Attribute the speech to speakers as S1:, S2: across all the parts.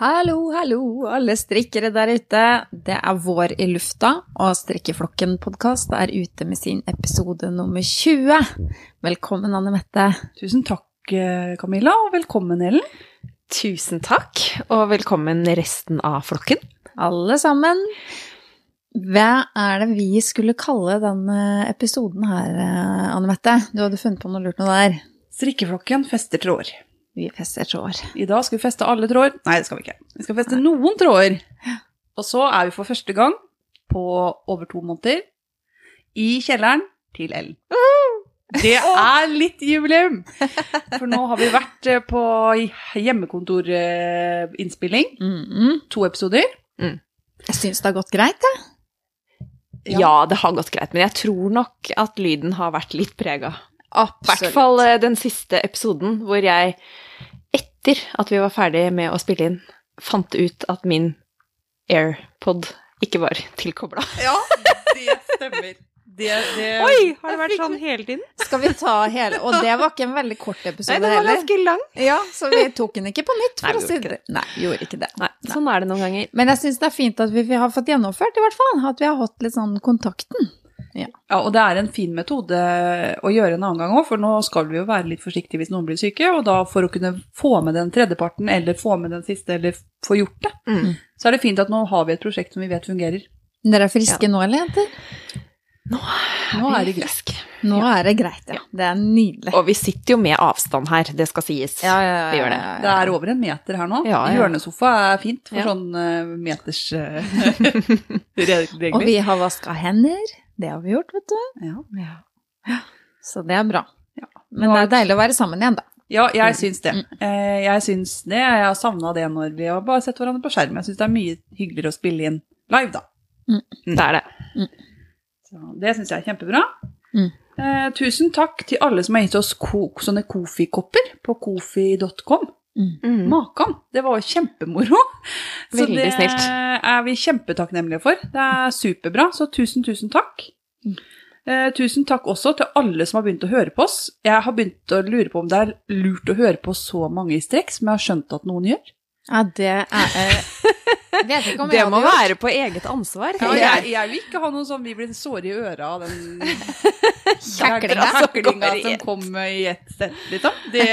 S1: Hallo, hallo, alle strikkere der ute. Det er vår i lufta, og Strikkeflokken podkast er ute med sin episode nummer 20. Velkommen, Anne Mette.
S2: Tusen takk, eh, Camilla, og velkommen, Ellen.
S3: Tusen takk, og velkommen resten av flokken.
S1: Alle sammen. Hva er det vi skulle kalle denne episoden her, eh, Anne Mette? Du hadde funnet på noe lurt noe der.
S2: Strikkeflokken fester tråder.
S1: Vi fester tråder.
S2: I dag skal vi feste alle tråder. Nei, det skal vi ikke. Vi skal feste noen tråder. Og så er vi for første gang på over to måneder i kjelleren til Ellen. Det er litt jubileum! For nå har vi vært eh, på hjemmekontorinnspilling.
S1: Mm -mm.
S2: To episoder.
S1: Jeg syns det har gått greit, jeg.
S2: Ja.
S3: Ja. det har gått greit, men jeg tror nok at lyden har vært litt prega. I hvert
S1: Absolutt.
S3: fall eh, den siste episoden hvor jeg, etter at vi var ferdig med å spille inn, fant ut at min AirPod ikke var tilkobla.
S2: Ja, det stemmer. Det, det
S3: Har det vært sånn hele tiden?
S1: Skal vi ta hele Og det var ikke en veldig kort episode
S3: Nei, den var
S1: heller.
S3: ganske lang.
S1: Ja, så vi tok den ikke på nytt, for
S3: Nei, vi
S1: å si
S3: gjorde
S1: det. Nei, vi gjorde ikke det.
S3: Nei, sånn er det noen ganger.
S1: Men jeg syns det er fint at vi, vi har fått gjennomført, i hvert fall. At vi har hatt litt sånn kontakten.
S2: Ja, og det er en fin metode eh, å gjøre en annen gang òg, for nå skal vi jo være litt forsiktige hvis noen blir syke, og da for å kunne få med den tredjeparten, eller få med den siste, eller få gjort det,
S3: Mm.
S2: så er det fint at nå har vi et prosjekt som vi vet fungerer.
S1: Dere er friske nå, eller, jenter?
S2: Nå er det greit.
S3: frisk.
S1: Nå er det greit, ja. Det er nydelig.
S3: Og vi sitter jo med avstand her, det skal sies. Vi gjør det.
S2: Det er over en meter her nå.
S3: Ja, ja.
S2: Hjørnesofa er fint for
S3: Ja.
S2: sånn eh, meters eh, regler.
S1: Og vi har vaska hender. Det har vi gjort, vet du.
S2: ja.
S1: Så det er bra.
S2: Ja.
S1: Men
S2: Nå
S1: det
S2: er
S1: er deilig å være sammen igjen, da.
S2: Ja, jeg syns det.
S3: Mm.
S2: Eh, Jeg syns det. Jeg har savna det når vi har bare sett hverandre på skjerm. Jeg syns det er mye hyggeligere å spille inn live, da.
S3: Det er det.
S2: Så det syns jeg er kjempebra.
S1: Mm.
S2: Eh, tusen takk til alle som har gitt oss ko sånne Kofi-kopper på kofi.com.
S3: Mm.
S2: Makan! Det var jo kjempemoro. Så
S3: Veldig
S2: det
S3: snilt.
S2: er vi kjempetakknemlige for. Det er superbra, så tusen, tusen takk.
S1: Mm.
S2: Eh, tusen takk også til alle som har begynt å høre på oss. Jeg har begynt å lure på om det er lurt å høre på så mange i strekk som jeg har skjønt at noen gjør.
S1: Ja, det er eh, Vet ikke om
S3: Det
S1: jeg
S3: må
S1: hadde gjort.
S3: være på eget ansvar.
S2: Ja,
S1: Ja,
S2: jeg, jeg vil ikke ha noe sånn vi blir såre i øra av den
S1: Kjeklinga
S2: Kjeklinga
S3: som kommer i
S2: som
S3: ett.
S2: kommer i ett sett, liksom. Det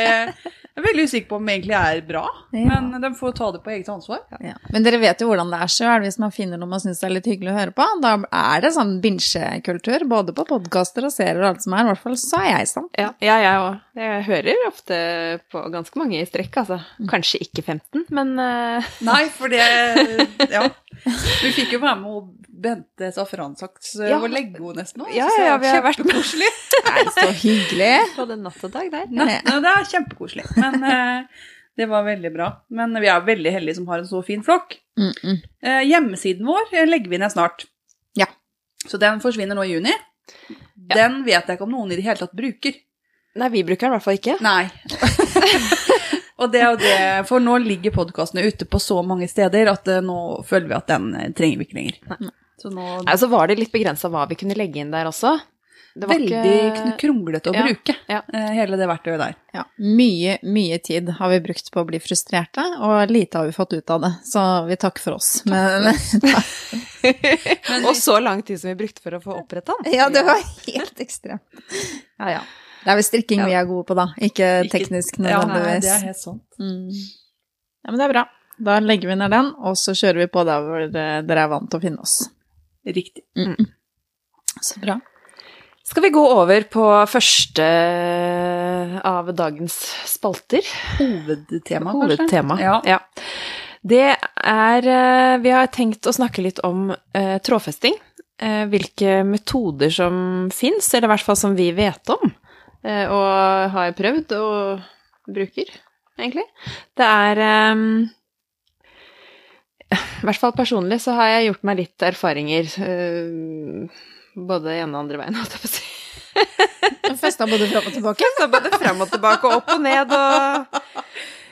S2: jeg er veldig usikker på om egentlig er bra,
S1: Ja.
S2: men de får ta det på eget ansvar.
S1: Ja. Men dere vet jo hvordan det er sjøl. Hvis man finner noe man syns er litt hyggelig å høre på, da er det sånn bingekultur. Både på podkaster og serier og alt som er. I hvert fall så er jeg sånn.
S3: Ja, ja, jeg òg. Jeg hører ofte på ganske mange i strekk, altså. Kanskje ikke 15, men eh,
S2: Nei, for det Ja. Vi fikk jo være med og Bente Safransaks
S3: Ja.
S2: og eh, legge henne nesten nå.
S3: ja, ja, ja, vi har vært koselige.
S1: Nei, så hyggelig.
S3: Både natt og dag der.
S2: Nei, nei, det er kjempekoselig. Men eh, det var veldig bra. Men vi er veldig heldige som har en så fin flokk.
S1: Mm -mm.
S2: Eh, hjemmesiden vår eh, legger vi ned snart.
S1: Ja.
S2: Så den forsvinner nå i juni. Den vet jeg ikke om noen i det hele tatt bruker.
S3: Nei, vi bruker den i hvert fall ikke.
S2: Nei. og det er jo det, for nå ligger podkastene ute på så mange steder at eh, nå føler vi at den eh, trenger vi ikke lenger. Så nå
S3: Nei, Så var det litt begrensa hva vi kunne legge inn der også. Det var
S2: Veldig kn-
S3: ikke
S2: kronglete å
S3: Ja,
S2: bruke,
S3: ja.
S2: eh, hele det verktøyet der.
S1: Ja, mye, mye tid har vi brukt på å bli frustrerte, og lite har vi fått ut av det. Så vi takker for oss. Men,
S3: Og så lang tid som vi brukte for å få oppretta den.
S1: ja, det var helt ekstremt. Ja, ja. Det er vel strikking vi er gode på, da. Ikke
S2: Ikke-
S1: teknisk
S2: Ja, nei,
S1: nødvendigvis.
S2: det er helt sant.
S1: Mm. Ja, men det er bra. Da legger vi ned den, og så kjører vi på der hvor eh, dere er vant til å finne oss.
S2: Riktig.
S1: Så bra.
S3: Skal vi gå over på første av dagens spalter?
S2: Hovedtema, kanskje?
S3: Hovedtema.
S2: Ja.
S3: Ja. Det er eh, Vi har tenkt å snakke litt om eh, trådfesting. Eh, hvilke metoder som fins, eller i hvert fall som vi vet om. Eh, og har prøvd og bruker, egentlig. Det er eh, I hvert fall personlig så har jeg gjort meg litt erfaringer. eh, både ene og andre veien, holdt jeg på å si.
S1: Festa både fram og tilbake.
S3: Så både fram og tilbake og opp og ned og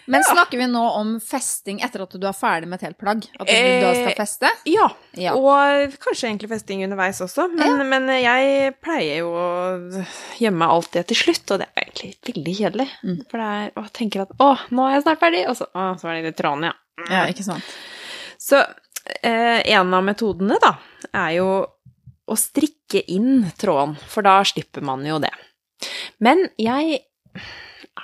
S1: Men snakker vi nå om festing etter at du er ferdig med et helt plagg? At du da skal feste?
S3: Ja.
S1: Ja.
S3: Og kanskje egentlig festing underveis også, men, men jeg pleier jo å gjemme alt det til slutt, og det er egentlig veldig kjedelig.
S1: Mm.
S3: For det er, og jeg tenker at å, nå er jeg snart ferdig, og så, å, så var det litt tråden, ja.
S1: Ja, ikke sant.
S3: Så eh, en av metodene da, er jo å strikke inn tråden, for da slipper man jo det. Men jeg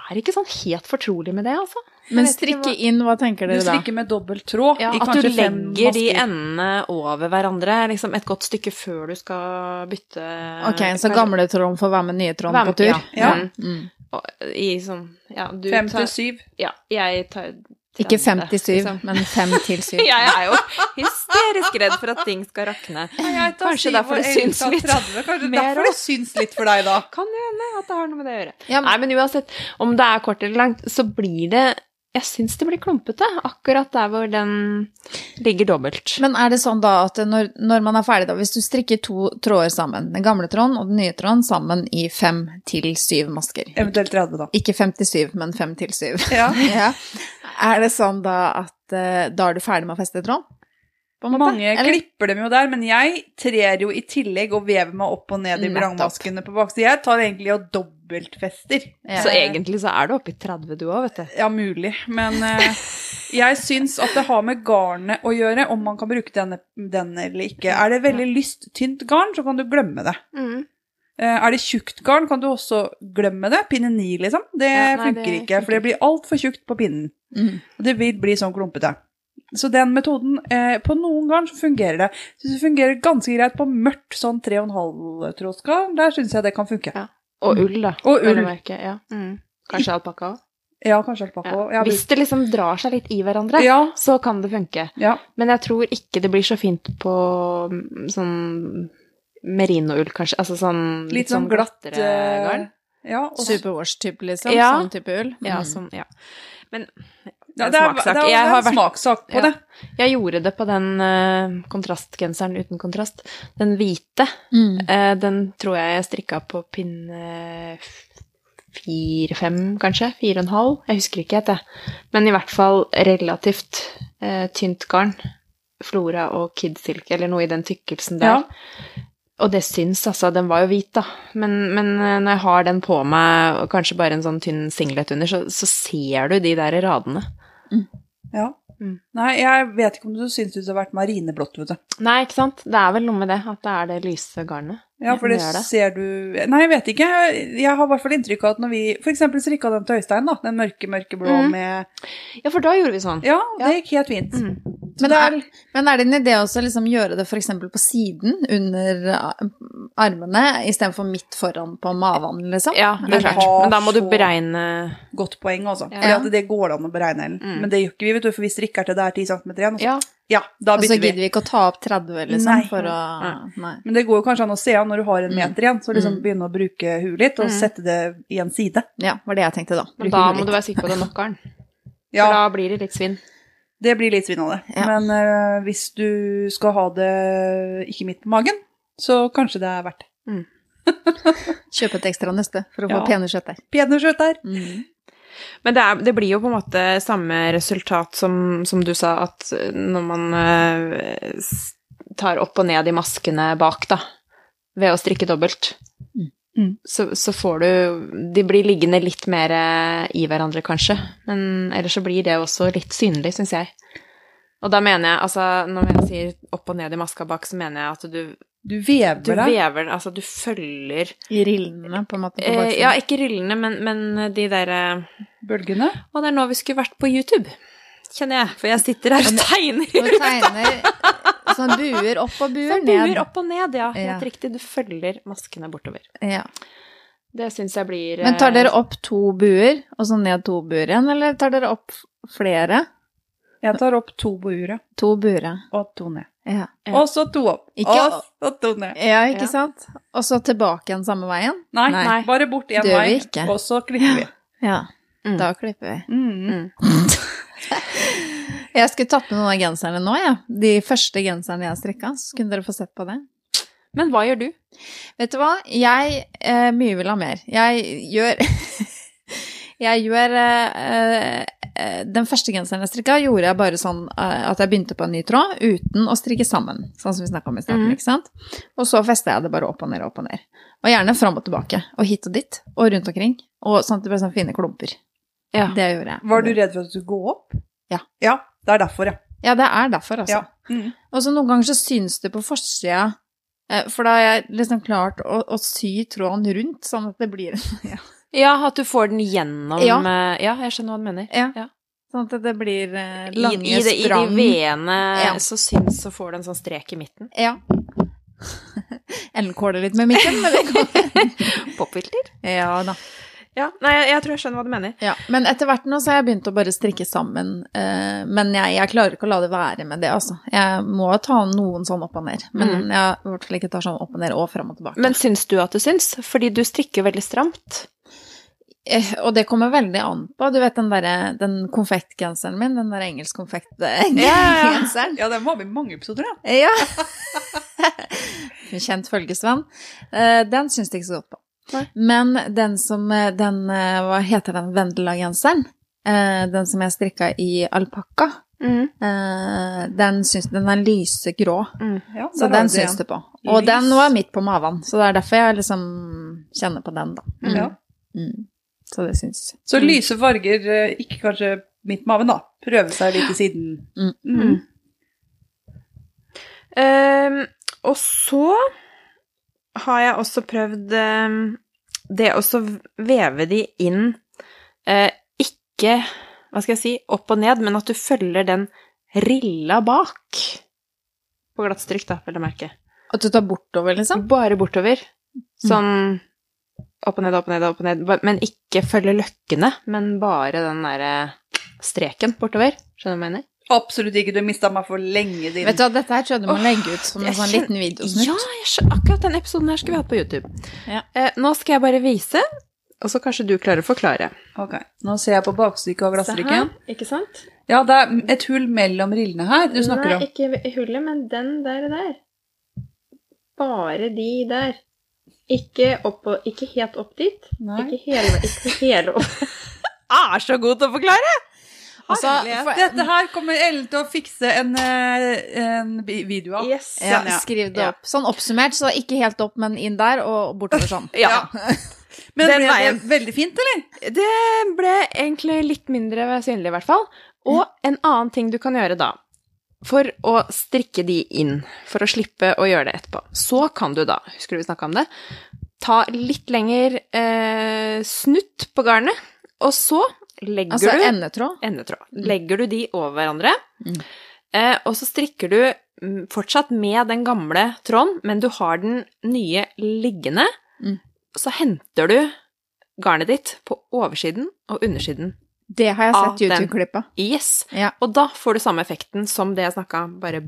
S3: er ikke sånn helt fortrolig med det, altså.
S1: Men
S3: vet ikke
S1: strikke inn, hva tenker
S2: Du
S1: dere da?
S2: strikker med dobbelt tråd i
S3: at du
S2: kanskje fem
S3: legger de
S2: masker.
S3: endene over hverandre liksom et godt stykke før du skal bytte
S1: Ok, så gamle Trond får være med nye Trond
S3: eh,
S1: på
S3: Være med-
S1: tur?
S3: ja.
S2: Ja.
S1: Mm.
S3: Og- I sånn Ja, du
S2: Fem
S3: tar
S2: til syv.
S3: Ja, jeg tar
S1: Ikke
S3: 30,
S1: 57,
S3: liksom.
S1: men 5 til 7.
S3: Jeg er jo hysterisk redd for at ting skal rakne.
S2: Jeg
S3: tar Kanskje syv, derfor og det Erik syns tar litt
S2: 30. Kanskje
S3: mer
S2: derfor det syns litt for deg, da.
S3: Kan det hende at det har noe med det å gjøre.
S1: Ja,
S3: Nei, men uansett, om det er kort eller langt, så blir det Jeg syns det blir klumpete, akkurat der hvor den ligger dobbelt.
S1: Men er det sånn da at når, når man er ferdig, da, hvis du strikker to tråder sammen, den gamle tråden og den nye tråden sammen i fem til syv masker
S2: Eventuelt 30, da.
S1: Ikke 57, men fem til syv.
S2: Ja.
S1: ja. Er det sånn da at eh, da er du ferdig med å feste tråden? På en måte?
S2: Mange
S1: Eller-
S2: klipper dem jo der, men jeg trer jo i tillegg og vever meg opp og ned i
S1: Nettopp.
S2: vrangmaskene på bak. Så jeg tar egentlig og dobbeltfester.
S1: Ja.
S3: Så egentlig så er det oppe i 30 du òg, vet du.
S2: Ja, mulig. Men eh, jeg syns at det har med garnet å gjøre, om man kan bruke denne, den eller ikke. Er det veldig lyst, tynt garn, så kan du glemme det. Eh, Er det tjukt garn, kan du også glemme det. Pinne 9, liksom. Det
S3: Ja, nei,
S2: funker
S3: det
S2: ikke, for det blir altfor tjukt på pinnen.
S1: Mm.
S2: Og det vil bli sånn klumpete. Så den metoden eh, På noen garn så fungerer det. Syns det fungerer ganske greit på mørkt, sånn 3,5-trådsgarn. Der syns jeg det kan funke.
S3: Ja. Og ull, da.
S2: Og
S3: vel å
S2: ull.
S3: merke, Ja. Kanskje alpakka òg.
S2: Ja, kanskje alpakka òg. Ja.
S3: Hvis det liksom drar seg litt i hverandre,
S2: ja,
S3: så kan det funke.
S2: ja.
S3: Men jeg tror ikke det blir så fint på mm, sånn merinoull, kanskje. Altså sånn
S2: Litt sånn glatt
S3: glattere
S2: eh,
S3: garn.
S2: Ja, og så-
S1: Superwash-type, liksom?
S3: Ja.
S1: Sånn type ull?
S3: Ja,
S1: Mm.
S3: sånn, ja. Men
S2: Ja,
S3: det er en smaksak. Jeg har
S2: en
S3: vært-
S2: smaksak på
S3: Ja.
S2: det.
S3: Jeg gjorde det på den eh, kontrastgenseren uten kontrast. Den hvite.
S1: Mm.
S3: eh, den tror jeg jeg strikka på pinne fire-fem, kanskje. Fire og en halv. Jeg husker ikke helt, jeg. Men i hvert fall relativt eh, tynt garn. Flora og kidsilk, eller noe i den tykkelsen der.
S2: Ja.
S3: Og det syns, altså. Den var jo hvit, da. Men, men eh, når jeg har den på meg, og kanskje bare en sånn tynn singlet under, så, så ser du de der radene.
S2: Ja.
S3: Mm.
S2: Nei, jeg vet ikke om du syns det har vært marineblått, vet du.
S3: Nei, ikke sant? Det er vel noe med det, at det er det lyse garnet.
S2: Ja, for det,
S3: Det er det.
S2: ser du Nei, jeg vet ikke. Jeg har i hvert fall inntrykk av at når vi f.eks. strikka den til Øystein, da, den mørke, mørkeblå
S3: Mm.
S2: med
S3: Ja, for da gjorde vi sånn.
S2: Ja,
S3: Ja.
S2: det gikk helt fint.
S3: Mm.
S2: Men
S1: Men
S2: det
S1: er,
S2: er
S1: men er det en idé også å liksom gjøre det f.eks. på siden, under eh, armene, istedenfor midt foran på maven, liksom?
S3: Ja, det er
S2: Men
S3: klart.
S2: ha
S3: Men da må du
S2: så-
S3: beregne
S2: godt poeng, altså.
S3: Ja.
S2: Fordi at det går det an å beregne, Ellen.
S3: Mm.
S2: Men det gjør ikke vi, vet du, for vi strikker til det er 10 cm igjen. og så-
S3: Ja.
S2: Ja, da
S1: Og så
S2: bytter
S1: gidder
S2: vi.
S1: vi ikke å ta opp 30, liksom,
S2: Nei.
S1: for å Nei.
S2: Men det går jo kanskje an å se av når du har en
S1: Mm.
S2: meter igjen, så liksom
S1: Mm.
S2: begynne å bruke huet litt og
S3: Mm.
S2: sette det i en side.
S1: Ja, var det jeg tenkte da.
S3: Men da må du være sikker på det er nok garn.
S2: Ja,
S3: For da blir det litt svinn.
S2: det blir litt svinn av det.
S1: Ja.
S2: Men eh, hvis du skal ha det ikke midt på magen, så kanskje det er verdt det.
S1: Kjøpe et ekstra nøste for å få
S2: Ja.
S1: pene skjøtter.
S2: Pene skjøt der.
S1: Mm.
S3: Men det, er, det blir jo på en måte samme resultat som, som du sa, at når man eh, s- tar opp og ned i maskene bak, da, ved å strikke dobbelt,
S1: Mm.
S2: Mm.
S3: så, så får du De blir liggende litt mer eh, i hverandre, kanskje, men ellers så blir det også litt synlig, syns jeg. Og da mener jeg, altså når jeg sier opp og ned i maska bak, så mener jeg at du,
S2: Du
S3: du
S2: vever deg.
S3: vever den, altså du følger
S1: I rillene, på en måte. På
S3: eh,
S1: baksiden.
S3: Ja, ikke rillene, men, men de derre
S2: Bølgene.
S3: og det er nå vi skulle vært på YouTube, kjenner jeg. For jeg sitter her og tegner.
S1: Og tegner sånn buer opp og buer
S3: Som
S1: ned.
S3: buer opp og ned, ja.
S1: Ja.
S3: Helt riktig. Du følger maskene bortover.
S1: Ja.
S3: Det syns jeg blir eh,
S1: Men tar dere opp to buer, og så ned to buer igjen, eller tar dere opp flere?
S2: Jeg tar opp to på uret
S1: To buere.
S2: og to ned.
S1: Ja.
S3: Ja.
S2: Og så to opp.
S1: Ikke-
S2: Og så to ned.
S1: Ja, ikke
S3: Ja.
S1: sant? Og så tilbake igjen samme veien?
S2: Nei,
S1: Nei.
S2: bare bort én
S1: Det gjør vi
S2: vei,
S1: ikke.
S2: og så klipper vi.
S1: Ja.
S3: Mm.
S1: Da klipper vi.
S2: Mm.
S1: Jeg skulle tatt med noen av genserne nå, jeg. Ja. De første genserne jeg strikka. Så kunne dere få sett på det.
S3: Men hva gjør du?
S1: Vet du hva? Jeg eh, mye vil ha mer. Jeg gjør Jeg gjør eh, eh, Den første genseren jeg strikka, gjorde jeg bare sånn eh, at jeg begynte på en ny tråd uten å strikke sammen. Sånn som vi snakka om i starten.
S3: Mhm.
S1: ikke sant? Og så festa jeg det bare opp og ned og opp og ned. Og gjerne fram og tilbake. Og hit og dit. Og rundt omkring. Og sånn at det ble sånn fine klumper.
S3: Ja.
S1: Det gjorde jeg.
S2: Var du redd for at du skulle gå opp?
S1: Ja.
S2: Det er derfor, ja.
S1: Ja, det er derfor, altså.
S2: ja. Mm.
S1: Og så noen ganger så syns det på forsida, eh, for da har jeg liksom klart å, å sy tråden rundt, sånn at det blir
S3: Ja, at du får den gjennom
S1: Ja.
S3: eh, ja jeg skjønner hva du mener.
S1: Ja.
S3: Ja.
S1: Sånn at det blir eh,
S3: I,
S1: lange
S3: i, det, I de
S1: sprang.
S3: vedene
S1: Ja.
S3: så syns, så får du en sånn strek i midten.
S1: Ja. Ellen kåler litt med mikken, men det går.
S3: Popfilter?
S1: Ja da.
S3: Ja. Nei, jeg, jeg tror jeg skjønner hva du mener.
S1: Ja, men etter hvert nå så har jeg begynt å bare strikke sammen. eh, men jeg, jeg klarer ikke å la det være med det, altså. Jeg må ta noen sånn opp og ned. Men
S3: Mm.
S1: jeg i hvert fall ikke tar sånn opp og ned og fram og tilbake.
S3: Men syns du at du syns? Fordi du strikker veldig stramt.
S1: Eh, og det kommer veldig an på. Du vet den derre den konfektgenseren min, den der engelsk
S3: ja, ja.
S1: konfektgenseren.
S2: Ja, den var med i mange episoder, ja.
S1: Ja. Kjent følgesvenn. Eh, Den syns de ikke så godt på.
S3: Nei.
S1: Men den som eh, den, eh, Hva heter den Vendela-genseren? Eh, Den som jeg strikka i alpakka.
S3: Mm.
S1: eh, Den, syns- den er lysegrå,
S2: ja
S1: så den syns du på. Og
S2: Lys.
S1: den var midt på maven, så det er derfor jeg liksom kjenner på den, da. Mm.
S2: Ja.
S1: Mm. Så det syns.
S2: Så lyse farger, eh, ikke kanskje midt maven, da. Prøve seg litt i siden.
S1: Mm.
S2: Mm.
S3: Ehm, og så har jeg også prøvd ehm, det å så veve de inn eh, Ikke, hva skal jeg si, opp og ned, men at du følger den rilla bak. På glattstrykk, da, vel å merke.
S1: At du tar bortover, liksom?
S3: Bare bortover. Sånn opp og ned, opp og ned, opp og ned. ba- Men ikke følge løkkene, men bare den derre streken bortover. Skjønner du hva jeg mener?
S2: Absolutt ikke, du mista meg for lenge siden.
S1: Vet du hva, dette her tror jeg du må
S3: Åh,
S1: legge ut som en
S3: jeg
S1: sånn
S3: kjen-
S1: liten videosnutt.
S3: Ja, jeg skjø- akkurat den episoden her skulle vi hatt på YouTube.
S1: Ja.
S3: Eh, nå skal jeg bare vise, og så kanskje du klarer å forklare.
S2: Ok, Nå ser jeg på bakstykket av
S3: Se her,
S2: glassdrikken.
S3: Ikke sant?
S2: Ja, det er et hull mellom rillene her du snakker om.
S3: Nei, ikke i hullet, men den der og der. Bare de der. Ikke, opp og, ikke helt opp dit.
S2: Nei.
S3: Ikke hele, ikke hele opp. Er så god til å forklare!
S1: Altså,
S2: Herlighet.
S1: for-
S2: Dette her kommer Ellen til å fikse en, eh, en bi- video av.
S3: Yes.
S1: Ja,
S2: Sånn, ja.
S1: skriv det
S3: Ja.
S1: opp. Sånn oppsummert, så ikke helt opp, men inn der og bortover sånn.
S3: Ja.
S2: Men
S3: Den
S2: ble
S3: veien.
S2: det veldig fint, eller?
S3: Det ble egentlig litt mindre synlig, i hvert fall. Og en annen ting du kan gjøre da, for å strikke de inn, for å slippe å gjøre det etterpå, så kan du da, husker du vi snakka om det, ta litt lenger eh, snutt på garnet, og så legger
S1: Altså
S3: du
S1: endetråd.
S3: endetråd. Legger du de over hverandre,
S1: Mm.
S3: eh, og så strikker du mm, fortsatt med den gamle tråden, men du har den nye liggende,
S1: Mm.
S3: så henter du garnet ditt på oversiden og undersiden.
S1: Det har jeg
S3: Ah,
S1: sett i
S3: den.
S1: YouTube-klippet.
S3: Yes!
S1: Ja.
S3: Og da får du samme effekten som det jeg snakka, bare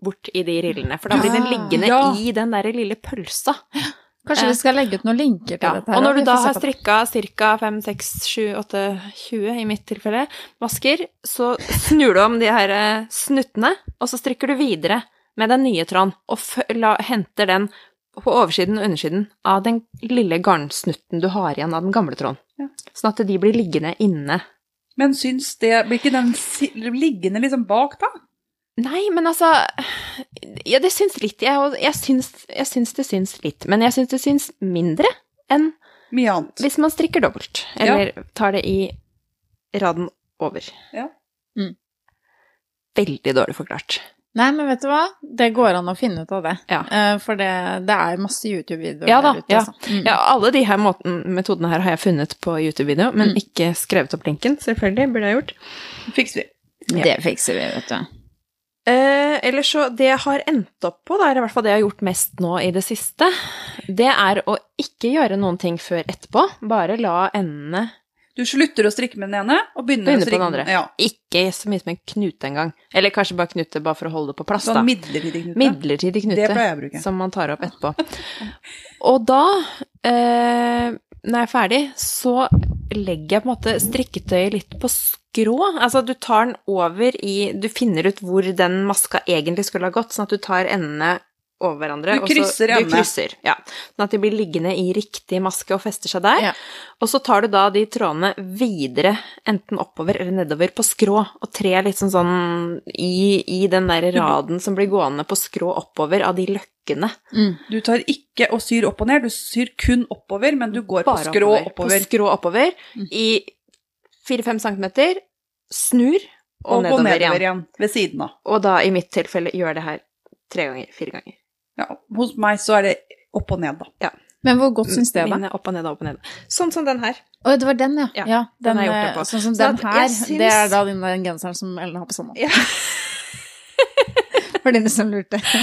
S3: bort i de rillene, for da blir den
S1: Ah,
S3: liggende
S2: ja.
S3: i den derre lille pølsa.
S1: Kanskje
S3: Ja.
S1: vi skal legge ut noen linker til
S3: Ja,
S1: dette her.
S3: og når
S1: vi får
S3: du da
S1: se
S3: har
S1: på det.
S3: strikka ca. 5, 6, 7, 8, 20 i mitt tilfelle masker, så snur du om de her eh, snuttene, og så strikker du videre med den nye tråden, og fø- la, henter den på oversiden og undersiden av den lille garnsnutten du har igjen av den gamle tråden.
S2: Ja.
S3: Sånn at de blir liggende inne.
S2: Men syns det Blir ikke den si liggende liksom bak, da?
S3: Nei, men altså Ja, det syns litt. Jeg, og jeg, syns, jeg syns det syns litt, men jeg syns det syns mindre enn
S2: Mye annet.
S3: Hvis man strikker dobbelt, eller tar det i raden over.
S2: Ja.
S1: Mm.
S3: Veldig dårlig forklart.
S1: Nei, men vet du hva? Det går an å finne ut av det.
S3: Ja.
S1: Eh, For det, det er masse YouTube-videoer
S3: Ja da,
S1: der ute.
S3: ja.
S1: altså. Mm.
S3: Ja, alle de her måten, metodene her har jeg funnet på YouTube-video, men
S1: Mm.
S3: ikke skrevet opp linken, selvfølgelig, burde jeg gjort.
S2: Fikser vi.
S3: Ja.
S1: Det fikser vi, vet du.
S3: Eh, eller så, det jeg har endt opp på, det er i hvert fall det jeg har gjort mest nå i det siste, det er å ikke gjøre noen ting før etterpå, bare la endene
S2: Du slutter å strikke med den ene, og begynner, å
S3: Begynner på
S2: strikke
S3: den andre.
S2: Ja,
S3: ikke så mye som en knute engang. Eller kanskje bare knute bare for å holde det på plass, da.
S2: sånn midlertidig knute.
S3: Midlertidig knute.
S2: Det pleier jeg å bruke.
S3: som man tar opp etterpå. Og da, eh, når jeg er ferdig, så legger jeg på en måte strikketøyet litt på skrå. Altså du tar den over i Du finner ut hvor den maska egentlig skulle ha gått, sånn at du tar endene over hverandre.
S2: Du krysser
S3: og så,
S2: endene.
S3: du krysser, ja. Sånn at de blir liggende i riktig maske og fester seg der.
S1: Ja.
S3: Og så tar du da de trådene videre, enten oppover eller nedover, på skrå, og tre litt sånn sånn i, i den der raden som blir gående på skrå oppover av de løkkene.
S1: Mm.
S2: Du tar ikke og syr opp og ned, du syr kun oppover, men du går på
S3: Bare
S2: skrå
S3: oppover. Mm.
S2: oppover.
S3: På skrå oppover
S1: Mm.
S3: i 4-5 centimeter, snur, og,
S2: og gå
S3: nedover,
S2: nedover
S3: igjen.
S2: igjen ved siden av.
S3: Og da i mitt tilfelle gjør det her tre ganger, fire ganger.
S2: Ja, hos meg så er det opp og ned, da.
S1: Men hvor godt syns det, da?
S3: Mine opp og ned, opp og ned. Sånn som den her.
S1: Å, det var den, ja.
S3: Ja,
S1: den,
S3: den har jeg gjort det
S1: eh,
S3: på.
S1: Sånn som
S3: Så
S1: den
S3: at jeg
S1: her,
S3: syns-
S1: det er da den der genseren som Ellen har på sommeren.
S3: Ja.
S1: For dere som lurte.
S3: Ja.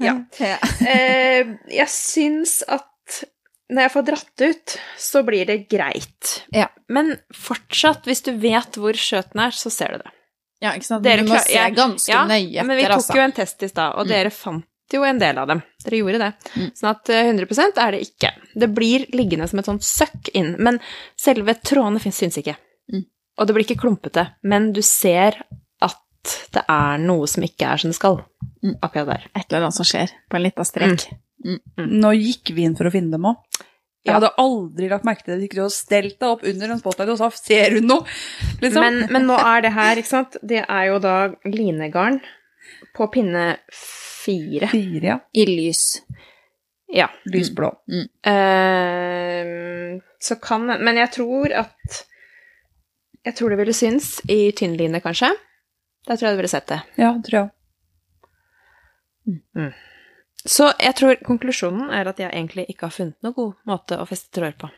S3: Eh, jeg syns at når jeg får dratt ut, så blir det greit.
S1: Ja.
S3: Men fortsatt, hvis du vet hvor skjøten er, så ser du det.
S1: Ja, ikke sant?
S3: Dere
S1: du må
S3: klar-
S1: se
S3: jeg-
S1: ganske
S3: ja,
S1: nøye etter,
S3: Men vi tok
S1: altså.
S3: jo en test i stad, og
S1: Mm.
S3: dere fant jo en del av dem. Dere gjorde det.
S1: Mm.
S3: Sånn at eh, 100 er det ikke. Det blir liggende som et sånt søkk inn, men selve trådene fins- syns ikke.
S1: Mm.
S3: Og det blir ikke klumpete, men du ser at det er noe som ikke er som det skal.
S1: Mm.
S3: Akkurat der.
S1: Et eller annet som skjer på en liten strek.
S3: Mm.
S2: Nå gikk vi inn for å finne dem òg. Jeg
S3: Ja.
S2: hadde aldri lagt merke til det. Hvis ikke du hadde stelt deg opp under en spotlight og sa 'ser hun noe'? Liksom.
S3: Men, men nå er det her, ikke sant Det er jo da linegarn på pinne fire.
S2: Fire, ja.
S1: I lys.
S3: Ja.
S2: Lysblå.
S3: Mm. Ehm, så kan Men jeg tror at Jeg tror det ville synes i tynn line, kanskje. Da tror jeg du ville sett det.
S2: Ja, tror jeg.
S3: Så jeg tror konklusjonen er at jeg egentlig ikke har funnet noen god måte å feste tråder på.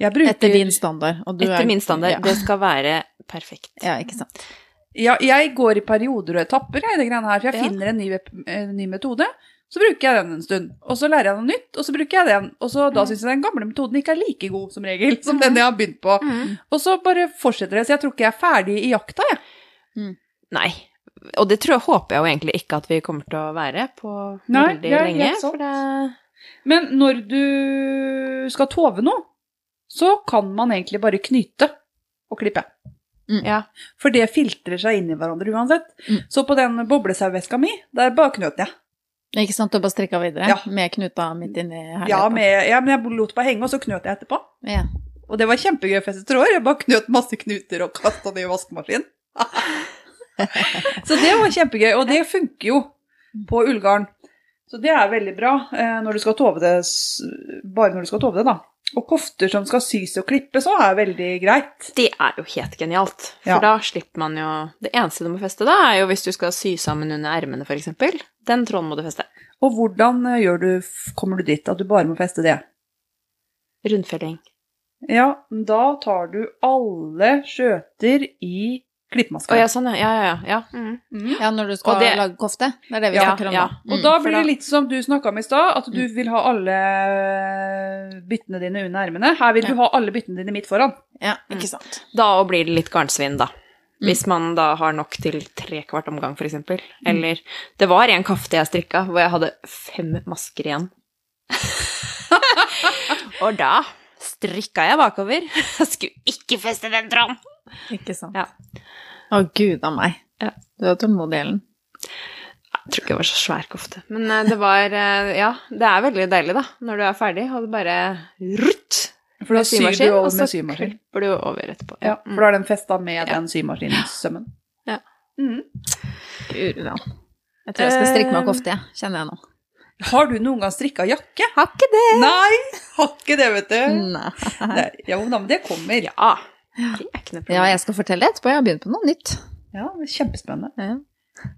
S2: Jeg bruker
S1: Etter din standard. og du
S3: Mm. Etter
S1: er-
S3: min standard.
S1: Ja.
S3: Det skal være perfekt.
S1: ja, ikke sant.
S2: Ja, jeg går i perioder og etapper, jeg, i det greiene her. For jeg
S3: Ja.
S2: finner en ny, vep- en ny metode. Så bruker jeg den en stund, og så lærer jeg noe nytt, og så bruker jeg den. Og så
S3: Mm.
S2: da syns jeg den gamle metoden ikke er like god som regel, som den jeg har begynt på.
S3: Mm.
S2: Og så bare fortsetter det, så jeg tror ikke jeg er ferdig i jakta, jeg.
S3: Nei. Og det tror jeg, håper jeg jo egentlig ikke at vi kommer til å være på
S2: Nei,
S3: veldig
S2: det er
S3: lenge.
S2: helt sant.
S3: For det
S2: Men når du skal tove noe, så kan man egentlig bare knyte og klippe.
S1: Mm.
S3: Ja.
S2: For det filtrer seg inn i hverandre uansett.
S1: Mm.
S2: Så på den boblesauveska mi, der bare knøt jeg.
S1: Ikke sant, og bare strikka videre
S2: Ja.
S1: med knuta midt inni her.
S2: Ja, med, ja, men jeg lot bare henge, og så knøt jeg etterpå.
S1: altså. ja.
S2: Og det var kjempegøy feste tråder. Jeg bare knøt masse knuter og kasta det i vaskemaskinen. så det var kjempegøy, og det funker jo på ullgarn. Så det er veldig bra eh, når du skal tove det, s- bare når du skal tove det, da. Og kofter som skal sys og klippes òg, er veldig greit.
S3: Det er jo helt genialt. For
S2: Ja.
S3: da slipper man jo Det eneste du må feste da, er jo hvis du skal sy sammen under ermene, f.eks. Den tråden må du feste.
S2: Og hvordan eh, gjør du, f- kommer du dit at du bare må feste det?
S3: Rundfelling.
S2: Ja, da tar du alle skjøter i
S3: Å
S2: klippemaska.
S3: ja, sånn, ja. Ja, ja, ja. ja. Mm.
S2: Mm.
S1: ja, når du skal
S3: Og det-
S1: lage kofte. Det er det vi
S3: Ja,
S1: snakker om
S3: ja.
S1: nå.
S2: Og
S1: Mm.
S2: da
S3: for
S2: blir
S3: da- Mm.
S2: det litt som du snakka om i stad, at du vil ha alle eh, byttene dine under ermene. Her vil
S1: Ja.
S2: du ha alle byttene dine midt foran.
S1: Mm. ja, ikke sant.
S3: Da og blir det litt garnsvinn, da.
S1: Mm.
S3: Hvis man da har nok til tre kvart omgang, f.eks. Eller Det var en kafte jeg strikka hvor jeg hadde fem masker igjen. og da strikka jeg bakover. Jeg skulle ikke feste den tråden.
S1: Ikke sant.
S3: Ja.
S1: Å, gud a meg.
S3: Ja.
S1: Du er tålmodig, Ellen.
S3: Jeg tror ikke det var så svær kofte. Men eh, det var eh, Ja, det er veldig deilig, da. Når du er ferdig, og det bare rutt
S2: For da
S3: med
S2: syr du
S3: symaskin,
S2: over
S3: og så
S2: med symaskin.
S3: klipper du over etterpå.
S2: Ja,
S3: Mm.
S2: for da er den festa med
S3: Ja.
S2: den symaskinsømmen.
S3: Ja.
S2: Mm.
S1: Gud, ja. Jeg tror jeg skal strikke meg
S2: Eh,
S1: kofte, jeg. Kjenner jeg nå.
S2: Har du noen gang strikka jakke?
S3: Har ikke det! Mm,
S2: Nei! Har ikke det, vet du.
S1: Nei.
S2: Nei. Ja, men da- men det kommer.
S3: Ja. Det er ikke noe problem.
S1: Ja, jeg skal fortelle etterpå. Jeg har begynt på noe nytt.
S2: Ja, det er Kjempespennende.
S1: Ja.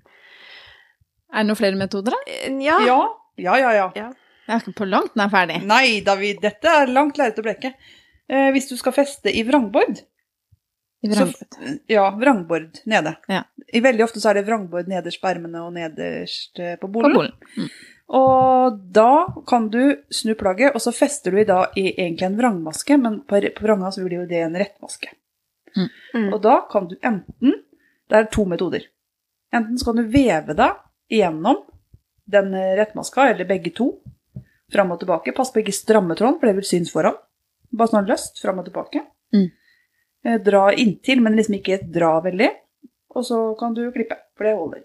S1: Er det noen flere metoder, da?
S3: Eh, ja.
S2: Ja, ja, ja. ja.
S1: Jeg er ikke på langt når jeg er ferdig.
S2: Nei, David, dette er langt lerret å bleke. Eh, hvis du skal feste i vrangbord,
S1: I vrangbord.
S2: Ja, vrangbord nede.
S1: Ja.
S2: I Veldig ofte så er det vrangbord nederst på ermene og nederst eh, på
S1: På
S2: bolen.
S1: bolen.
S2: Og da kan du snu plagget, og så fester du i da i egentlig en vrangmaske, men på, på vranga så blir jo det en rettmaske.
S3: Mm.
S2: Og da kan du enten Det er to metoder. Enten så kan du veve deg gjennom den eh, rettmaska, eller begge to, fram og tilbake. Pass på ikke stramme tråden, for det vil synes foran. Bare sånn løst, fram og tilbake.
S1: Mm.
S2: Eh, Dra inntil, men liksom ikke dra veldig. Og så kan du klippe, for det holder.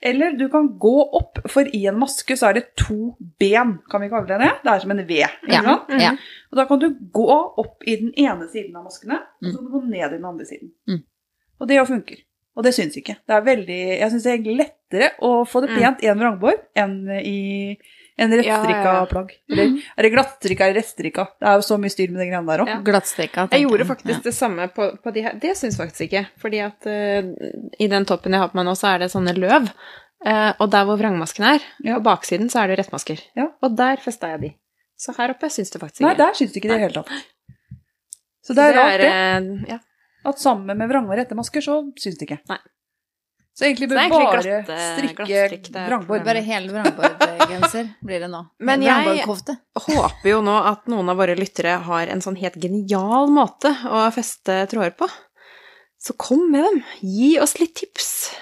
S2: Eller du kan gå opp, for i en maske så er det to ben, kan vi kalle det det? Det er som en V. ikke
S1: Ja.
S2: sant?
S1: ja.
S2: Og da kan du gå
S3: Mm.
S2: opp i den ene siden av maskene, og så kan du gå ned i den andre siden.
S1: Mm.
S2: Og det jo funker. Og det syns ikke. Det er veldig, jeg syns det er egentlig lettere å få det
S3: Mm.
S2: pent i en vrangbord enn i en rettstrikka
S3: Ja, ja, ja.
S2: plagg. Eller er det glattstrikka eller rettstrikka? Det er jo så mye styr med de greiene der òg.
S3: Ja.
S1: Glattstrikka. tenker
S3: Jeg gjorde
S1: jeg.
S3: faktisk det samme på, på de her. Det syns jeg faktisk ikke. Fordi at eh, i den toppen jeg har på meg nå, så er det sånne løv. Eh, og der hvor vrangmasken er,
S2: Ja.
S3: på baksiden, så er det rettmasker.
S2: Ja.
S3: Og der festa jeg de. Så her oppe syns det faktisk
S2: Nei,
S3: ikke.
S2: der syns de ikke det i det hele tatt. Så det er rart, det.
S3: eh, ja.
S2: At sammen med vrange og rettemasker, så syns de ikke.
S3: Nei.
S2: Så egentlig
S3: Så
S2: bør
S3: det er
S2: bare
S3: egentlig glatt, eh, glattstrikk det
S2: strikke
S3: er
S2: vrangbord.
S1: Bare hel vrangbordgenser blir det nå.
S3: Men jeg-
S1: Vrangbordkofte.
S3: Håper jo nå at noen av våre lyttere har en sånn helt genial måte å feste tråder på. Så kom med dem. Gi oss litt tips.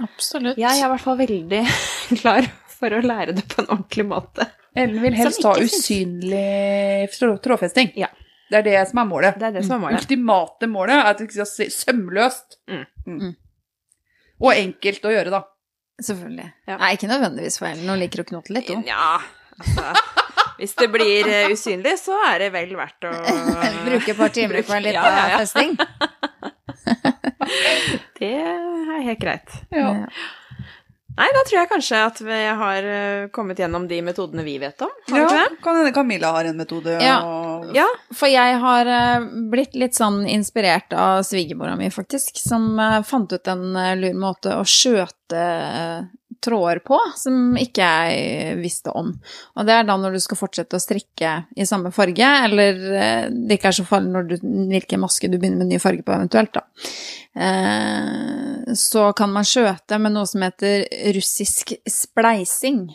S1: Absolutt.
S3: Jeg er i hvert fall veldig klar for å lære det på en ordentlig måte.
S2: Ellen vil helst
S3: Som
S2: ha
S3: ikke syns.
S2: usynlig trå- trådfesting.
S3: Ja.
S2: Det er det som er målet.
S3: Det er det som er målet.
S2: ultimate målet er at det skal se sømløst
S3: Mm.
S1: Mm.
S2: og enkelt å gjøre, da.
S1: Selvfølgelig.
S3: Ja.
S1: Nei, ikke nødvendigvis for Ellen. Hun liker å knote litt, hun.
S3: Nja, altså Hvis det blir eh, usynlig, så er det vel verdt å
S1: Bruke et par timer på litt
S3: Ja, ja, ja.
S1: eh, festing.
S3: Det er helt greit.
S2: Ja.
S1: Ja.
S3: Nei, da tror jeg kanskje at vi har eh, kommet gjennom de metodene vi vet om. Har vi
S2: Ja,
S3: ikke det?
S2: kan hende Camilla har en metode.
S1: Ja.
S2: og-
S3: Ja.
S1: For jeg har eh, blitt litt sånn inspirert av svigermora mi, faktisk, som eh, fant ut en eh, lur måte å skjøte eh, tråder på, som ikke jeg visste om. Og det er da når du skal fortsette å strikke i samme farge, eller eh, det ikke er så farlig når du, hvilken maske du begynner med ny farge på eventuelt, da. Eh, Så kan man skjøte med noe som heter russisk spleising.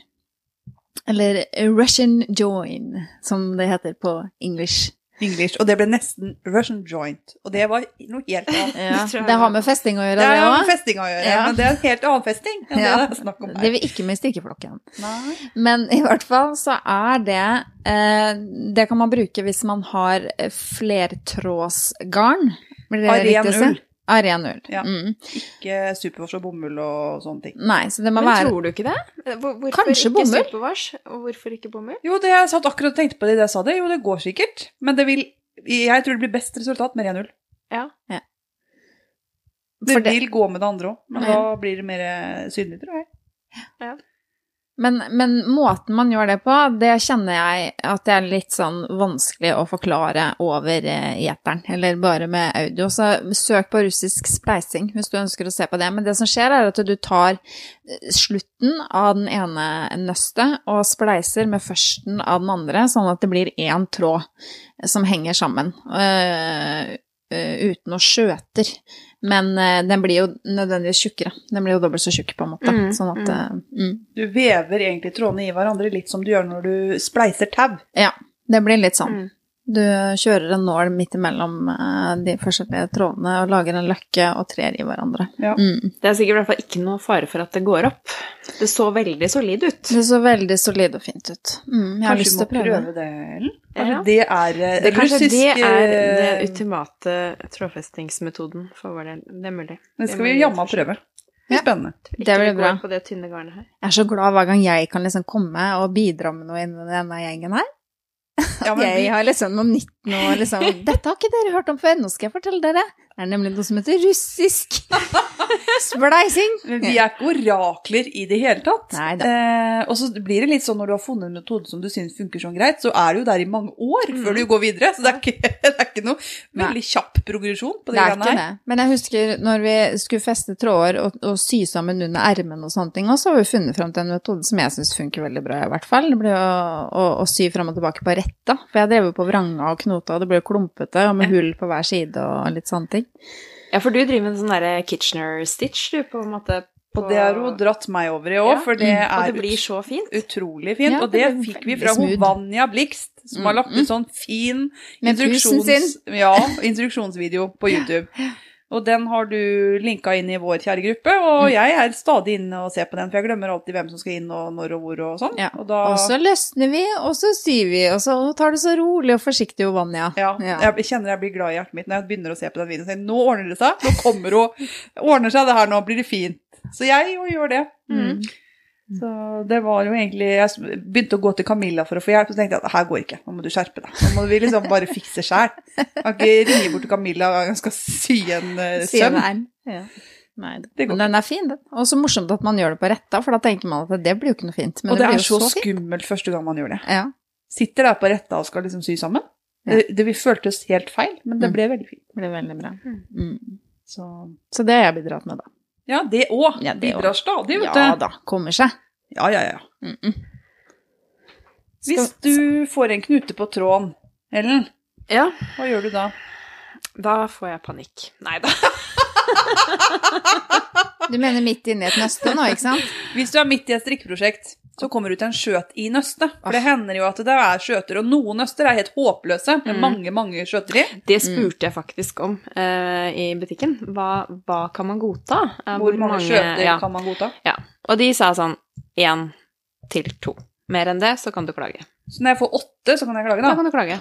S1: Eller Russian join, som det heter på engelsk.
S2: English. Og det ble nesten Russian joint. Og det var noe helt annet.
S1: Ja,
S3: Det tror jeg
S1: det har
S3: var-
S1: med festing å
S2: Det
S1: gjøre, det
S2: har med
S1: òg.
S2: festing å gjøre,
S1: Ja.
S2: men det er en helt annen festing enn
S1: Ja.
S2: det det er snakk om
S1: Det
S2: her.
S1: vil ikke med i strikkeflokken.
S2: Nei.
S1: Men i hvert fall så er det eh, Det kan man bruke hvis man har eh, flertrådsgarn. Blir det
S2: Av ren
S1: riktig å si?
S2: ull.
S1: Av ren ull.
S2: Ja.
S1: Mm.
S2: Ikke supervors eh, og bomull og sånne ting.
S1: Nei, så det må
S3: Men
S1: være
S3: tror du ikke det? Eh, Hvor, hvorfor
S1: Kanskje
S3: ikke
S1: bomull?
S3: Supervars, og hvorfor ikke bomull?
S2: Jo, det jeg satt akkurat og tenkte på det idet jeg sa det. Jo, det går sikkert. Men det vil Jeg tror det blir best resultat med ren ull. Det,
S1: for det.
S2: vil gå med det andre òg, men
S1: Ja.
S2: da blir det mer eh, synlig, tror jeg.
S1: Men, men måten man gjør det på, det kjenner jeg at det er litt sånn vanskelig å forklare over eh, i eteren, eller bare med audio. Så søk på russisk spleising hvis du ønsker å se på det. Men det som skjer, er at du tar eh, slutten av den ene nøstet og spleiser med førsten av den andre, sånn at det blir én tråd som henger sammen. eh, eh, uten å skjøter. Men eh, den blir jo nødvendigvis tjukkere. Den blir jo dobbelt så tjukk, på en måte.
S3: Mm,
S1: Sånn at eh, mm.
S2: Du vever egentlig trådene i hverandre litt som du gjør når du spleiser tau.
S1: Det blir litt sånn.
S3: Mm.
S1: Du kjører en nål midt imellom eh, de forskjellige trådene og lager en løkke og trer i hverandre.
S2: Ja.
S1: Mm.
S3: Det er sikkert i hvert fall ikke noe fare for at det går opp. Det så veldig solid ut.
S1: Det så veldig solid og fint ut. Mm, jeg har
S2: Kanskje
S1: lyst til
S2: vi må
S1: å prøve.
S2: prøve det, Ellen? Kanskje
S3: Ja.
S2: det er eh,
S3: Det, kanskje
S2: russisk
S3: det er
S2: eh,
S3: den ultimate trådfestingsmetoden for vår del. Det er mulig.
S2: Det skal vi jammen prøve. Det
S1: Ja.
S2: blir spennende.
S1: Det blir bra.
S3: På det tynne garnet her.
S1: Jeg er så glad hver gang jeg kan liksom komme og bidra med noe innen denne gjengen her.
S2: Ja, men
S1: jeg
S2: vi,
S1: har liksom noe nytt nå. Liksom. Dette har ikke dere hørt om før, nå skal jeg fortelle dere. Det er nemlig noe som heter russisk spleising.
S2: men vi er ikke orakler i det hele tatt.
S1: Neida.
S2: Eh, og så blir det litt sånn når du har funnet en metode som du syns funker sånn greit, så er du jo der i mange år
S1: Mm.
S2: før du går videre. Så det er ikke, det er ikke noe veldig kjapp progresjon på
S1: Det
S2: det
S1: er ikke
S2: greiene her.
S1: det. Men jeg husker når vi skulle feste tråder og, og sy sammen under ermene og sånne ting, og så har vi funnet fram til en metode som jeg syns funker veldig bra, i hvert fall. Det blir å, å, å sy fram og tilbake på retta. For jeg drev jo på vranga og knota, og det ble jo klumpete og med hull på hver side og litt sånne ting.
S3: Ja, for du driver med en sånn derre Kitchener stitch, du, på en måte. på-
S2: Og det har hun dratt meg over i år,
S3: Ja.
S2: for det
S1: Mm.
S2: er
S3: Og det blir
S2: ut-
S3: så fint.
S2: utrolig fint.
S1: Ja,
S2: og det
S1: det blir
S2: fikk vi
S1: veldig
S2: fra
S1: smooth.
S2: hun Vanja Blikst, som har lagt
S1: Mm, mm.
S2: ut sånn fin
S1: Med pusen sin.
S2: instruksjons- ja, instruksjonsvideo på YouTube. Og den har du linka inn i vår kjære gruppe, og
S1: Mm.
S2: jeg er stadig inne og ser på den, for jeg glemmer alltid hvem som skal inn og når og hvor og sånn.
S1: Ja,
S2: Og da
S1: Og så løsner vi, og så syr vi, og så tar det så rolig og forsiktig, jo, Vanja.
S2: ja, jeg kjenner jeg blir glad i hjertet mitt når jeg begynner å se på den videoen. Så jeg, nå ordner det seg, nå kommer hun. Ordner seg det her, nå blir det fint. Så jeg jo gjør det.
S1: Mm.
S2: Så det var jo egentlig Jeg begynte å gå til Camilla for å få hjelp, og så tenkte jeg at her går ikke, nå må du skjerpe deg. Nå må vi liksom bare fikse sjæl. Kan ikke ringe bort til Camilla og hun skal sy en eh,
S1: Sier
S2: søm.
S1: det er. Ja. Nei,
S2: Det går
S1: men den er fin, den. Og så morsomt at man gjør det på retta, for da tenker man at det blir jo ikke noe fint. Men
S2: Og det
S1: blir
S2: er
S1: jo
S2: så
S1: fint.
S2: skummelt første gang man gjør det.
S1: Ja.
S2: Sitter der på retta og skal liksom sy sammen.
S1: Ja.
S2: Det, det føltes helt feil, men det
S1: Mm.
S2: ble veldig fint.
S1: Det blir veldig bra. Mm.
S2: Så
S1: Så det har jeg bidratt med, da.
S2: ja, det òg.
S1: Ja, det
S2: Bidrar stadig, vet
S1: Ja
S2: du.
S1: da, kommer seg.
S2: Ja, ja, ja.
S1: Mm -mm.
S2: Hvis du får en knute på tråden, Ellen,
S3: Ja,
S2: hva gjør du da?
S3: da får jeg panikk. Nei da.
S1: Du mener midt inni et nøste nå, ikke sant?
S2: Hvis du er midt i et strikkeprosjekt, så kommer du til en skjøt i nøstet. For det hender jo at det er skjøter, og noen nøster er helt håpløse med
S3: Mm.
S2: mange, mange skjøter i.
S3: Det spurte jeg faktisk om eh, i butikken. Hva, hva kan man godta? Eh,
S2: Hvor mange skjøter
S3: ja.
S2: kan man godta?
S3: Og de sa sånn én til to. Mer enn det, så kan du klage.
S2: Så når jeg får åtte, så kan jeg klage,
S3: Da
S2: da.
S3: kan du klage.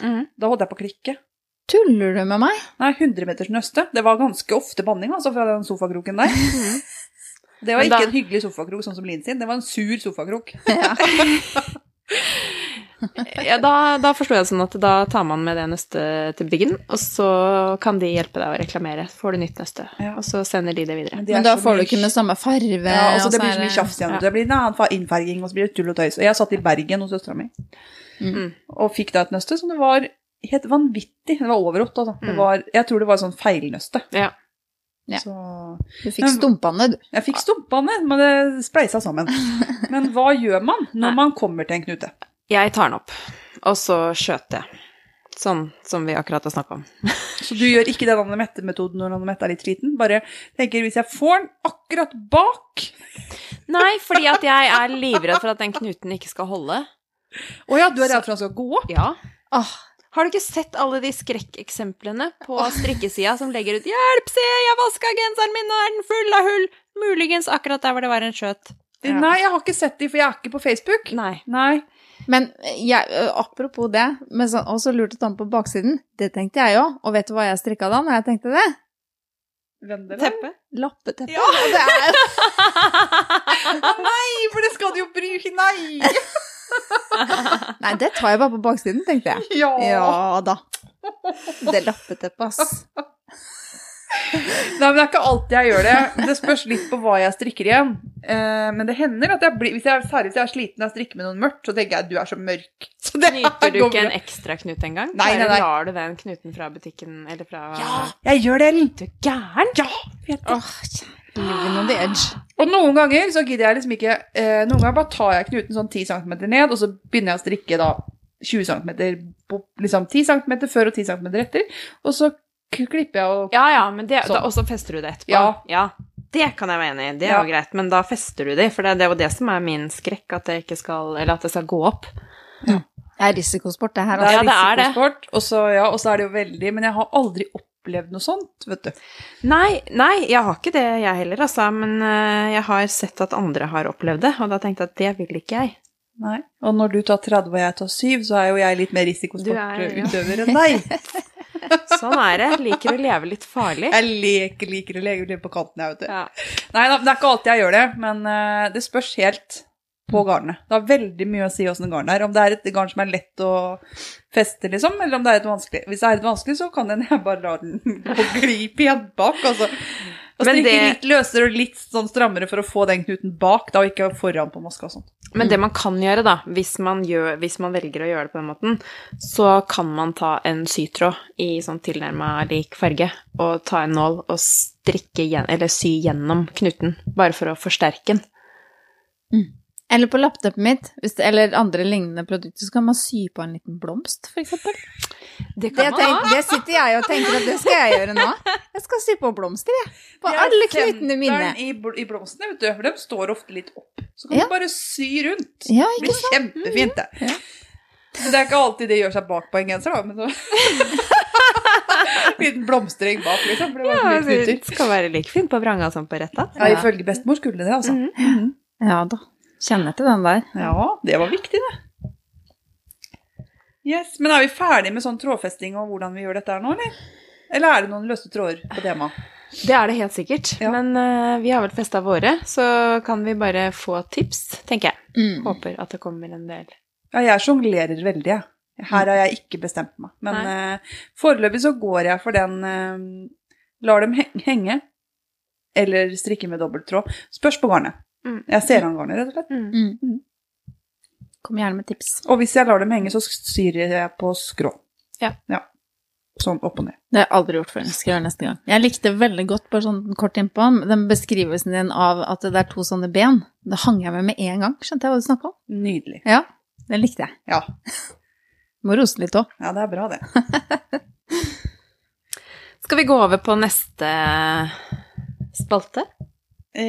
S3: Mhm.
S2: Da holdt jeg på å klikke.
S1: Tuller du med meg?
S2: Nei, 100 meters nøste. Det var ganske ofte banning, altså, fra den sofakroken der. Det var
S3: Men
S2: ikke
S3: da-
S2: en hyggelig sofakrok, sånn som Linn sin. Det var en sur sofakrok.
S3: Ja, da, da forstår jeg det sånn at da tar man med det nøstet til butikken, og så kan de hjelpe deg å reklamere. Så får du nytt nøste,
S2: Ja.
S3: og så sender de det videre.
S2: Men, det er
S1: Men da
S2: så
S1: får du
S2: mye
S1: ikke med samme farve.
S2: ja, altså,
S1: Eh,
S2: Det
S1: og er
S2: blir så mye
S1: det-
S2: tjafs igjen.
S3: ja.
S2: Det blir en annen innfarging, og så blir det tull og tøys. Og jeg satt i Bergen hos søstera mi
S1: Mm.
S2: og fikk da et nøste som det var helt vanvittig. Det var overrått, altså. Det
S3: Mm.
S2: var, jeg tror det var et sånn feilnøste.
S3: Ja.
S1: Ja.
S2: Så
S1: Du fikk stumpene, du.
S2: jeg fikk stumpene, men det spleisa sammen. Men hva gjør man når man kommer til en knute?
S3: Jeg tar den opp, og så skjøter jeg. Sånn som vi akkurat har snakka om.
S2: Så du gjør ikke den Anne Mette-metoden når Anne Mette er litt sliten? Bare tenker hvis jeg får den akkurat bak
S3: Nei, fordi at jeg er livredd for at den knuten ikke skal holde.
S2: Å ja, du er redd for han skal gå opp?
S3: Ja.
S1: Åh,
S3: Har du ikke sett alle de skrekkeksemplene på strikkesida som legger ut 'Hjelp, se, jeg vaska genseren min, nå er den full av hull'? Muligens akkurat der hvor det var en skjøt. Ja.
S2: Nei, jeg har ikke sett de, for jeg er ikke på Facebook.
S3: Nei.
S2: Nei.
S1: Men jeg, ø, apropos det, men så, og så lurte Tom på baksiden. Det tenkte jeg òg. Og vet du hva jeg strikka da når jeg tenkte det?
S2: Vendela?
S3: Teppe.
S1: Lappeteppe.
S2: Ja.
S1: Og det er,
S2: Nei, for det skal du jo bruke! Nei!
S1: nei, det tar jeg bare på baksiden, tenkte jeg.
S2: Ja.
S1: Ja da. Det lappeteppet, ass.
S2: Nei, men Det er ikke alltid jeg gjør det. Det spørs litt på hva jeg strikker igjen. Eh, men det hender at jeg blir, hvis jeg, er- særlig hvis jeg er sliten og jeg strikker med noen mørkt, så tenker jeg du er så mørk. Så det
S3: Knyter du
S2: går
S3: ikke en
S2: bra.
S3: ekstra knut engang?
S2: Nei, nei,
S3: Bare
S2: nei.
S3: Lar du den knuten fra butikken eller fra
S2: Ja, jeg gjør det, Ellen.
S3: Du er gæren!
S2: Ja, vet du.
S1: Åh, Living on the edge.
S2: Og noen ganger så gidder jeg liksom ikke eh, Noen ganger bare tar jeg knuten sånn 10 cm ned, og så begynner jeg å strikke da 20 cm liksom 10 cm før og 10 cm etter, og så k- klipper jeg og
S3: Ja ja, men det,
S2: Sånn.
S3: da, og så fester du det etterpå.
S2: Ja.
S3: Det kan jeg være enig i, det er
S2: Ja.
S3: jo greit, men da fester du de, for det, det er jo det som er min skrekk, at det ikke skal Eller at det skal gå opp.
S1: Det er risikosport, det her.
S3: Ja,
S1: Altså.
S3: det er det.
S2: risikosport, og så, ja, og så er det jo veldig Men jeg har aldri opplevd noe sånt, vet du.
S3: Nei, nei, jeg har ikke det jeg heller, altså, men eh, jeg har sett at andre har opplevd det, og da tenkte jeg at det vil ikke jeg.
S2: Nei. Og når du tar 30 og jeg tar 7, så er jo jeg litt mer
S3: Du er- ja.
S2: risikosportutøver enn deg.
S3: Sånn er det. Liker å leve litt farlig.
S2: Jeg leker liker å leke litt på kanten, jeg, vet du.
S3: Ja.
S2: Nei da, det er ikke alltid jeg gjør det, men eh, det spørs helt på garnet. Det har veldig mye å si åssen garn er. Om det er et garn som er lett å feste, liksom, eller om det er et vanskelig. Hvis det er et vanskelig, så kan den jeg bare la den gå glip igjen bak, altså. Og
S3: Men
S2: strikke
S3: det-
S2: litt løsere og litt sånn strammere for å få den knuten bak, da, og ikke foran på maska og sånt.
S3: Men det man kan gjøre, da, hvis man, gjør, hvis man velger å gjøre det på den måten, så kan man ta en sytråd i sånn tilnærma lik farge, og ta en nål og strikke igjen, eller sy gjennom knuten, bare for å forsterke den.
S1: Eller på lappeteppet mitt, hvis det, eller andre lignende produkter, så kan man sy på en liten blomst, for eksempel. Det, tenk, det sitter jeg og tenker at det skal jeg gjøre nå. Jeg skal sy på blomster, jeg. På
S2: Jeg
S1: alle
S2: sender
S1: knutene mine.
S2: den I, bl- i blomstene, vet du, for de står ofte litt opp. Så kan
S1: Ja.
S2: du bare sy rundt.
S1: Ja,
S2: Det
S1: ikke Mm,
S2: blir kjempefint, det.
S1: Ja.
S2: Men det er ikke alltid det gjør seg bak på en genser, da. Men så... Liten blomstring bak, liksom. For det var
S3: Ja,
S2: så mye
S3: det
S2: knuter.
S3: skal være like fint på vranga som på retta.
S2: Ja, ifølge bestemor skulle det, altså.
S1: Mm.
S3: Mhm.
S2: Mhm.
S1: Ja da. Kjenner til den der.
S2: Ja, det var viktig, det. Yes, Men er vi ferdig med sånn trådfesting og hvordan vi gjør dette her nå, eller? Eller er det noen løse tråder på temaet?
S3: Det er det helt sikkert.
S2: Ja.
S3: Men eh, vi har vel festa våre, så kan vi bare få tips, tenker jeg.
S1: Mm.
S3: Håper at det kommer en del.
S2: Ja, jeg sjonglerer veldig, jeg. Her har jeg ikke bestemt meg. Men eh, foreløpig så går jeg for den eh, Lar dem he- henge Eller strikke med dobbelttråd. Spørs på garnet.
S3: Mm.
S2: Jeg ser an garnet, rett og slett.
S3: Mm.
S1: Mm. Kom gjerne med tips.
S2: Og hvis jeg lar dem henge, så syr jeg på skrå.
S3: Ja.
S2: Sånn opp og ned.
S1: Det har jeg aldri gjort før. Jeg skal gjøre neste gang. Jeg likte veldig godt bare sånn kort innpå den beskrivelsen din av at det er to sånne ben. Det hang jeg med med en gang. Skjønte jeg hva du snakka om?
S2: Nydelig.
S1: Ja, det likte jeg.
S2: Ja.
S1: Må rose litt òg.
S2: ja, det er bra, det.
S3: Skal vi gå over på neste spalte?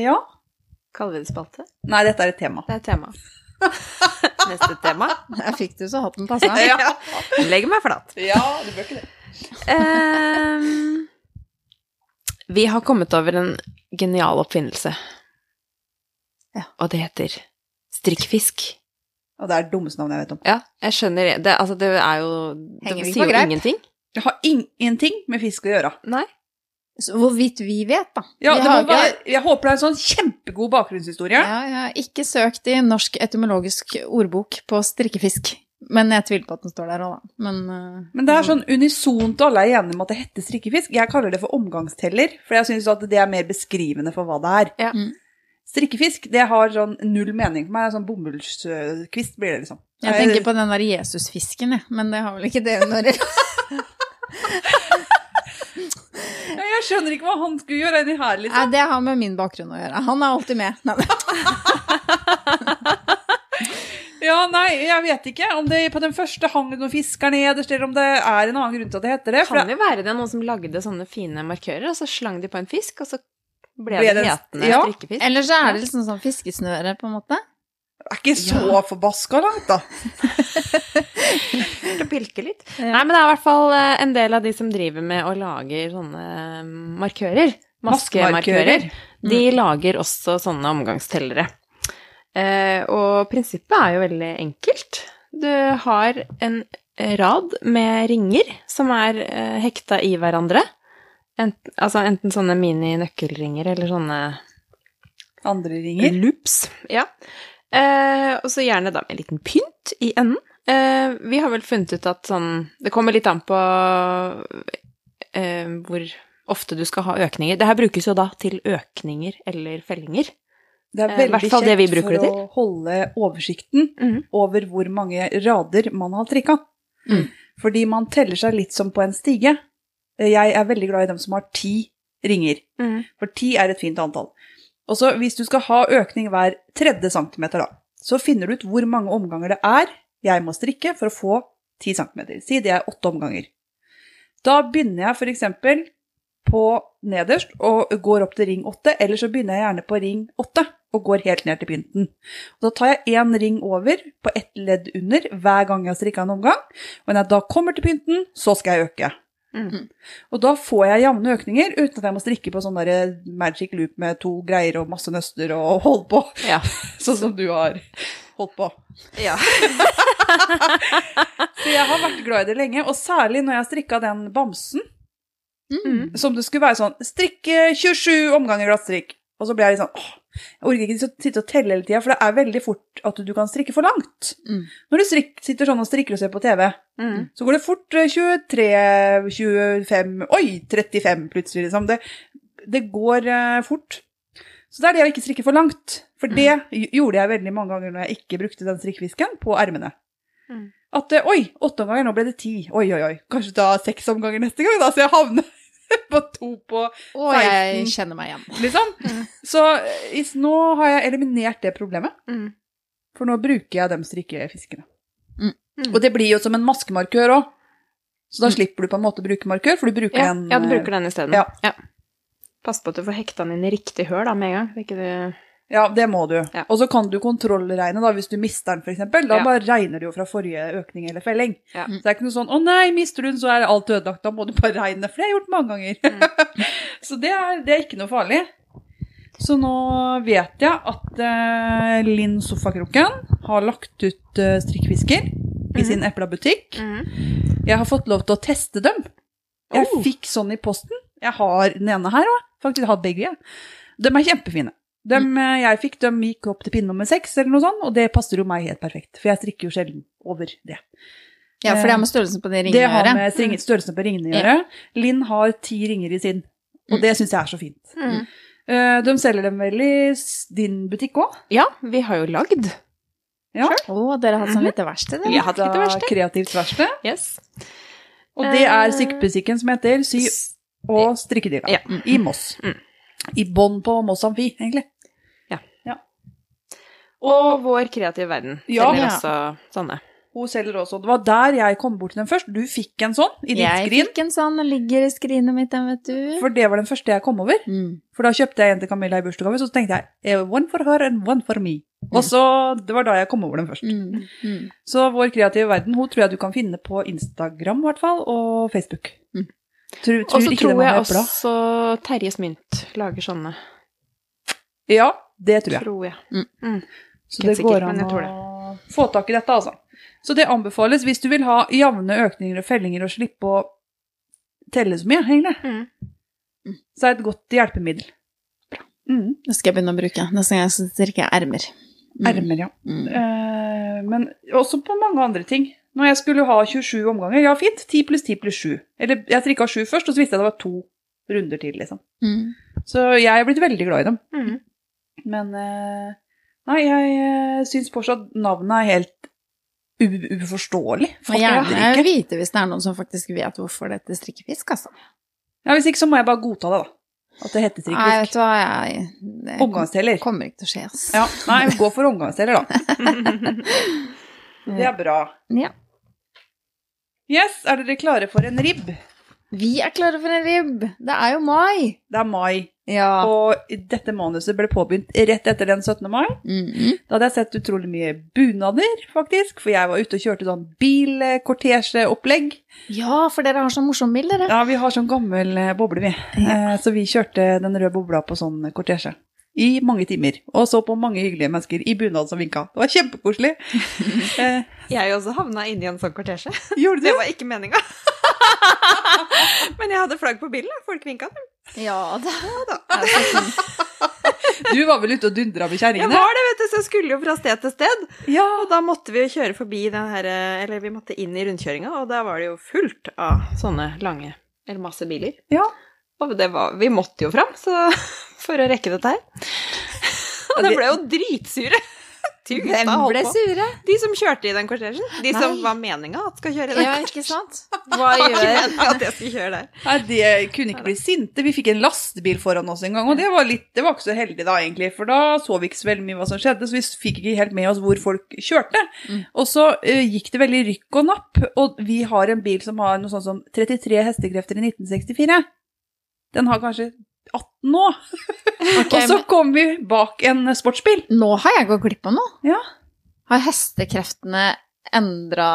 S2: Ja.
S3: Kaller vi det spalte?
S2: Nei, dette er et tema.
S3: Det er tema. neste tema.
S1: Der fikk du så hatten
S3: Altså,
S1: passa.
S2: Ja,
S3: Legg meg flat.
S2: ja du bør ikke det.
S3: Ehm, vi har kommet over en genial oppfinnelse.
S1: Ja.
S3: Og det heter strikkfisk.
S2: Og det er det dummeste navnet jeg vet om.
S3: Ja, jeg skjønner det. Altså, det er jo
S1: Henger
S3: Det
S1: ikke
S3: sier
S1: på
S3: jo
S1: greip.
S3: ingenting.
S2: Det har ingenting med fisk å gjøre.
S3: Nei.
S1: Så Hvorvidt vi vet, da.
S2: Ja,
S1: Vi
S2: det
S1: har
S2: må
S1: ikke-
S2: være, jeg håper det er en sånn kjempegod bakgrunnshistorie.
S1: Ja, jeg har ikke søkt i Norsk etymologisk ordbok på strikkefisk. Men jeg tviler på at den står der òg, da. Men, eh,
S2: Men det er sånn unisont og alle er enige om at det heter strikkefisk. Jeg kaller det for omgangsteller, for jeg syns at det er mer beskrivende for hva det er.
S3: Ja.
S1: Mm.
S2: Strikkefisk det har sånn null mening for meg. Sånn bomullskvist blir det, liksom.
S1: Jeg tenker på den der Jesusfisken, jeg. Men det har vel ikke det når
S2: Ja, Jeg skjønner ikke hva han skulle gjøre inni her, liksom.
S1: Nei, det har med min bakgrunn å gjøre. Han er alltid med. Nei, men-
S2: Ja, nei, jeg vet ikke om det på den første hang det noen fisker nederst, eller om det er en annen grunn til at det heter det. For
S3: Kan jo være det er noen som lagde sånne fine markører, og så slang de på en fisk, og så ble,
S2: Ble
S3: det
S2: det-
S3: hetende
S2: ja.
S3: strikkefisk.
S1: Ellers så er det liksom sånn fiskesnøre, på en måte.
S2: det er ikke så forbaska langt, da.
S3: Eller pilke litt.
S1: Ja.
S3: Nei, men det er i hvert fall eh, en del av de som driver med og lager sånne eh, markører. Maskemarkører. De lager også sånne omgangstellere. Eh, og prinsippet er jo veldig enkelt. Du har en rad med ringer som er eh, hekta i hverandre. Enten, altså enten sånne mini-nøkkelringer eller sånne
S2: Andre ringer.
S3: loops. Ja. Eh, og så gjerne da med en liten pynt i enden. Eh, vi har vel funnet ut at sånn Det kommer litt an på eh, hvor ofte du skal ha økninger. Det her brukes jo da til økninger eller fellinger.
S2: Det er
S3: Eh,
S2: veldig
S3: hvert fall det vi
S2: kjekt
S3: bruker
S2: for
S3: det til. Mm.
S2: å holde oversikten over hvor mange rader man har trikka.
S1: Mm.
S2: Fordi man teller seg litt som på en stige. Eh, Jeg er veldig glad i dem som har ti ringer,
S3: Mm,
S2: for ti er et fint antall. Og så hvis du skal ha økning hver tredje centimeter, da, så finner du ut hvor mange omganger det er jeg må strikke for å få ti centimeter. Si det er åtte omganger. Da begynner jeg for eksempel på nederst og går opp til ring 8, eller så begynner jeg gjerne på ring 8 og går helt ned til pynten. Og da tar jeg én ring over på ett ledd under hver gang jeg har strikka en omgang, og når jeg da kommer til pynten, så skal jeg øke.
S3: Mhm.
S2: Og da får jeg jevne økninger uten at jeg må strikke på sånn der magic loop med to greier og masse nøster og holde på,
S3: Ja.
S2: sånn som du har holdt på.
S3: ja.
S2: Så jeg har vært glad i det lenge, og særlig når jeg strikka den bamsen.
S1: Mm.
S2: Som det skulle være sånn strikke 27 omganger glattstrikk. Og så ble jeg litt sånn åh, jeg orker ikke å sitte og telle hele tida, for det er veldig fort at du kan strikke for langt.
S1: Mm.
S2: Når du strikk, sitter sånn og strikker og ser på TV,
S3: Mm.
S2: så går det fort eh, 23, 25, oi, 35 plutselig, liksom. Det, det går eh, fort. Så det er det å ikke strikke for langt. For det
S3: Mm.
S2: gj- gjorde jeg veldig mange ganger når jeg ikke brukte den strikkefisken på ermene.
S3: Mm.
S2: At eh, oi, åtte omganger, nå ble det ti. Oi, oi, oi. Kanskje da seks omganger neste gang, da, så jeg havner på to på
S1: Og jeg kjenner meg igjen.
S2: liksom.
S3: Mm.
S2: Så eh, is, nå har jeg eliminert det problemet,
S3: Mm.
S2: for nå bruker jeg de strikkefiskene.
S1: Mm.
S3: Mm.
S2: Og det blir jo som en maskemarkør òg. Så da
S1: Mm.
S2: slipper du på en måte å bruke markør, for du bruker
S3: Ja,
S2: en
S3: ja, du
S2: eh,
S3: bruker den isteden.
S2: ja.
S3: Ja. Pass på at du får hekta den inn i riktig høl da, med en gang. så Ikke du...
S2: eh, Ja, det må du.
S3: Ja.
S2: Og så kan du kontrollregne da, hvis du mister den, f.eks. Da
S3: Ja.
S2: bare regner du jo fra forrige økning eller felling.
S3: Ja.
S2: Så det er ikke noe sånn 'Å nei, mister du den, så er alt ødelagt'. Da må du bare regne, for det har jeg gjort mange ganger.
S3: Mm.
S2: så det er, det er ikke noe farlig. Så nå vet jeg at eh, Linn Sofakroken har lagt ut eh, strikkfisker i
S3: Mm.
S2: sin Epla-butikk. Jeg har fått lov til å teste dem. Jeg
S3: Oh.
S2: fikk sånn i posten. Jeg har den ene her òg. Faktisk jeg har begge. Jeg. De er kjempefine. De
S3: Mm.
S2: eh, jeg fikk, de gikk opp til pinne nummer seks, eller noe sånt, og det passer jo meg helt perfekt. For jeg strikker jo sjelden over det.
S1: Ja, for det har med størrelsen på de ringene
S2: Det
S1: å
S2: har
S1: gjøre.
S2: med
S3: Mm. Mm.
S2: string- størrelsen på ringene å gjøre. Linn har ti ringer i sin, og det syns jeg er så fint. Eh, De selger dem vel i s- din butikk òg?
S3: Ja, vi har jo lagd.
S2: Ja.
S1: Å, dere har hatt sånn lite verksted,
S3: Vi
S1: dere.
S3: har hatt litt verksted.
S2: Kreativt verksted.
S3: Yes.
S2: Og det
S3: Eh.
S2: er sykkebutikken som heter Sy og strikkedila
S3: Ja.
S2: i Moss.
S3: Mm.
S2: I bånn på Moss Amfi, egentlig.
S3: Og vår kreative verden
S2: Ja.
S3: selger
S1: Ja.
S3: også sånne.
S2: Hun selger også. Det var der jeg kom bort til den først. Du fikk en sånn i ditt
S1: Jeg
S2: skrin.
S1: fikk en sånn, den ligger i skrinet mitt, den, vet du.
S2: For det var den første jeg kom over.
S1: Mm.
S2: For da kjøpte jeg en til Camilla i bursdagsgave, så tenkte jeg eh, one for her and one for me. Og så, Det var da jeg kom over den først.
S1: Mm. Mm.
S2: Så Vår kreative verden hun tror jeg du kan finne på Instagram i hvert fall, og Facebook.
S1: Mm.
S2: Tror,
S3: Og så
S2: ikke det
S3: tror
S2: må
S3: jeg
S2: være
S3: også
S2: bra.
S3: Terjes Mynt lager sånne.
S2: Ja, det tror jeg.
S3: Tror jeg.
S2: Så
S3: Ikke
S2: det
S3: sikkert,
S2: går an
S3: men jeg tror det.
S2: å få tak i dette, altså. Så det anbefales hvis du vil ha jevne økninger og fellinger og slippe å telle så mye, egentlig.
S3: Mm.
S2: Så er det et godt hjelpemiddel. Mm.
S1: Det skal jeg begynne å bruke. Neste gang jeg skal strikke ermer. Mm.
S2: Ermer, ja.
S1: Mm.
S2: Eh, men også på mange andre ting. Når jeg skulle ha 27 omganger, ja fint, 10 pluss 10 pluss 7. Eller jeg trikka 7 først, og så visste jeg det var to runder til, liksom.
S1: Mm.
S2: Så jeg er blitt veldig glad i dem.
S3: Mm.
S2: Men eh, nei, jeg uh, syns fortsatt navnet er helt u uforståelig.
S1: Og gjerne
S2: Fatter ikke.
S1: vite hvis det er noen som faktisk vet hvorfor det heter strikkefisk, altså.
S2: Ja, hvis ikke så må jeg bare godta det, da. At det heter
S1: Nei, vet
S2: trikkfisk.
S1: du hva, jeg det kom-
S2: Omgangsteller.
S1: kommer ikke til å skje, ass.
S2: Ja, nei, gå for omgangsteller, da. Det er bra.
S1: Ja.
S2: Yes, er dere klare for en ribb?
S1: Vi er klare for en ribb! Det er jo mai!
S2: Det er mai,
S1: Ja.
S2: og dette manuset ble påbegynt rett etter den 17. mai.
S1: Mhm.
S2: Da hadde jeg sett utrolig mye bunader, faktisk, for jeg var ute og kjørte sånn bilkortesjeopplegg.
S1: ja, for dere har sånn morsom bil, dere.
S2: Ja, vi har sånn gammel eh, boble, vi. Eh, Så vi kjørte den røde bobla på sånn kortesje. I mange timer. Og så på mange hyggelige mennesker i bunad som vinka. Det var kjempekoselig. Eh,
S3: Jeg også havna inni en sånn kortesje.
S2: gjorde
S3: Det
S2: du?
S3: var ikke meninga. Men jeg hadde flagg på bilen, og folk vinka.
S1: Ja da.
S2: Du var vel ute og dundra med
S3: Jeg
S2: kjerringene?
S3: var det, vet du, så jeg skulle jo fra sted til sted.
S2: Ja.
S3: Og da måtte vi jo kjøre forbi den her eh, Eller vi måtte inn i rundkjøringa, og der var det jo fullt av sånne lange Eller masse biler.
S2: Ja.
S3: Og det var Vi måtte jo fram, så For å rekke dette her. Og de ble jo dritsure. De gutta
S1: Hvem
S3: holdt
S1: ble
S3: på.
S1: sure?
S3: De som kjørte i den kortesjen. De som
S1: Nei.
S3: var meninga at skal kjøre i den.
S1: Ja, ikke sant?
S3: Hva gjør at jeg skal kjøre der?
S2: Nei, de eh, kunne ikke bli sinte. Vi fikk en lastebil foran oss en gang, og det var, litt, det var ikke så heldig da, egentlig. For da så vi ikke så veldig mye hva som skjedde, så vi fikk ikke helt med oss hvor folk kjørte.
S1: Mm.
S2: Og så eh, gikk det veldig rykk og napp, og vi har en bil som har noe sånt som 33 hestekrefter i 1964. Den har kanskje 18 nå.
S1: Ok,
S2: og så kom vi bak en eh, sportsbil.
S1: men nå har jeg gått glipp av noe.
S2: Ja.
S1: Har hestekreftene endra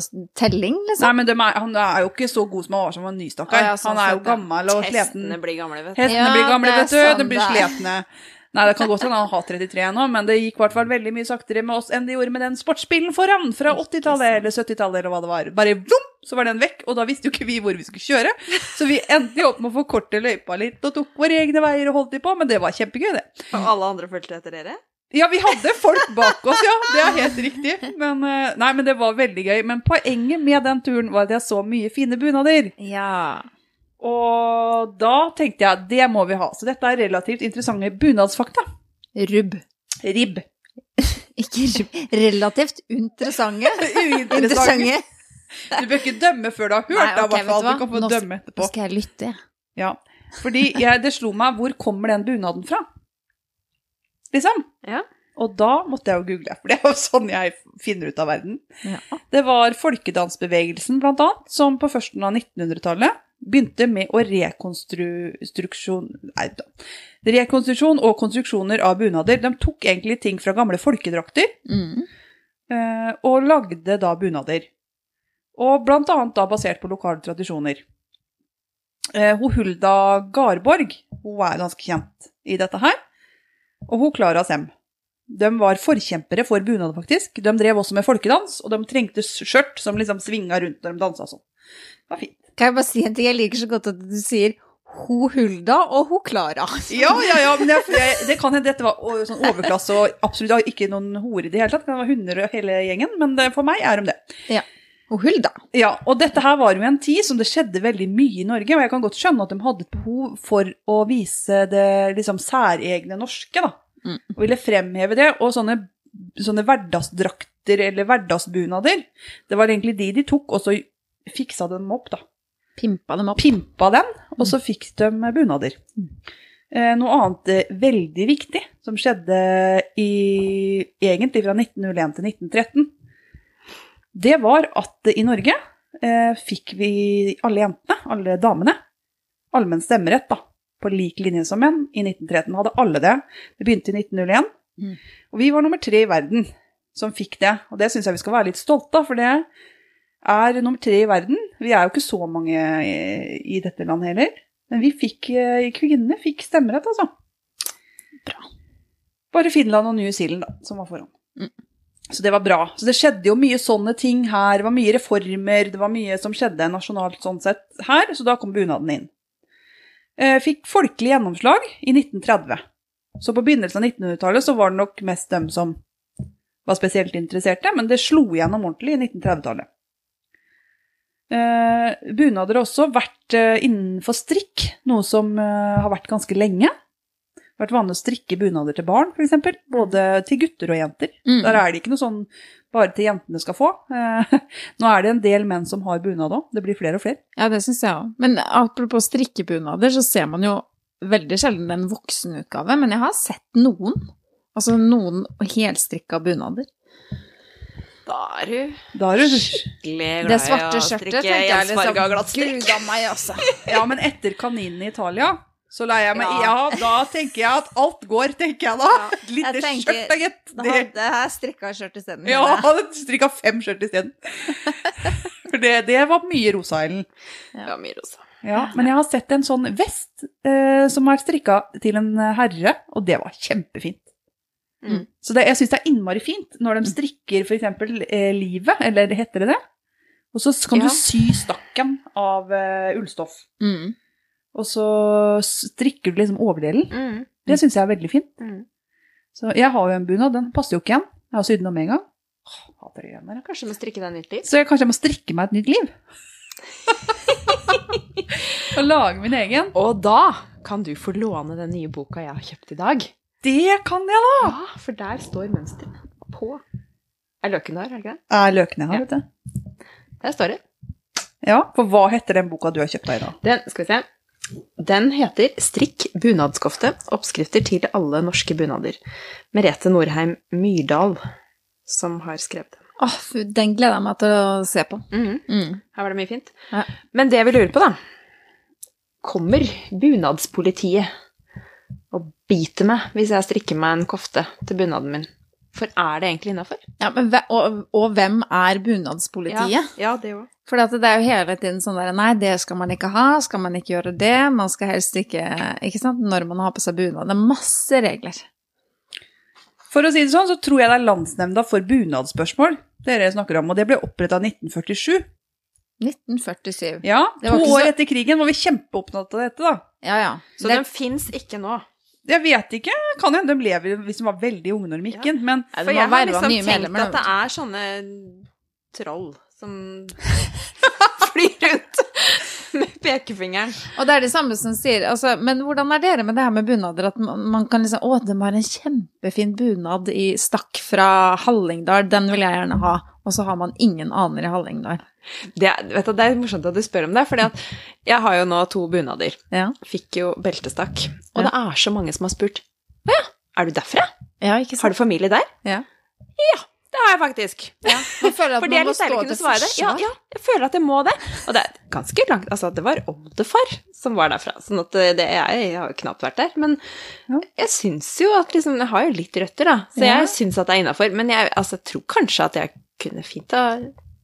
S1: s- telling, liksom?
S2: Nei, men dem er, han er jo ikke så god som han var som var ny,
S1: Å,
S2: stakkar.
S1: ja, sånn
S2: han er jo
S1: sett, ja.
S2: gammel og sliten.
S3: Hestene blir gamle, vet du.
S2: Hestene
S1: Ja,
S2: blir gamle,
S1: det er
S2: vet du.
S1: sånn
S2: de blir
S1: det er.
S2: sletne. Nei, det kan godt hende han har 33 nå, men det gikk i hvert fall veldig mye saktere med oss enn det gjorde med den sportsbilen foran fra 80-tallet eller 70-tallet eller hva det var. Bare vom, så var den vekk, og da visste jo ikke vi hvor vi skulle kjøre. Så vi endte jo opp med å forkorte løypa litt og tok våre egne veier og holdt de på, men det var kjempegøy, det.
S3: Og alle andre fulgte etter dere.
S2: Ja, vi hadde folk bak oss, ja. Det er helt riktig. Men, eh, nei, men det var veldig gøy. Men poenget med den turen var at jeg så mye fine bunader.
S1: Ja.
S2: Og da tenkte jeg det må vi ha. Så dette er relativt interessante bunadsfakta.
S1: Rubb.
S2: Ribb.
S1: Ikke rubb. Relativt interessante.
S2: Uinteressant.
S1: Interessante.
S2: Du bør ikke dømme før du har hørt
S1: Nei,
S2: det, i
S1: ok, vet
S2: hvert fall.
S1: du hva?
S2: Du kan få
S1: Nå-
S2: dømme
S1: Nå
S2: etterpå.
S1: skal jeg lytte, jeg.
S2: Ja. Fordi jeg, det slo meg, hvor kommer den bunaden fra? Liksom.
S3: Ja.
S2: Og da måtte jeg jo google, for det er jo sånn jeg finner ut av verden.
S1: Ja.
S2: Det var folkedansbevegelsen, blant annet, som på førsten av 1900-tallet begynte med å rekonstruksjon... Nei, da. Rekonstruksjon og konstruksjoner av bunader. De tok egentlig ting fra gamle folkedrakter,
S1: Mm.
S2: eh, og lagde da bunader. Og blant annet da basert på lokale tradisjoner. Eh, Hun Hulda Garborg, hun er ganske kjent i dette her, og hun Klara Sem. De var forkjempere for bunad, faktisk. De drev også med folkedans, og de trengte skjørt som liksom svinga rundt når de dansa sånn. Det var fint.
S1: Kan jeg bare si en ting? Jeg liker så godt at du sier ho Hulda og ho Klara.
S2: Ja, ja, ja, men jeg, jeg, det kan hende dette var o- sånn overklasse og absolutt ikke noen hore i det hele tatt. Det var hunder og hele gjengen, men det, for meg er de det.
S1: Ja. Og Hulda.
S2: Ja, og dette her var jo en tid som det skjedde veldig mye i Norge, og jeg kan godt skjønne at de hadde et behov for å vise det liksom særegne norske, da.
S1: Mm.
S2: Og ville fremheve det, og sånne, sånne hverdagsdrakter eller hverdagsbunader, det var egentlig de de tok, og så fiksa de dem opp, da.
S1: Pimpa dem opp. Mm.
S2: Pimpa den, og så fikk de bunader. Eh, Noe annet eh, veldig viktig som skjedde i, egentlig fra 1901 til 1913, det var at i Norge eh, fikk vi alle jentene, alle damene, allmenn stemmerett da, på lik linje som menn. I 1913 hadde alle det. Det begynte i 1901.
S1: Mm.
S2: Og vi var nummer tre i verden som fikk det, og det syns jeg vi skal være litt stolte av, for det er nummer tre i verden. Vi er jo ikke så mange eh, i dette landet heller. Men vi fikk, eh, kvinnene fikk stemmerett, altså.
S1: Bra.
S2: Bare Finland og New Zealand, da, som var foran.
S1: Mm.
S2: Så det var bra. Så det skjedde jo mye sånne ting her. Det var mye reformer, det var mye som skjedde nasjonalt sånn sett her, så da kom bunaden inn. Eh, Fikk folkelig gjennomslag i 1930. Så på begynnelsen av 1900-tallet så var det nok mest dem som var spesielt interesserte, men det slo gjennom ordentlig i 1930-tallet. Eh, bunader har også vært eh, innenfor strikk, noe som eh, har vært ganske lenge. Det har vært vanlig å strikke bunader til barn, f.eks. Både til gutter og jenter.
S1: Mm.
S2: Der er det ikke noe sånn bare til jentene skal få. Eh, nå er det en del menn som har bunad òg. Det blir flere og flere.
S1: Ja, det syns jeg òg. Men apropos strikkebunader, så ser man jo veldig sjelden en voksenutgave. Men jeg har sett noen. Altså noen helstrikka bunader.
S3: Da er du
S2: Da er det
S3: skikkelig glad
S1: Det svarte skjørtet tenker jeg er liksom
S3: ensfarga glattstrikk.
S1: Gud a meg, altså.
S2: Ja, men etter kaninen i Italia, så leier jeg meg ja.
S3: Ja.
S2: da tenker jeg at alt går, tenker jeg da.
S3: Ja,
S2: Et lite
S3: jeg tenker-
S2: skjørt, da, gitt.
S3: Da
S2: Det-
S3: hadde jeg strikka skjørt isteden.
S1: Mm,
S2: Ja, jeg hadde strikka fem skjørt isteden. For det, det var mye rosa, Ellen.
S3: Ja, mye rosa.
S2: Ja, men jeg har sett en sånn vest eh, som er strikka til en eh, herre, og det var kjempefint.
S3: Mm.
S2: Så det, jeg syns det er innmari fint når de strikker f.eks. Eh, livet, eller heter det det? Og så kan
S3: Ja.
S2: du sy stakken av eh, ullstoff.
S1: Mm.
S2: Og så strikker du liksom overdelen. Det syns jeg er veldig fint.
S3: Mm.
S2: Så jeg har jo en bunad, den passer jo ikke igjen. Jeg har sydd den om en gang. Åh, hater det greiene der, jeg.
S3: Kanskje du må strikke deg nytt liv?
S2: Så jeg, kanskje jeg må strikke meg et nytt liv. og lage min egen.
S3: Og da kan du få låne den nye boka jeg har kjøpt i dag.
S2: Det kan jeg, da!
S3: Ja, for der står mønstrene på. Er løken der, er det ikke det?
S2: Er løkene her,
S3: Ja.
S2: vet du.
S3: Der står det.
S2: Ja, for hva heter den boka du har kjøpt deg i dag?
S3: Den, skal vi se. Den heter 'Strikk bunadskofte. Oppskrifter til alle norske bunader'. Merete Norheim Myrdal som har skrevet den.
S1: Åh, fy, den gleder jeg meg til å se på.
S3: Mhm.
S1: Mm.
S3: Her var det mye fint.
S1: Ja.
S3: Men det vi lurer på, da Kommer bunadspolitiet og biter meg hvis jeg strikker meg en kofte til bunaden min? For er det egentlig innafor?
S1: Ja, men, hve- og, og hvem er bunadspolitiet?
S3: Ja, det òg.
S1: For det er jo hele tiden sånn der Nei, det skal man ikke ha. Skal man ikke gjøre det? Man skal helst ikke Ikke sant? Når man har på seg bunad. Det er masse regler.
S2: For å si det sånn, så tror jeg det er Landsnemnda for bunadsspørsmål dere snakker om, og det ble oppretta i 1947.
S1: 1947.
S2: Ja,
S1: Det
S2: To
S1: var ikke
S2: år
S1: så-
S2: etter krigen var vi kjempeopptatt av dette, da.
S1: Ja, ja.
S3: Så
S1: Det-
S3: den fins ikke nå.
S2: Jeg vet ikke, kan hende de lever hvis de var veldig unge når de gikk
S3: Ja.
S2: inn, men
S1: Ja,
S3: For
S1: det må
S3: jeg har
S1: verve
S3: liksom
S1: nye
S3: tenkt
S1: medlemmer.
S3: at det
S1: da, vet
S3: er sånne troll som flyr rundt med pekefingeren.
S1: du. Og det er de samme som sier altså, Men hvordan er dere med det her med bunader? At man, man kan liksom Å, de har en kjempefin bunad i stakk fra Hallingdal. Den vil jeg gjerne ha. Og så har man ingen aner i Hallingdal.
S3: Det, er- vet du, det er morsomt at du spør om det, for jeg har jo nå to bunader.
S1: Ja.
S3: Fikk jo beltestakk. Og
S1: Ja. det
S3: det er så mange som har spurt Å ja, er du derfra?
S1: Ja, ikke
S3: Har
S1: sant?
S3: du familie der?
S1: Ja.
S3: Ja, det har jeg faktisk.
S1: Man føler at
S3: For det er
S1: man må
S3: litt deilig
S1: stå
S3: å kunne
S1: til
S3: svare det. Ja,
S1: forsvar.
S3: ja, jeg føler at jeg må det. Og det er ganske langt Altså, det var oldefar som var derfra, sånn at det, jeg, jeg har jo knapt vært der. Men
S2: Ja.
S3: jeg syns jo at liksom Jeg har jo litt røtter, da, så
S1: Ja.
S3: jeg syns at det er innafor. Men jeg altså, jeg tror kanskje at jeg kunne fint ha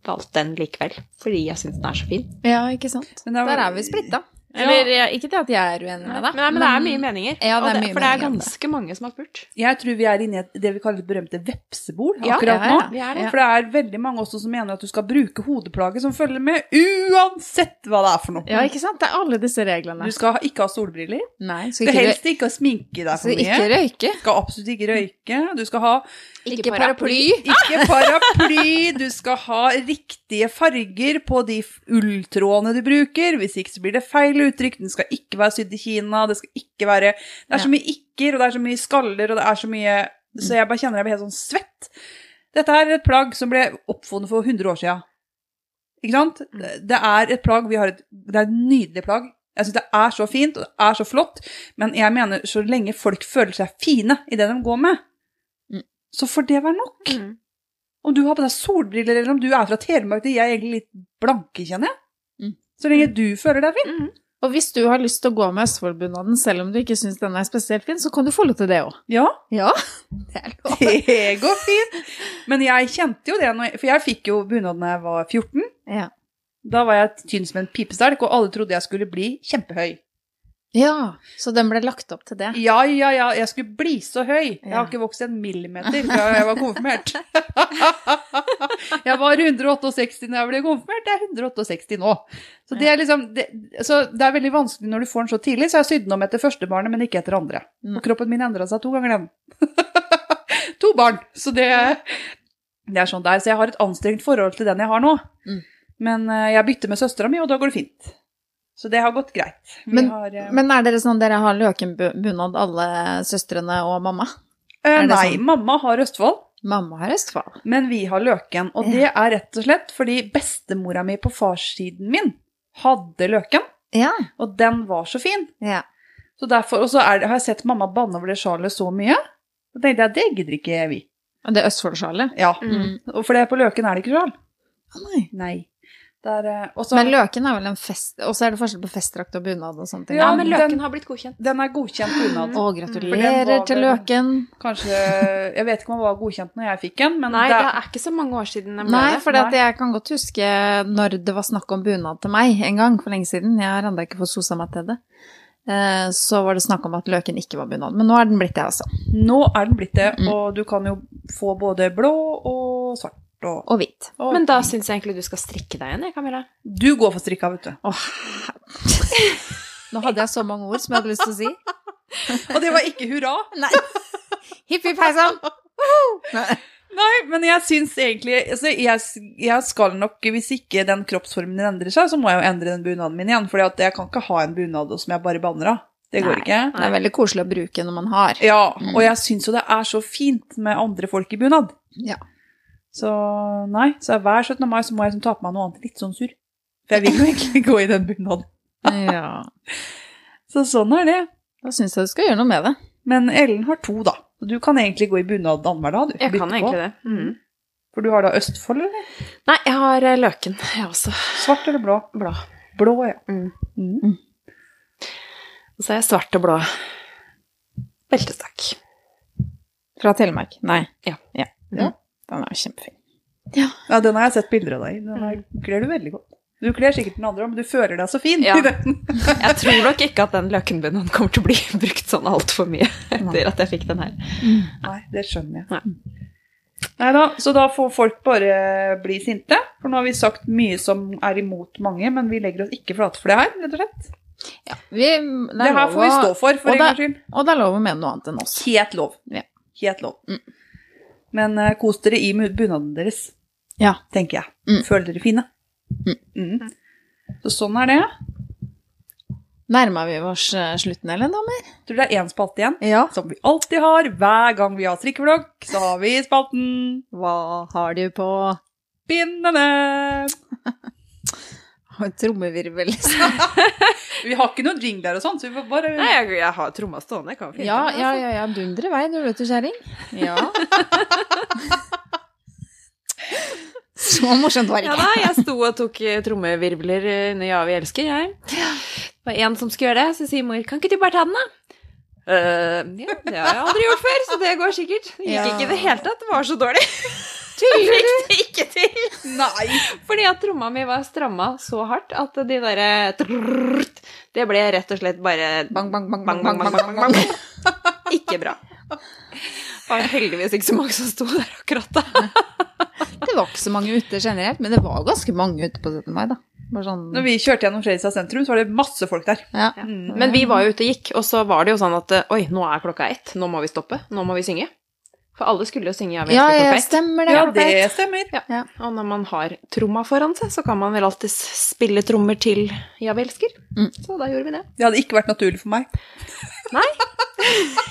S3: valgt den likevel, fordi jeg syns den er så fin.
S1: Ja, ikke sant.
S2: Men det er-
S1: Der er vi splitta.
S2: Ja.
S1: Eller ja, ikke det at jeg er uenig med
S3: Men,
S1: deg.
S3: men, det er mye meninger.
S1: Ja, det er
S3: og
S1: mye
S3: for det er
S1: meninger om det.
S3: ganske mange som har spurt.
S2: Jeg tror vi er inne i et- det vi kaller det berømte vepsebol
S3: Ja,
S2: akkurat
S1: ja,
S2: nå.
S3: Vi er det.
S1: Ja.
S2: For det er veldig mange også som mener at du skal bruke hodeplagget som følger med, uansett hva det er for noe.
S1: Ja, ikke sant? Det er alle disse reglene.
S2: Du skal ikke ha solbriller,
S1: Nei,
S2: du
S1: skal
S2: skal
S1: ikke,
S2: helst ikke ha sminke deg
S1: røy-
S2: for
S1: skal ikke
S2: mye,
S1: røyke.
S2: du skal absolutt ikke røyke, du skal ha
S1: Ikke paraply.
S2: Ikke paraply, du skal ha riktige farger på de f- ulltrådene du bruker, hvis ikke så blir det feil uttrykk, den skal ikke være sydd i Kina, det skal ikke være Det er
S1: Ja.
S2: så mye ikke-er, og det er så mye skaller, og det er så mye Så jeg bare kjenner jeg blir helt sånn svett. Dette er et plagg som ble oppfunnet for 100 år siden. Ikke sant?
S1: Mm.
S2: Det er et plagg, vi har et, det er et nydelig plagg. Jeg syns det er så fint, og det er så flott, men jeg mener så lenge folk føler seg fine i det de går med,
S1: Mm.
S2: så får det være nok.
S3: Mm.
S2: Om du har på deg solbriller, eller om du er fra Telemark, de er egentlig litt blanke, kjenner jeg.
S1: Mm.
S2: Så lenge du føler deg fin.
S1: Og hvis du har lyst til å gå med Østfoldbunaden selv om du ikke syns den er spesielt fin, så kan du få lov til det òg.
S2: Ja,
S1: Ja, det er lov.
S2: det går fint. Men jeg kjente jo det, når jeg, for jeg fikk jo bunad da jeg var 14.
S1: Ja.
S2: Da var jeg tynn som en pipestelk, og alle trodde jeg skulle bli kjempehøy.
S1: ja, så den ble lagt opp til det.
S2: Ja, ja, ja, jeg skulle bli så høy. Jeg
S1: Ja.
S2: har ikke vokst en millimeter fra jeg var konfirmert. jeg var 168 da jeg ble konfirmert, jeg er 168 nå. Så det er liksom, det, så det er veldig vanskelig når du får den så tidlig, så jeg sydde den om etter første barnet, men ikke etter andre.
S1: Mm.
S2: Og kroppen min endret seg to ganger den. to barn, så det, det er sånn der. Så jeg har et anstrengt forhold til den jeg har nå.
S1: Mm.
S2: Men eh, jeg bytter med søstera mi, og da går det fint. Så det har gått greit. Vi har, eh,
S1: Men er dere sånn dere har løkenbunad, alle søstrene og mamma?
S2: eh,
S1: er det
S2: nei,
S1: sånn?
S2: mamma har Østfold.
S1: Mamma har Østfold.
S2: Men vi har Løken, og det er rett og slett fordi bestemora mi på farssiden min hadde Løken,
S1: Ja.
S2: og den var så fin.
S1: ja.
S2: Så derfor, Og så er, det- har jeg sett mamma banne over det sjalet så mye. Så tenkte jeg, det gidder ikke vi.
S1: Og det er Østfoldsjalet?
S2: Ja,
S1: Mm.
S2: og For det på Løken er det ikke sjal.
S1: Å, nei.
S2: Nei. Der, eh, og så-
S1: Men løken er vel en fest... Og så er det forskjell på festdrakt og bunad og sånne ting.
S2: Ja,
S3: Ja,
S1: da.
S3: men
S2: den-
S3: løken har blitt godkjent.
S2: den er godkjent bunad.
S1: Å,
S2: Og For den
S1: gratulerer
S2: var
S1: til
S2: vel-
S1: løken.
S2: Kanskje Jeg vet ikke om den var godkjent når jeg fikk den, men
S3: Nei, det
S2: det,
S3: er ikke så mange år siden. de ble
S1: Nei,
S3: det.
S1: for
S2: Nei.
S1: jeg kan godt huske når det var snakk om bunad til meg en gang for lenge siden. Jeg har ennå ikke fått sosa meg til det. Eh, Så var det snakk om at løken ikke var bunad. Men nå er den blitt det, altså.
S2: nå er den blitt det,
S1: Mm.
S2: og du kan jo få både blå og svart. Og,
S1: Og hvit.
S2: og
S3: Men da syns jeg egentlig du skal strikke deg igjen, jeg, Camilla.
S2: Du går for strikka, vet du.
S1: Nå hadde jeg så mange ord som jeg hadde lyst til å si.
S2: Og det var ikke hurra.
S1: Nei. Hipp hipp hei sann. Nei.
S2: Nei, men jeg syns egentlig altså jeg, jeg skal nok, hvis ikke den kroppsformen din endrer seg, så må jeg jo endre den bunaden min igjen. For jeg kan ikke ha en bunad som jeg bare banner av. Det går
S3: Nei. Mm.
S2: ikke.
S1: Det er veldig koselig å bruke når man har.
S2: Ja, og jeg syns jo det er så fint med andre folk i bunad.
S1: Ja.
S2: Så nei, så hver 17. mai så må jeg liksom ta på meg noe annet litt sånn sur. For jeg vil jo egentlig gå i den bunaden.
S1: ja.
S2: Så sånn er det.
S1: Da syns jeg du skal gjøre noe med det.
S2: Men Ellen har to, da. Du kan egentlig gå i bunad annenhver dag, du.
S3: Jeg
S2: Bytte
S3: kan
S2: på.
S3: egentlig det. Mm.
S2: For du har da Østfold, eller?
S3: Nei, jeg har eh, løken, jeg også.
S2: Svart eller blå?
S3: Blå.
S2: Blå, ja.
S3: Mm.
S2: Mm.
S3: Og så er jeg svart og blå. Beltestakk.
S1: Fra Telemark? Nei.
S3: Ja.
S1: ja.
S2: Ja.
S1: Den er jo kjempefin.
S2: Ja, den har jeg sett bilder av deg i. Den her
S1: Mm.
S2: kler du veldig godt. Du kler sikkert den andre òg, men du føler deg så fin.
S3: Ja.
S2: i den.
S3: Jeg tror nok ikke at den løkenbunnen kommer til å bli brukt sånn altfor mye etter at jeg fikk den her.
S2: Nei, det skjønner jeg. Mm.
S3: Nei.
S2: Nei da, så da får folk bare bli sinte. For nå har vi sagt mye som er imot mange, men vi legger oss ikke flate for det her, rett og slett.
S1: Ja. Vi, det,
S2: Det
S1: er
S2: her
S1: lov
S2: får vi
S1: å-
S2: stå for,
S1: og
S2: for en
S1: da-
S2: gangs skyld.
S1: Og det er lov å mene noe annet enn oss.
S2: Helt lov.
S1: Ja.
S2: Helt lov.
S1: Mm.
S2: Men eh, kos dere i mu- bunaden deres,
S1: Ja.
S2: tenker jeg.
S1: Mm.
S2: Føl dere fine.
S1: Mm.
S2: Mm. Så sånn er det.
S1: Nærmer vi oss eh, slutten, eller, damer?
S2: Tror du det er én spalte igjen?
S1: Ja.
S2: Som vi alltid har. Hver gang vi har strikkevlogg, så har vi spalten
S1: Hva har du på
S2: Bindene!
S1: Trommevirvel?
S2: Vi har ikke noen jingler og sånn, så vi får bare
S3: Nei, jeg, jeg har tromma stående. Jeg kan jo finne
S1: Ja,
S3: den,
S1: ja,
S3: altså.
S1: ja. ja. Dundre i vei, du vet du, kjerring. Ja. Så morsomt var det
S3: Ja
S1: ikke.
S3: da, jeg sto og tok eh, trommevirvler eh, under Ja, vi elsker, jeg. Det var en som skulle gjøre det, så sier mor, kan ikke du bare ta den, da? «Eh, ja, det har jeg aldri gjort før, så det går sikkert. Det gikk
S1: Ja.
S3: ikke i det hele tatt, det var så dårlig. Jeg fikk det ikke til.
S2: Nei!
S3: Fordi at tromma mi var stramma så hardt at de derre trrrt, Det ble rett og slett bare
S1: Bang, bang, bang,
S3: bang, bang, bang, bang, bang. Ikke bra. Det var heldigvis ikke så mange som sto der akkurat da.
S1: Det var ikke så mange ute generelt, men det var ganske mange ute på 17. mai, da. Bare sånn
S2: Når vi kjørte gjennom Fredrikstad sentrum, så var det masse folk der.
S1: ja.
S3: Ja.
S2: Mm.
S3: Men vi var jo ute og gikk, og så var det jo sånn at eh, oi, nå er klokka ett, nå må vi stoppe, nå må vi synge. For alle skulle jo synge 'Jeg vil
S1: Ja,
S3: elske
S1: ja,
S3: perfekt'.
S1: stemmer det.
S2: Ja,
S1: perfekt.
S2: det stemmer.
S3: Og når man har tromma foran seg, så kan man vel alltid spille trommer til 'Ja, vi elsker'.
S1: Mm.
S3: Så da gjorde vi det.
S2: Det hadde ikke vært naturlig for meg.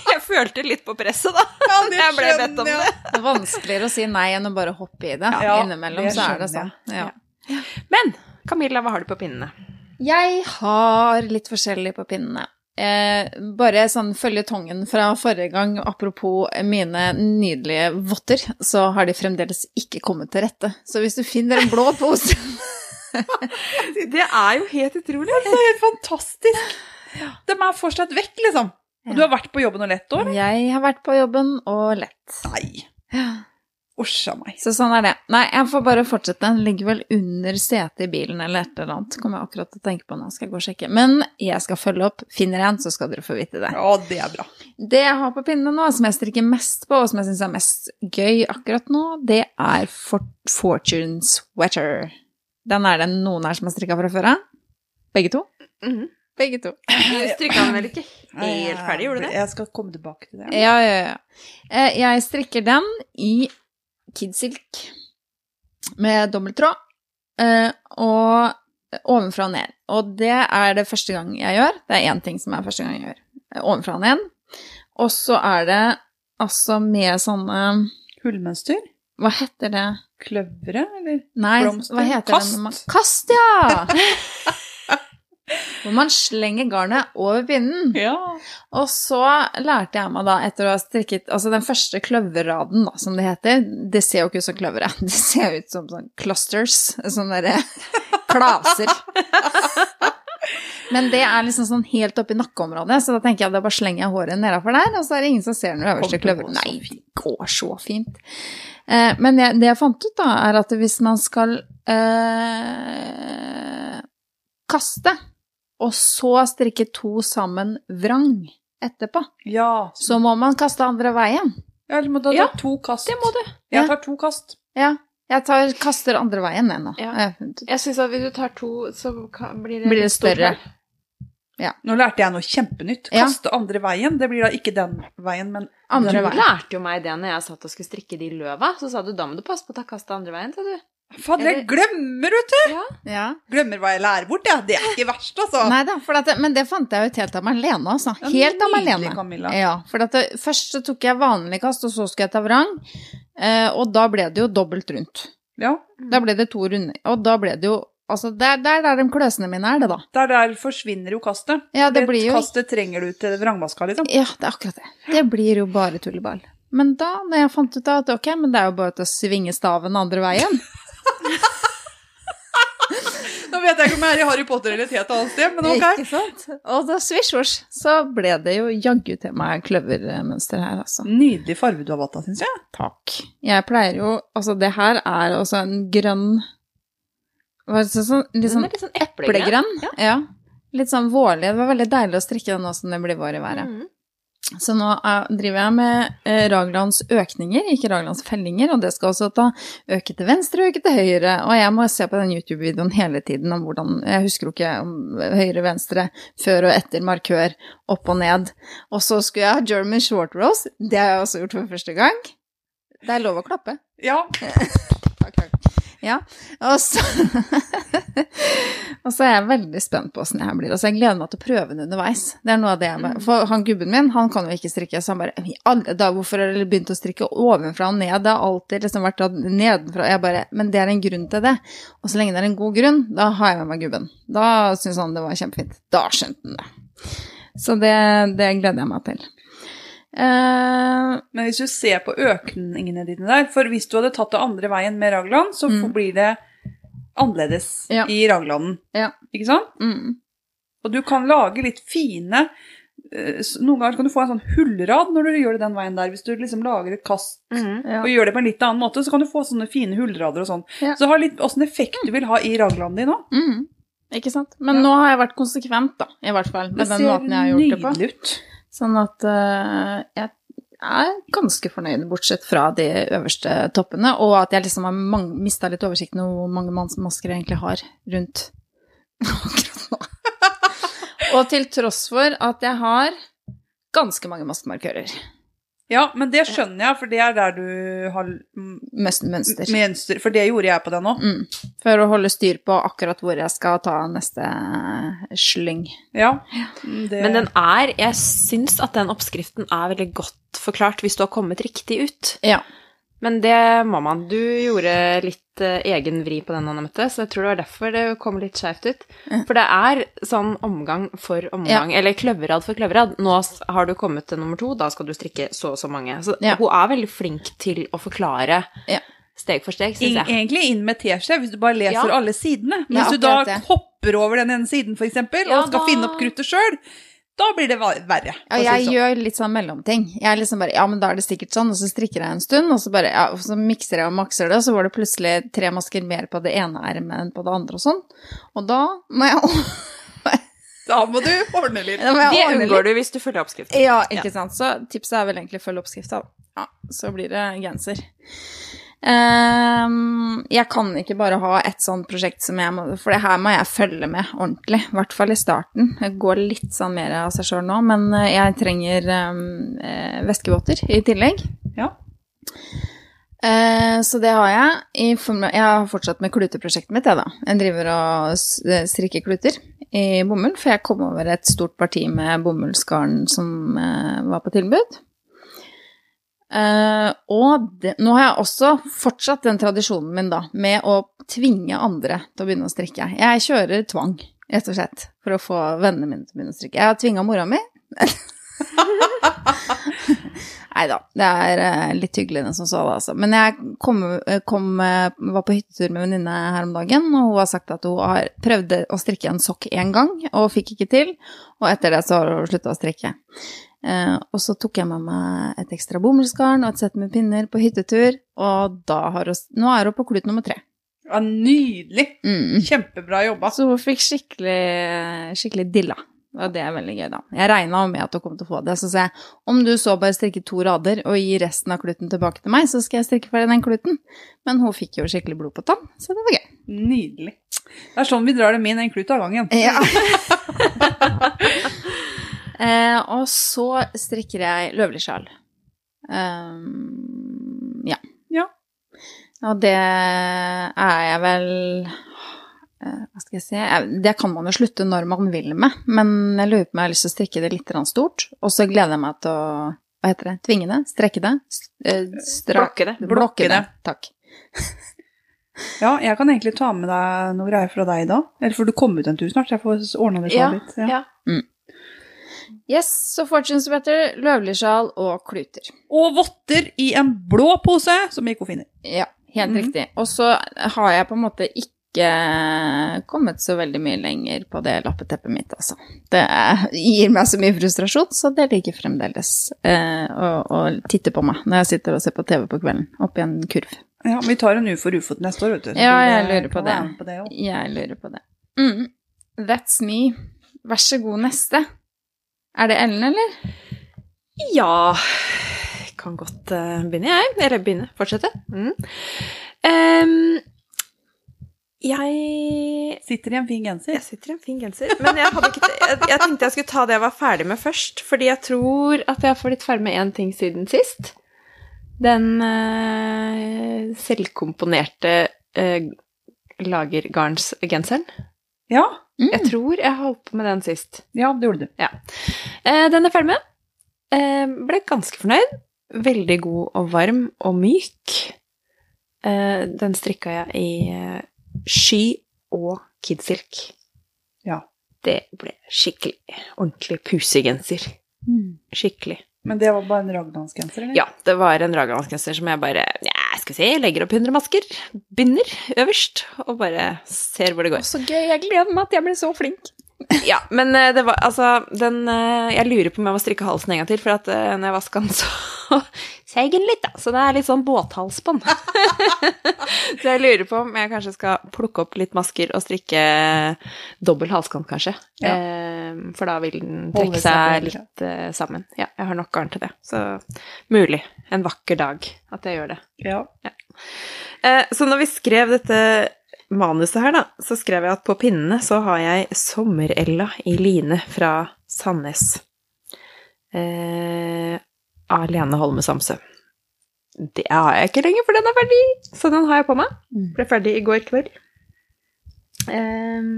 S3: Jeg følte litt på presset, da.
S2: Ja,
S3: Jeg ble bedt om
S2: det.
S1: Det er vanskeligere å si nei enn å bare hoppe i det.
S2: Ja,
S1: Innimellom
S2: det
S1: så er det sånn.
S2: skjønner
S1: Ja.
S3: Men Camilla, hva har du på pinnene?
S1: Jeg har litt forskjellig på pinnene. Eh, bare sånn følge tongen fra forrige gang, apropos mine nydelige votter, så har de fremdeles ikke kommet til rette. Så hvis du finner en blå pose
S3: Det er jo helt utrolig.
S2: Det er helt fantastisk. De er fortsatt vekk, liksom. Og du har vært på jobben og lett år?
S1: Jeg har vært på jobben og lett.
S2: Nei. Usja meg.
S1: Så sånn er det. Nei, jeg får bare fortsette. Den ligger vel under setet i bilen eller et eller annet. Kommer jeg akkurat til å tenke på nå. Skal jeg gå og sjekke. Men jeg skal følge opp. Finner jeg en, så skal dere få vite det.
S2: Ja, det er bra.
S1: Det jeg har på pinnene nå, som jeg strikker mest på, og som jeg syns er mest gøy akkurat nå, det er for Fortune Sweater. Den er det noen her som har strikka fra før av. Begge to?
S3: Mhm.
S1: Begge to.
S3: Du strikka den vel ikke helt ferdig, gjorde du det?
S2: Jeg skal komme tilbake til det.
S1: Ja, ja, ja. Eh, Jeg strikker den i kidsilk med dobbelttråd eh, og ovenfra og ned. Og det er det første gang jeg gjør. Det er én ting som er første gang jeg gjør. eh, Ovenfra og ned. Og så er det altså med sånne
S2: Hullmønster?
S1: Hva heter det?
S2: Kløvre, eller?
S1: Nei,
S2: Blomster?
S1: hva heter
S2: Kast?
S1: det? når Man... Kast, ja! Hvor man slenger garnet over pinnen.
S2: Ja.
S1: Og så lærte jeg meg da, etter å ha strikket altså den første kløverraden, da, som det heter Det ser jo ikke ut som kløvere. Det ser ut som sånn clusters. Sånne derre klaser. Men det er liksom sånn helt oppi nakkeområdet, så da tenker jeg da bare slenger jeg håret nedafor der, og så er det ingen som ser den øverste
S2: Kommer det
S1: kløveren.
S2: gå så
S1: Nei, det går så fint. Eh, men det, det jeg fant ut, da, er at hvis man skal eh, kaste, og så strikke to sammen vrang etterpå,
S2: Ja.
S1: så må man kaste andre veien.
S2: ja eller må du ta
S3: Ja,
S2: to kast?
S3: Det må du.
S1: Ja.
S2: Jeg tar to kast.
S1: Ja, jeg tar, kaster andre veien jeg nå. Eh,
S3: Ja.
S1: har jeg funnet ut.
S3: Jeg syns at hvis du tar to, så kan- blir det
S1: Blir det
S3: litt stort
S1: større?
S3: her.
S2: Nå lærte jeg noe kjempenytt.
S1: Ja.
S2: Kaste andre veien. Det blir da ikke den veien, men
S1: Andre
S3: Du
S1: veien.
S3: lærte jo meg det når jeg satt og skulle strikke de løva. Så sa du da må du passe på å ta kastet andre veien, sa du.
S2: Faen, jeg glemmer, vet du!
S3: Ja.
S1: Ja.
S2: Glemmer hva jeg lærer bort, jeg. Det er ikke verst, altså.
S1: Nei da, for at, det- men det fant jeg ut helt av meg alene, altså.
S2: Ja,
S1: Helt av meg
S2: nydelig,
S1: alene. Eh,
S2: Camilla.
S1: Ja, for at det, først så tok jeg vanlig kast, og så skulle jeg ta vrang. Eh, og da ble det jo dobbelt rundt.
S2: Ja,
S1: Da ble det to runder. Og da ble det jo Altså, det er det er der de kløsene mine er, det, da.
S2: der, der forsvinner jo kastet.
S1: Ja, det blir jo
S2: Kastet trenger du til vrangvaska, liksom.
S1: Ja, det er akkurat det. Det blir jo bare tulleball. Men da, når jeg fant ut av at ok, men det er jo bare til å svinge staven andre veien
S2: Nå vet jeg ikke om jeg er i Harry Potter eller et helt annet sted, men ok.
S1: Ikke sant? Og da svisj-svosj, så ble det jo jaggu til meg kløvermønster her, altså.
S2: Nydelig farge du har valgt da, syns jeg.
S1: Takk. Jeg pleier jo Altså, det her er også en grønn Hva er det sånn Litt
S3: Den
S1: sånn
S3: er litt sånn eplegrønn.
S1: eplegrønn. Ja. Litt sånn vårlig. Det var veldig deilig å strikke den nå som det blir vår i været.
S3: Mhm.
S1: Så nå er, driver jeg med eh, Raglands økninger, ikke Raglands fellinger, og det skal også ta øke til venstre og øke til høyre. Og jeg må se på den YouTube-videoen hele tiden om hvordan Jeg husker jo ikke om høyre-venstre, før og etter markør, opp og ned. Og så skulle jeg ha German short rose. Det har jeg også gjort for første gang. Det er lov å klappe.
S2: Ja.
S1: Takk, takk. Ja. Og så, og så er jeg veldig spent på åssen det her blir. Altså, jeg gleder meg til å prøve den underveis. Det er noe av det jeg bare, For han gubben min, han kan jo ikke strikke, så han bare «I alle dager, Hvorfor har dere begynt å strikke ovenfra og ned? Det har alltid liksom vært dratt nedenfra. Jeg bare Men det er en grunn til det. Og så lenge det er en god grunn, da har jeg med meg gubben. Da syns han det var kjempefint. Da skjønte han det. Så det, det gleder jeg meg til. Eh,
S2: Men hvis du ser på økningene dine der, for hvis du hadde tatt det andre veien med Ragland, så
S1: Mm.
S2: blir det annerledes
S1: Ja.
S2: i Raglanden.
S1: Ja.
S2: Ikke sant?
S1: mm.
S2: Og du kan lage litt fine eh, s- Noen ganger kan du få en sånn hullrad når du gjør det den veien der. Hvis du liksom lager et kast
S3: Mhm.
S1: ja.
S2: og gjør det på en litt annen måte, så kan du få sånne fine hullrader og sånn.
S1: Ja.
S2: Så ha litt åssen effekt du vil ha i raglanden din òg.
S1: Mm. Ikke sant? Men
S2: Ja.
S1: nå har jeg vært konsekvent, da, i hvert fall, med den måten jeg har gjort det på.
S2: nydelig ut.
S1: Sånn at eh, jeg er ganske fornøyd, bortsett fra de øverste toppene, og at jeg liksom har mista litt oversikten over hvor mange mans- masker jeg egentlig har rundt akkurat nå. Og til tross for at jeg har ganske mange maskemarkører.
S2: Ja, men det skjønner jeg, for det er der du har mm,
S1: Mønster. mønster.
S2: mønster. For det gjorde jeg på den òg.
S1: Mm. For å holde styr på akkurat hvor jeg skal ta neste slyng.
S2: Ja. mm, Det,
S3: Men den er Jeg syns at den oppskriften er veldig godt forklart hvis du har kommet riktig ut.
S1: Ja.
S3: Men det må man. Du gjorde litt eh, egen vri på den, Anne Mette, så jeg tror det var derfor det kom litt skjevt ut. For det er sånn omgang for omgang, eller kløverad for kløverad. Nå s- har du kommet til nummer to, da skal du strikke så og så mange. Så
S1: Ja.
S3: hun er veldig flink til å forklare
S1: Ja.
S3: steg for steg,
S2: Ing-
S3: syns jeg.
S2: Egentlig inn med teskje, hvis du bare leser
S3: Ja.
S2: alle sidene. Men
S1: Ja,
S2: hvis du da
S1: akkurat det.
S2: hopper over den ene siden, f.eks., eksempel,
S3: Ja,
S2: og skal
S3: da-
S2: finne opp kruttet sjøl, da blir det va- verre. for å
S1: Og
S2: si det
S1: jeg
S2: sånn.
S1: gjør litt sånn mellomting. Jeg er liksom bare Ja, men da er det sikkert sånn, og så strikker jeg en stund, og så bare ja, og så mikser jeg og makser det, og så var det plutselig tre masker mer på det ene ermet enn på det andre og sånn. Og da må jeg,
S2: Da må du ordne litt.
S1: da må jeg
S3: Det
S1: ordne litt.
S3: unngår du hvis du følger oppskriften.
S1: Ja, ikke sant. Så tipset er vel egentlig følge oppskrifta. Ja, så blir det genser. Ehm, jeg kan ikke bare ha et sånt prosjekt som jeg må For det her må jeg følge med ordentlig. I hvert fall i starten. Det går litt sånn mer av seg sjøl nå, men eh, jeg trenger ehm, eh, væskevotter i tillegg.
S2: Ja.
S1: Eh, så det har jeg. I form av, jeg har fortsatt med kluteprosjektet mitt, jeg, da. Jeg driver og s- eh, strikker kluter i bomull, for jeg kom over et stort parti med bomullsgarn som eh, var på tilbud. Eh, og det, nå har jeg også fortsatt den tradisjonen min, da, med å tvinge andre til å begynne å strikke. Jeg kjører tvang, rett og slett, for å få vennene mine til å begynne å strikke. Jeg har tvinga mora mi. Nei da, det er eh, litt hyggeligere enn som så, da, altså. Men jeg kom, eh, kom, eh, var på hyttetur med venninne her om dagen, og hun har sagt at hun har prøvd å strikke en sokk én gang, og fikk ikke til. Og etter det så har hun slutta å strikke. Eh, og så tok jeg med meg et ekstra bomullsgarn og et sett med pinner på hyttetur, og da har hun s- Nå er hun på klut nummer tre.
S2: ja, nydelig.
S1: Mm.
S2: Kjempebra jobba.
S1: Så hun fikk skikkelig, skikkelig dilla. Og det er veldig gøy, da. Jeg regna med at hun kom til å få det. Så sa jeg om du så bare strikke to rader og gi resten av kluten tilbake til meg, så skal jeg strikke ferdig den kluten. Men hun fikk jo skikkelig blod på tann, så det var gøy.
S2: Nydelig. Det er sånn vi drar dem inn en klut av gangen.
S1: Ja. eh, og så strikker jeg løvlig sjal. Um, ja.
S2: Ja.
S1: Og det er jeg vel eh, Hva skal jeg si Jeg- Det kan man jo slutte når man vil med, men jeg lurer på om jeg har lyst til å strikke det litt grann stort. Og så gleder jeg meg til å Hva heter det? Tvinge det? Strekke det? s- eh, Stra
S3: Blokke det.
S1: blokke det. Takk.
S2: Ja, jeg kan egentlig ta med deg noe greier fra deg da. Eller får du komme ut en tur snart, så jeg får ordna det
S3: Ja,
S2: sånn litt. Ja.
S3: ja.
S1: Yes, så Fortunes Better, løvlig sjal og kluter.
S2: Og votter i en blå pose, som Mikko finner.
S1: Ja, helt
S2: Mhm.
S1: riktig. Og så har jeg på en måte ikke kommet så veldig mye lenger på det lappeteppet mitt, altså. Det er- gir meg så mye frustrasjon, så det ligger fremdeles eh, og, og titter på meg når jeg sitter og ser på TV på kvelden, oppi en kurv.
S2: Ja, Vi tar en ufo rufot neste år, vet du. Så
S1: Ja, jeg
S2: det
S1: lurer
S2: kan
S1: på det.
S2: være med på det også.
S1: Jeg lurer på det. Mm. That's me. Vær så god, neste. Er det Ellen, eller?
S3: Ja Kan godt eh, begynne, jeg. Eller begynne. Fortsette. Mm. Em, jeg
S2: Sitter i en fin genser.
S3: Jeg sitter i en fin genser, men jeg, hadde ikke, jeg, jeg tenkte jeg skulle ta det jeg var ferdig med først. Fordi jeg tror at jeg har blitt ferdig med én ting siden sist. Den eh, selvkomponerte eh, lagergarnsgenseren.
S2: Ja,
S3: Jeg tror jeg holdt på med den sist.
S2: ja, det gjorde du.
S3: Eh, den er ferdig med. Eh, ble ganske fornøyd. Veldig god og varm og myk. Eh, den strikka jeg i eh, sky og kidsilk.
S2: Ja.
S3: Det ble skikkelig ordentlig pusegenser.
S1: Mm.
S3: Skikkelig.
S2: Men det var bare en ragdansgenser, eller?
S3: Ja, det var en raglandsgenser som jeg bare ja, skal vi se, legger opp 100 masker, binder øverst, og bare ser hvor det går.
S1: Så gøy. Jeg gleder meg at jeg blir så flink.
S3: Ja, men eh, det var altså den eh, Jeg lurer på om jeg må strikke halsen en gang til, for at eh, når jeg vasker den, så seig den litt, da. Så det er litt sånn båthals på den. så jeg lurer på om jeg kanskje skal plukke opp litt masker og strikke eh, dobbel halskant, kanskje.
S2: Ja.
S3: Eh, for da vil den
S2: Holde
S3: trekke
S2: seg
S3: seg
S2: bedre.
S3: litt eh, sammen. Ja, jeg har nok garn til det. Så mulig en vakker dag at jeg gjør det.
S2: Ja.
S3: Eh, Så når vi skrev dette manuset her, da, så skrev jeg at på pinnene så har jeg Sommerella i line fra Sandnes. Eh, av Lene Holme Samsø. Det har jeg ikke lenger, for den er ferdig! Så den har jeg på meg. Ble ferdig i går kveld. Ehm,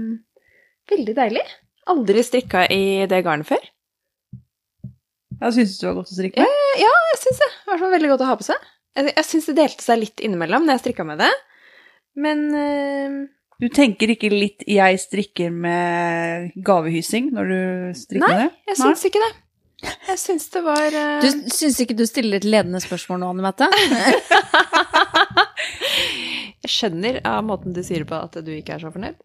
S3: veldig deilig. Aldri strikka i det garnet før.
S2: Jeg syns du har godt å strikke med.
S3: Jeg syns det. I hvert fall veldig godt å ha på seg. Jeg, jeg syns det delte seg litt innimellom når jeg strikka med det. Men ehm,
S2: Du tenker ikke litt 'jeg strikker med gavehyssing' når du strikker med
S3: Nei,
S2: det?
S3: jeg syns ikke det. Jeg syns det var eh,
S1: Du syns ikke du stiller et ledende spørsmål nå, Anne Mette?
S3: Jeg skjønner av måten du sier det på at du ikke er så fornøyd.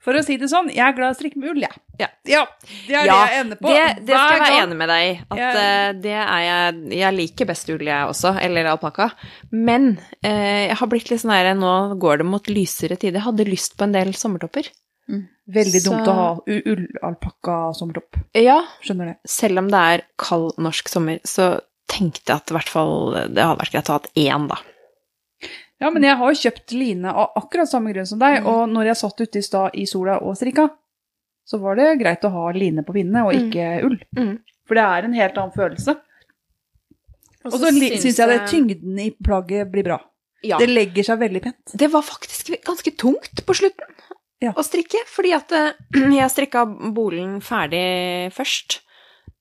S2: For å si det sånn, jeg er glad i å strikke med ull, jeg.
S3: Ja.
S2: det er
S3: Ja,
S2: det jeg ender på.
S3: Det,
S2: Hver
S3: det skal jeg være
S2: gang.
S3: enig med deg i. At
S2: Ja.
S3: eh, det er jeg Jeg liker best ull, jeg også. Eller alpakka. Men eh, jeg har blitt litt sånn her Nå går det mot lysere tider. Jeg hadde lyst på en del sommertopper.
S2: Veldig
S3: Så-
S2: dumt å ha u- ullalpakka som topp.
S3: Ja,
S2: Skjønner det.
S3: selv om det er kald norsk sommer, så tenkte jeg at i hvert fall eh, det hadde vært greit å ha hatt én, da.
S2: Ja, men jeg har jo kjøpt line av akkurat samme grunn som deg,
S1: Mm.
S2: og når jeg satt ute i stad i sola og strikka, så var det greit å ha line på pinnene og
S3: Mm.
S2: ikke ull.
S3: Mm.
S2: For det er en helt annen følelse. Og så syns jeg det tyngden i plagget blir bra.
S3: Ja.
S2: Det legger seg veldig pent.
S3: det var faktisk ganske tungt på slutten
S2: Ja.
S3: å strikke, fordi at eh, jeg strikka bolen ferdig først.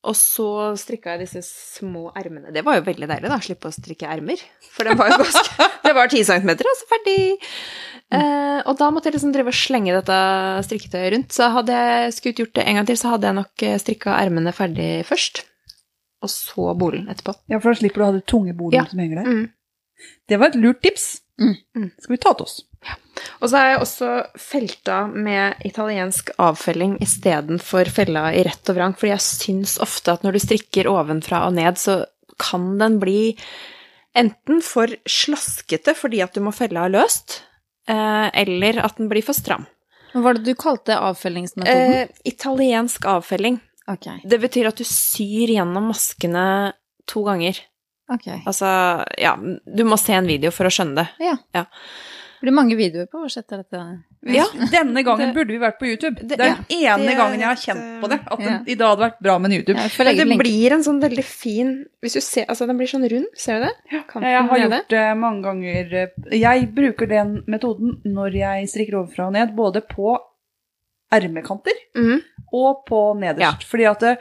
S3: Og så strikka jeg disse små ermene. Det var jo veldig deilig, da. Slippe å strikke ermer. For det var jo ganske Det var ti centimeter, og så ferdig. Eh, og da måtte jeg liksom drive og slenge dette strikketøyet rundt. Så hadde jeg skutt gjort det en gang til, så hadde jeg nok strikka ermene ferdig først. Og så bolen etterpå.
S2: Ja, for da slipper du å ha det tunge bordet
S3: Ja.
S2: som henger der.
S3: Mm.
S2: Det var et lurt tips.
S1: Mm.
S3: Mm.
S2: Skal vi ta til oss?
S3: Og så har jeg også felta med italiensk avfelling istedenfor fella i rett og vrang, fordi jeg syns ofte at når du strikker ovenfra og ned, så kan den bli enten for slaskete fordi at du må felle av løst, eh, eller at den blir for stram.
S1: Hva var det du kalte avfølgingsmetoden?
S3: Eh, italiensk avfelling.
S1: Ok.
S3: Det betyr at du syr gjennom maskene to ganger.
S1: ok.
S3: Altså, ja, du må se en video for å skjønne det.
S1: Ja.
S3: Ja.
S1: Det blir mange videoer på å sette dette
S3: Ja.
S2: Denne gangen
S3: Det-
S2: burde vi vært på YouTube.
S3: Det-
S2: Det, er den ene
S3: det er
S2: gangen jeg har
S3: et,
S2: kjent
S3: eh,
S2: på det. At
S1: ja.
S2: det, i dag hadde vært bra med en YouTube.
S1: Jeg får legge
S3: Men
S1: ut
S3: det
S1: link.
S3: blir en sånn veldig fin Hvis du ser, altså den blir sånn rund, ser du det? Kanten
S2: Jeg har
S3: nede.
S2: gjort det mange ganger. eh, Jeg bruker den metoden når jeg strikker ovenfra og ned, både på ermekanter
S3: Mhm.
S2: og på nederst.
S3: Ja.
S2: Fordi at eh,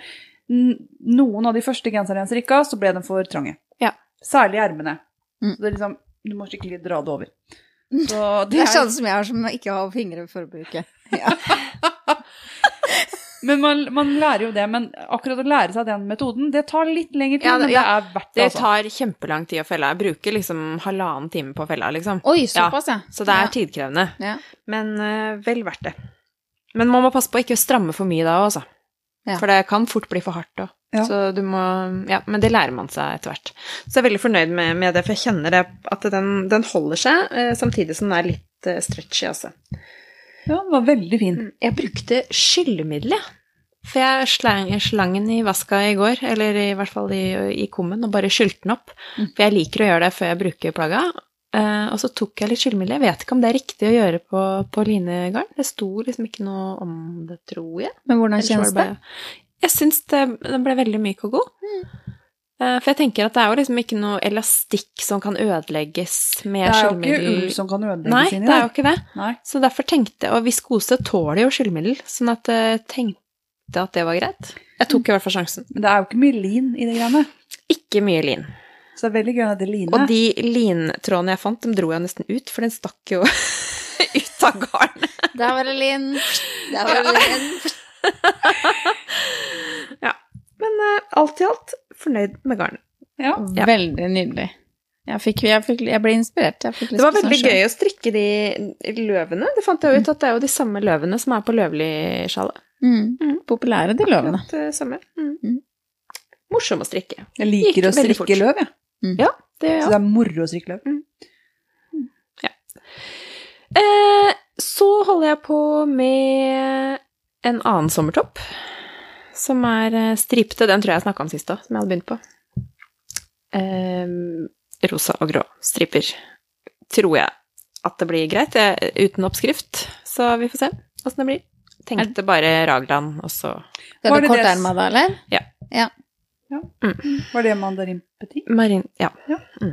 S2: n- noen av de første genserne jeg strikka, så ble de for trange.
S3: Ja.
S2: Særlig ermene.
S1: Mm.
S2: Så det er liksom, du må skikkelig dra det over.
S3: Mm.
S2: Så
S1: Det
S2: det
S1: er
S2: er,
S1: sånn som jeg har, som ikke har fingre for å bruke.
S2: men man, man lærer jo det. Men akkurat å lære seg den metoden, det tar litt lengre tid,
S3: Ja,
S2: men
S3: det-
S2: det
S3: ja.
S2: er verdt det.
S3: Det
S2: altså.
S3: tar kjempelang tid å felle. Jeg bruker liksom halvannen time på å felle, liksom.
S1: Oi, såpass, ja.
S3: Så det er tidkrevende.
S1: Ja.
S3: Men eh, vel verdt det. Men man må passe på å ikke stramme for mye da, altså.
S1: Ja.
S3: For det kan fort bli for hardt òg.
S2: Ja.
S3: Så du må Ja, men det lærer man seg etter hvert. Så jeg er veldig fornøyd med, med det, for jeg kjenner det at den, den holder seg, eh, samtidig som den er litt eh, stretchy, altså.
S2: Ja, den var veldig fin.
S3: Mm, Jeg brukte skyllemiddel, jeg. For jeg slang, jeg slang den i vaska i går, eller i hvert fall i, i kummen, og bare skylte den opp.
S1: Mm.
S3: For jeg liker å gjøre det før jeg bruker plagga. Eh, og så tok jeg litt skyllemiddel. Jeg vet ikke om det er riktig å gjøre på, på linegarn. Det sto liksom ikke noe om det, tror jeg.
S1: Men hvordan
S3: Ellers var
S1: kjennes det?
S3: bare- Jeg syns det, den ble veldig myk og god.
S2: Mm.
S3: Eh, for jeg tenker at det er jo liksom ikke noe elastikk som kan ødelegges med
S2: Det er jo ikke
S3: skyllemiddel.
S2: ull som kan
S3: Nei,
S2: ødelegges inni
S3: det er
S2: der.
S3: jo ikke det.
S2: Nei.
S3: Så derfor tenkte jeg, og viskose tåler jo skyllemiddel, sånn at jeg tenkte at det var greit. Jeg tok i hvert fall sjansen.
S2: Men det er jo ikke mye lin i det greiene.
S3: Ikke mye lin.
S2: Så det er veldig gøy at det
S3: Og
S2: liner.
S3: de lintrådene jeg fant, dem dro jeg nesten ut, for den stakk jo ut av garnet.
S1: Der var det Linn. Der var det Linn.
S3: Men eh, alt i alt, fornøyd med garnet.
S2: Ja.
S3: Ja.
S1: Veldig nydelig. Jeg, fikk, jeg, fikk, jeg ble inspirert. Jeg fikk lyst
S3: Det var
S1: på sånn
S3: veldig
S1: sjøl.
S3: gøy å strikke de løvene. Det fant jeg jo ut at det er jo de samme løvene som er på løvli-sjalet.
S1: Mm.
S3: Mm.
S1: Populære, de løvene.
S3: Akkurat det samme. Mm.
S1: Mm.
S3: Morsom å strikke.
S2: Jeg liker
S3: Gikk
S2: å
S3: veldig
S2: strikke
S3: fort.
S2: løv, jeg.
S3: Det,
S2: Så det er moro å strikke løv.
S3: Eh, så holder jeg på med en annen sommertopp, som er eh, stripete. Den tror jeg jeg snakka om sist òg, som jeg hadde begynt på. Eh, rosa og grå striper. Tror jeg at det blir greit, jeg, uten oppskrift. Så vi får se åssen det blir. Tenkte bare Ragland, og så
S1: Skal
S2: Var
S1: du
S2: det det s-
S1: korterma da, eller?
S3: Mm.
S2: Var det mandarinpetit?
S3: Marin, ja.
S2: Ja.
S3: Mm.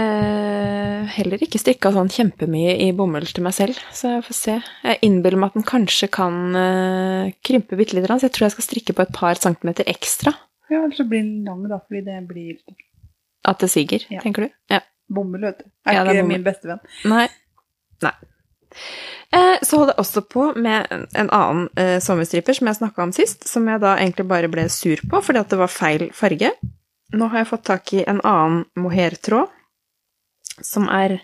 S3: Eh, heller ikke strikka sånn kjempemye i bomull til meg selv, så jeg får se. Jeg innbiller meg at den kanskje kan eh, krympe bitte litt, så jeg tror jeg skal strikke på et par centimeter ekstra.
S2: Ja, eller så blir den lang, da, fordi det blir
S3: At det siger,
S2: Ja.
S3: tenker du? Ja.
S2: bomull, vet du. Er
S3: Ja, det er
S2: ikke
S3: bomull.
S2: min beste venn.
S3: Nei. Nei. Eh, Så holdt jeg også på med en- en annen eh, sommerstriper som jeg snakka om sist, som jeg da egentlig bare ble sur på fordi at det var feil farge. Nå har jeg fått tak i en annen mohairtråd som er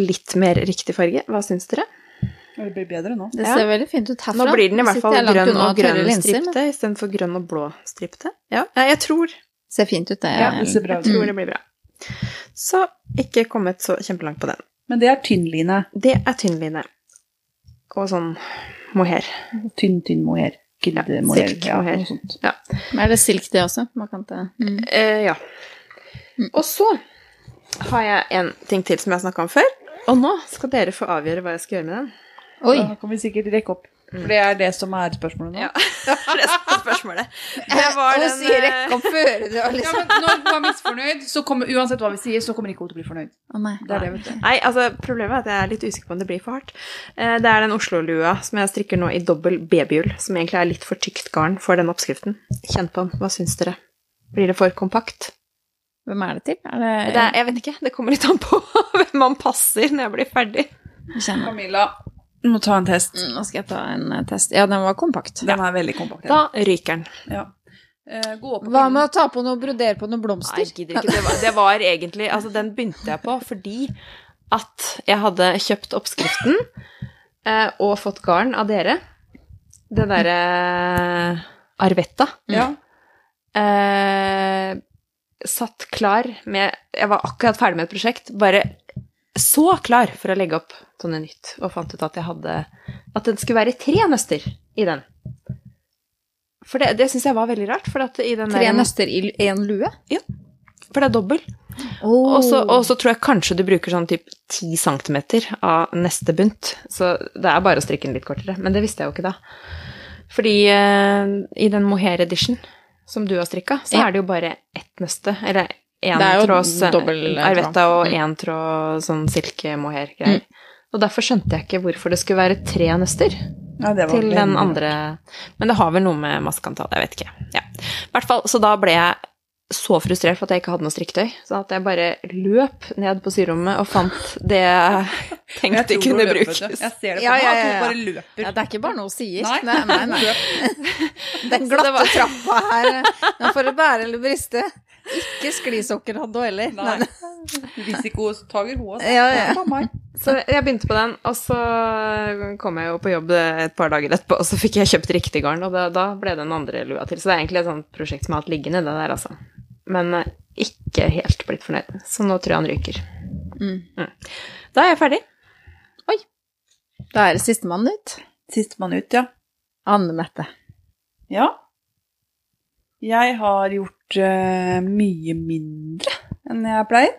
S3: litt mer riktig farge. Hva syns dere?
S2: Og det blir bedre nå.
S1: Det
S3: Ja.
S1: ser veldig fint ut herfra.
S3: Nå blir den i hvert
S1: Sitter
S3: fall
S1: jeg langt
S3: grønn
S1: unna
S3: og
S1: tørre
S3: grønn
S1: linser, men
S3: stripte istedenfor grønn og blå stripte. Ja, ja, jeg tror
S1: Ser fint ut, det.
S2: Ja, det ser bra
S3: jeg
S2: ut.
S3: tror det blir bra. Så ikke kommet så kjempelangt på den.
S2: Men det er tynnline.
S3: Det er tynnline. Og sånn mohair.
S2: Tynn, tynn mohair. Kildemohair.
S3: silk mohair.
S2: noe sånt.
S1: Men er det silk, det også? Man kan ta mm.
S3: Eh, ja.
S1: Mm.
S3: Og så har jeg en ting til som jeg har snakka om før. Og nå skal dere få avgjøre hva jeg skal gjøre med den.
S1: Oi!
S2: Da kan vi sikkert rekke opp. For det er det som er spørsmålet nå.
S3: Ja. Resten av spørsmålet. Det var
S1: Å,
S3: den, eh,
S1: si rekke opp før du har
S2: Ja,
S1: liksom
S2: men når du er misfornøyd, så kommer uansett hva vi sier, så kommer ikke hun til å bli fornøyd.
S1: Å, nei.
S2: Det er det, vet du.
S3: Nei, altså Problemet er at jeg er litt usikker på om det blir for hardt. Eh, Det er den Oslo-lua som jeg strikker nå i dobbel babyull, som egentlig er litt for tykt garn for den oppskriften. Kjenn på den. Hva syns dere? Blir det for kompakt?
S1: Hvem er det til? Er det,
S3: Det er, jeg vet ikke. Det kommer litt an på hvem man passer når jeg blir ferdig.
S1: Jeg kjenner.
S2: Camilla, du må ta en test.
S1: Mm, Nå skal jeg ta en eh, test. Ja, den var kompakt.
S2: Den er veldig kompakt.
S3: Da ryker den.
S2: Ja. Eh, gå opp på
S1: Hva
S2: pinnen.
S1: med å ta på noe, brodere på noen
S3: Nei,
S1: blomster?
S3: jeg gidder ikke. Det var, det var egentlig Altså, den begynte jeg på fordi at jeg hadde kjøpt oppskriften eh, og fått garn av dere. Det derre eh, Arvetta.
S2: Ja.
S3: Eh, satt klar med Jeg var akkurat ferdig med et prosjekt. Bare så klar for å legge opp sånne nytt, og fant ut at jeg hadde At det skulle være tre nøster i den. For det, det syns jeg var veldig rart. For, at i den
S1: Tre
S3: der-
S1: nøster i én lue?
S3: for det er dobbel. Og så, og så tror jeg kanskje du bruker sånn typ 10 cm av neste bunt. Så det er bare å strikke den litt kortere. Men det visste jeg jo ikke da. Fordi eh, i den mohair edition som du har strikka, så
S1: Ja.
S3: er det jo bare ett nøste. Eller én
S1: Det er jo
S3: tråds eh,
S1: dobbel tråd.
S3: arvetta og
S1: Mm.
S3: én tråd sånn silke-mohair-greier. Og derfor skjønte jeg ikke hvorfor det skulle være tre nøster
S2: Ja, det var
S3: til den
S2: veldig-
S3: andre Men det har vel noe med maskeantallet, jeg vet ikke. Ja. I hvert fall, så da ble jeg så frustrert for at jeg ikke hadde noe strikketøy, så at jeg bare løp ned på syrommet og fant det jeg
S2: Jeg
S3: tenkte
S2: tror
S3: kunne
S2: hun løper, vet du.
S3: brukes.
S2: Jeg ser det på
S1: Ja,
S2: ja,
S1: ja, ja, ja.
S2: bare løper.
S1: Ja, det er ikke bare noe hun sier.
S2: Nei.
S1: Nei, nei, nei. Den glatte
S3: Så det var-
S1: trappa her, eh, den får det bære eller briste. Ikke sklisokker hadde hun heller.
S2: Nei. Risikotager altså. hun også.
S1: Ja, ja.
S2: Ta meg.
S3: Så jeg begynte på den, og så kom jeg jo på jobb et par dager etterpå, og så fikk jeg kjøpt riktig garn, og da, da ble det den andre lua til. Så det er egentlig et sånt prosjekt som jeg har hatt liggende, det der, altså. Men eh, ikke helt blitt fornøyd, så nå tror jeg han ryker.
S1: Mm.
S3: Da er jeg ferdig.
S1: Da er det sistemann ut.
S2: Sistemann ut, ja.
S1: Anne Mette.
S2: Ja. Jeg har gjort eh, mye mindre enn jeg pleier,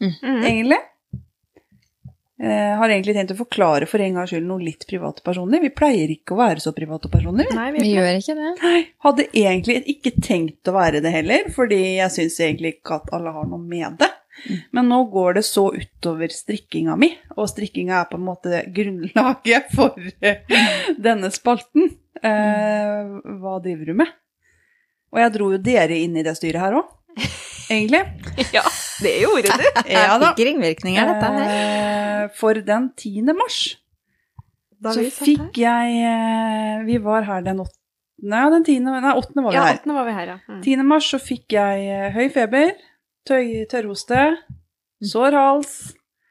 S3: Mm.
S2: egentlig. Eh, har egentlig tenkt å forklare for en gangs skyld noe litt privat og personlig. Vi pleier ikke å være så private og personlige.
S3: Nei,
S1: Vi
S3: virkelig.
S1: gjør ikke det.
S2: Nei, hadde egentlig ikke tenkt å være det heller, fordi jeg syns egentlig ikke at alle har noe med det. Men nå går det så utover strikkinga mi, og strikkinga er på en måte grunnlaget for eh, denne spalten. Eh, hva driver du med? Og jeg dro jo dere inn i det styret her òg, egentlig.
S3: Ja, det gjorde du.
S2: Ja da.
S1: Fikk ringvirkninger, dette her.
S2: Eh, For den 10. mars så
S3: fikk
S2: fikk jeg eh, Vi var her den 8. Nei, den 10. Nei, 8. var vi
S3: Ja,
S2: her.
S3: 18. var vi her, ja. Mm.
S2: 10. mars så fikk jeg eh, høy feber, tøy, tørrhoste, sår hals,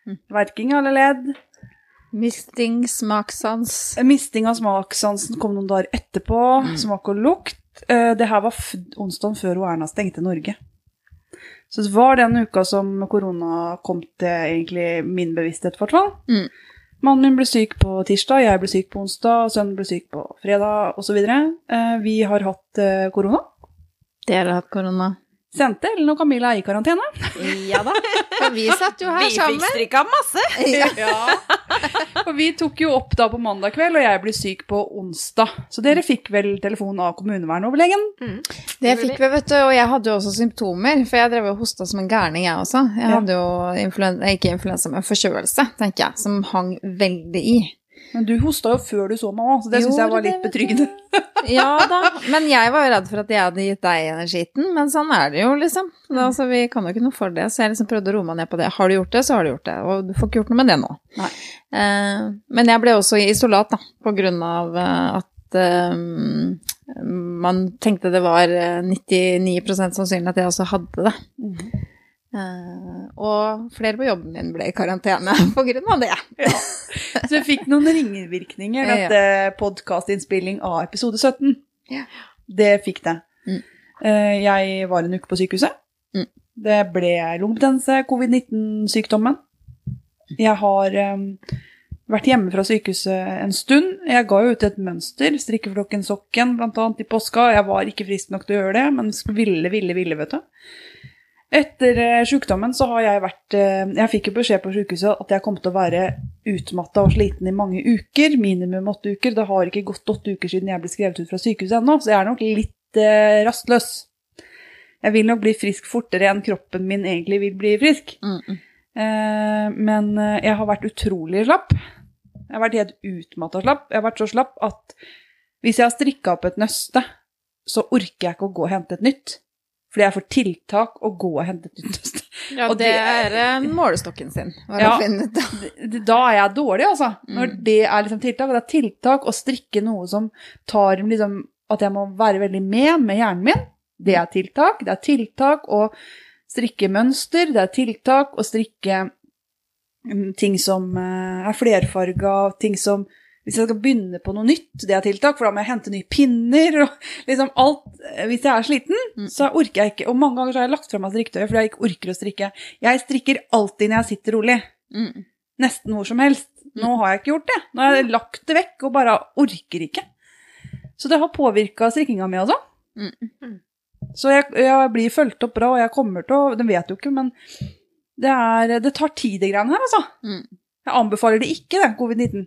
S1: Mm.
S2: verking i alle ledd. Eh,
S1: Misting, smakssans.
S2: Misting av smakssansen kom noen dager etterpå.
S1: Mm.
S2: Smak og lukt. Eh, Det her var f onsdagen før Erna stengte Norge. Så det var den uka som korona kom til egentlig min bevissthet, i hvert fall.
S1: Mm.
S2: Mannen min ble syk på tirsdag, jeg ble syk på onsdag, sønnen ble syk på fredag osv. Vi har hatt eh, korona.
S1: Dere har hatt korona.
S2: Sendte Ellen og Camilla i karantene.
S1: Ja da. For vi satt jo her
S3: Vi fikk
S1: sammen.
S3: strikka masse!
S1: Ja.
S2: Ja. Og vi tok jo opp da på mandag kveld, og jeg ble syk på onsdag. Så dere fikk vel telefon av kommunevernoverlegen?
S1: Det fikk vi, vet du. Og jeg hadde jo også symptomer, for jeg drev og hosta som en gærning, jeg også. Jeg
S2: Ja.
S1: hadde jo influen eh, ikke influensa, men forkjølelse, tenker jeg, som hang veldig i.
S2: Men du hosta jo før du så meg òg, så det syns jeg
S1: Gjorde
S2: var litt
S1: det, vet
S2: betryggende.
S1: Ja da. Men jeg var jo redd for at jeg hadde gitt deg den skitten, men sånn er det jo, liksom. Det, er altså, vi kan jo ikke noe for det, så jeg liksom prøvde å roe meg ned på det. Har du gjort det, så har du gjort det, og du får ikke gjort noe med det nå.
S2: Nei.
S1: Eh, men jeg ble også i isolat, da, på grunn av eh, at eh, man tenkte det var eh, 99 sannsynlig at jeg også hadde det. Mhm. Eh, og flere på jobben min ble i karantene på grunn av det.
S2: Så jeg fikk noen
S1: Ja,
S2: ringvirkninger,
S1: ja.
S2: dette podkastinnspilling av episode 17.
S1: Ja.
S2: Det fikk det.
S1: Mm.
S2: Eh, Jeg var en uke på sykehuset.
S1: Mm.
S2: Det ble lungebetennelse, covid-19-sykdommen. Jeg har em, vært hjemme fra sykehuset en stund. Jeg ga jo ut et mønster, strikkeflokken-sokken bl.a. i påska. Jeg var ikke frisk nok til å gjøre det, men sk- ville, ville, ville, vet du. Etter eh, sykdommen så har jeg vært eh, Jeg fikk jo beskjed på sykehuset at jeg kom til å være utmatta og sliten i mange uker, minimum åtte uker. Det har ikke gått åtte uker siden jeg ble skrevet ut fra sykehuset ennå, så jeg er nok litt eh, rastløs. Jeg vil nok bli frisk fortere enn kroppen min egentlig vil bli frisk.
S1: Mm,
S2: Eh, men eh, jeg har vært utrolig slapp. Jeg har vært helt utmatta slapp. Jeg har vært så slapp at hvis jeg har strikka opp et nøste, så orker jeg ikke å gå og hente et nytt. Fordi jeg får tiltak å gå og hente et nytt nøste.
S1: Ja,
S2: Og
S1: det
S2: det-
S1: er eh, målestokken sin. Var
S2: Ja.
S1: å finne ut.
S2: Det- Da er jeg dårlig, altså. Når
S1: Mm.
S2: det er liksom tiltak. Og det er tiltak å strikke noe som tar liksom At jeg må være veldig med med hjernen min. Det er tiltak. Det er tiltak å strikke mønster. Det er tiltak å strikke mm, ting som eh, er flerfarga, ting som hvis jeg skal begynne på noe nytt, det er tiltak, for da må jeg hente nye pinner og liksom alt. Hvis jeg er sliten,
S1: Mm.
S2: så orker jeg ikke. Og mange ganger så har jeg lagt fra meg strikketøyet fordi jeg ikke orker å strikke. Jeg strikker alltid når jeg sitter rolig
S1: Mm.
S2: nesten hvor som helst. Nå har jeg ikke gjort det. Nå har jeg lagt det vekk og bare orker ikke. Så det har påvirka strikkinga mi, altså.
S1: Mm.
S2: Så jeg, jeg blir fulgt opp bra, og jeg kommer til å Det vet jo ikke, men det, er, det tar tid, det greiene her, altså.
S1: Mm.
S2: Jeg anbefaler det ikke, det, covid-19.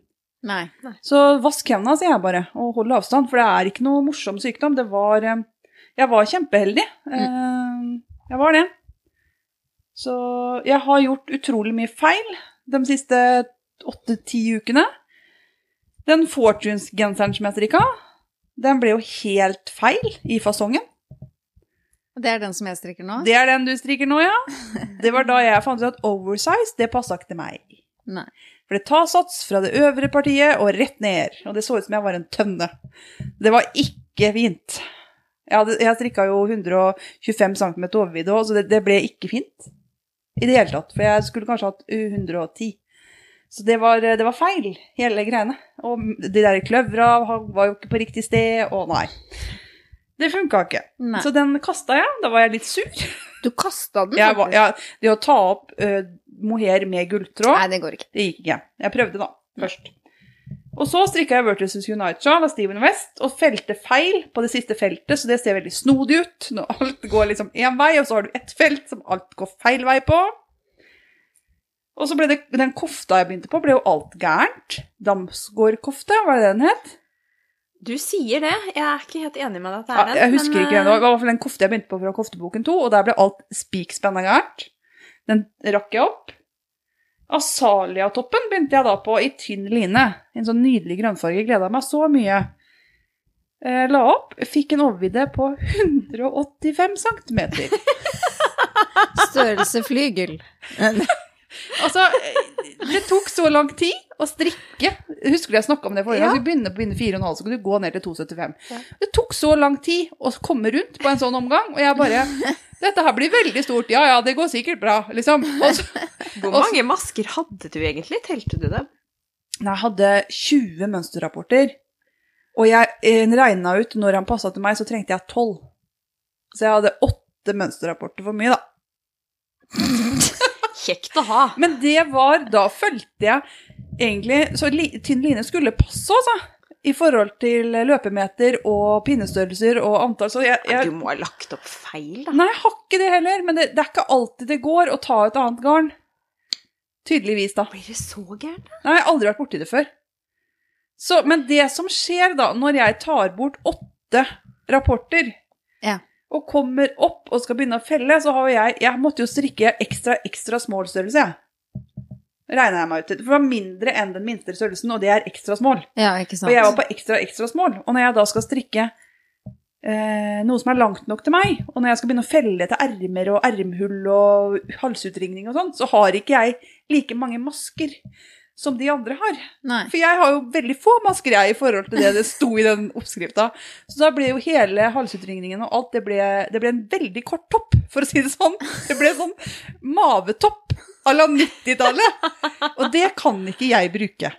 S1: Nei.
S2: Så vask hendene, sier jeg bare, og hold avstand, for det er ikke noe morsom sykdom. Det var eh, Jeg var kjempeheldig. Eh, Jeg var det. Så jeg har gjort utrolig mye feil de siste åtte-ti ukene. Den Fortunes-genseren som jeg strikka, den ble jo helt feil i fasongen.
S1: Det er den som jeg strikker nå?
S2: Det er den du strikker nå, ja. Det var da jeg fant ut at oversize, det passa ikke til meg.
S1: Nei.
S2: For det tar sats fra det øvre partiet og rett ned. Og det så ut som jeg var en tønne. Det var ikke fint. Jeg, hadde, jeg strikka jo 125 cm overvidde òg, så det, det ble ikke fint. I det hele tatt. For jeg skulle kanskje hatt 110. Så det var, det var feil, hele greiene. Og de der kløvra var jo ikke på riktig sted, og nei. Det funka ikke.
S1: Nei.
S2: Så den kasta jeg. Da var jeg litt sur.
S1: du kasta den?
S2: Jeg var,
S1: Mm, faktisk.
S2: jeg, det å ta opp uh, mohair med
S1: Nei,
S2: gulltråd,
S1: det går ikke.
S2: det gikk ikke. Jeg prøvde, da, først. Og så strikka jeg Vertices Unite Shawl av Steven West og felte feil på det siste feltet, så det ser veldig snodig ut når alt går liksom én vei, og så har du ett felt som alt går feil vei på. Og så ble det, den kofta jeg begynte på, ble jo alt gærent. Damsgårdkofte, hva er det den het?
S3: Du sier det. Jeg er ikke helt enig med deg at det
S2: Ja,
S3: er den.
S2: jeg husker
S3: men,
S2: ikke hvem det var. Det
S3: eh,
S2: var i hvert fall en kofte jeg begynte på fra Kofteboken 2, og der ble alt spikspennende gærent. Den rakk jeg opp. Asaliatoppen begynte jeg da på i tynn line. En sånn nydelig grønnfarge. Gleda meg så mye. Eh, La opp. Fikk en overvidde på 185 cm.
S1: Størrelse flygel.
S2: Altså, eh, det tok så lang tid å strikke. Husker du jeg snakka om det forrige gang?
S3: Ja.
S2: Ja. Du begynner på begynner 4,5, så kan du gå ned til 2,75.
S3: Ja.
S2: Det tok så lang tid å komme rundt på en sånn omgang, og jeg bare Dette her blir veldig stort. Ja, ja, det går sikkert bra, liksom. Og så,
S3: Hvor
S2: og-
S3: mange masker hadde du egentlig? Telte du dem?
S2: Nei, jeg hadde 20 mønsterrapporter, og jeg regna ut når han passa til meg, så trengte jeg 12. Så jeg hadde åtte mønsterrapporter for mye, da.
S3: Kjekt å ha.
S2: Men det var Da fulgte jeg egentlig Så li, tynn line skulle passe, altså. I forhold til løpemeter og pinnestørrelser og antall. Så jeg, jeg
S3: Du må ha lagt opp feil, da.
S2: Nei, jeg har ikke det heller. Men det, det er ikke alltid det går å ta et annet garn. Tydeligvis, da.
S3: Blir det så gærent?
S2: Nei, jeg har aldri vært borti det før. Så, men det som skjer da, når jeg tar bort åtte rapporter
S1: Ja.
S2: og kommer opp og skal begynne å felle, så har jo jeg Jeg måtte jo strikke ekstra, ekstra smålstørrelse, jeg. Regna jeg meg ut til. For det var mindre enn den minste størrelsen, og det er ekstra small.
S1: Ja, ikke sant.
S2: For jeg var på ekstra, ekstra small. Og når jeg da skal strikke eh, noe som er langt nok til meg, og når jeg skal begynne å felle til ermer og ermhull og halsutringning og sånn, så har ikke jeg like mange masker som de andre har.
S1: Nei.
S2: For jeg har jo veldig få masker jeg i forhold til det det sto i den oppskrifta. Så da ble jo hele halsutringningen og alt, det ble, det ble en veldig kort topp, for å si det sånn. Det ble sånn mavetopp à la 90-tallet. Og det kan ikke jeg bruke.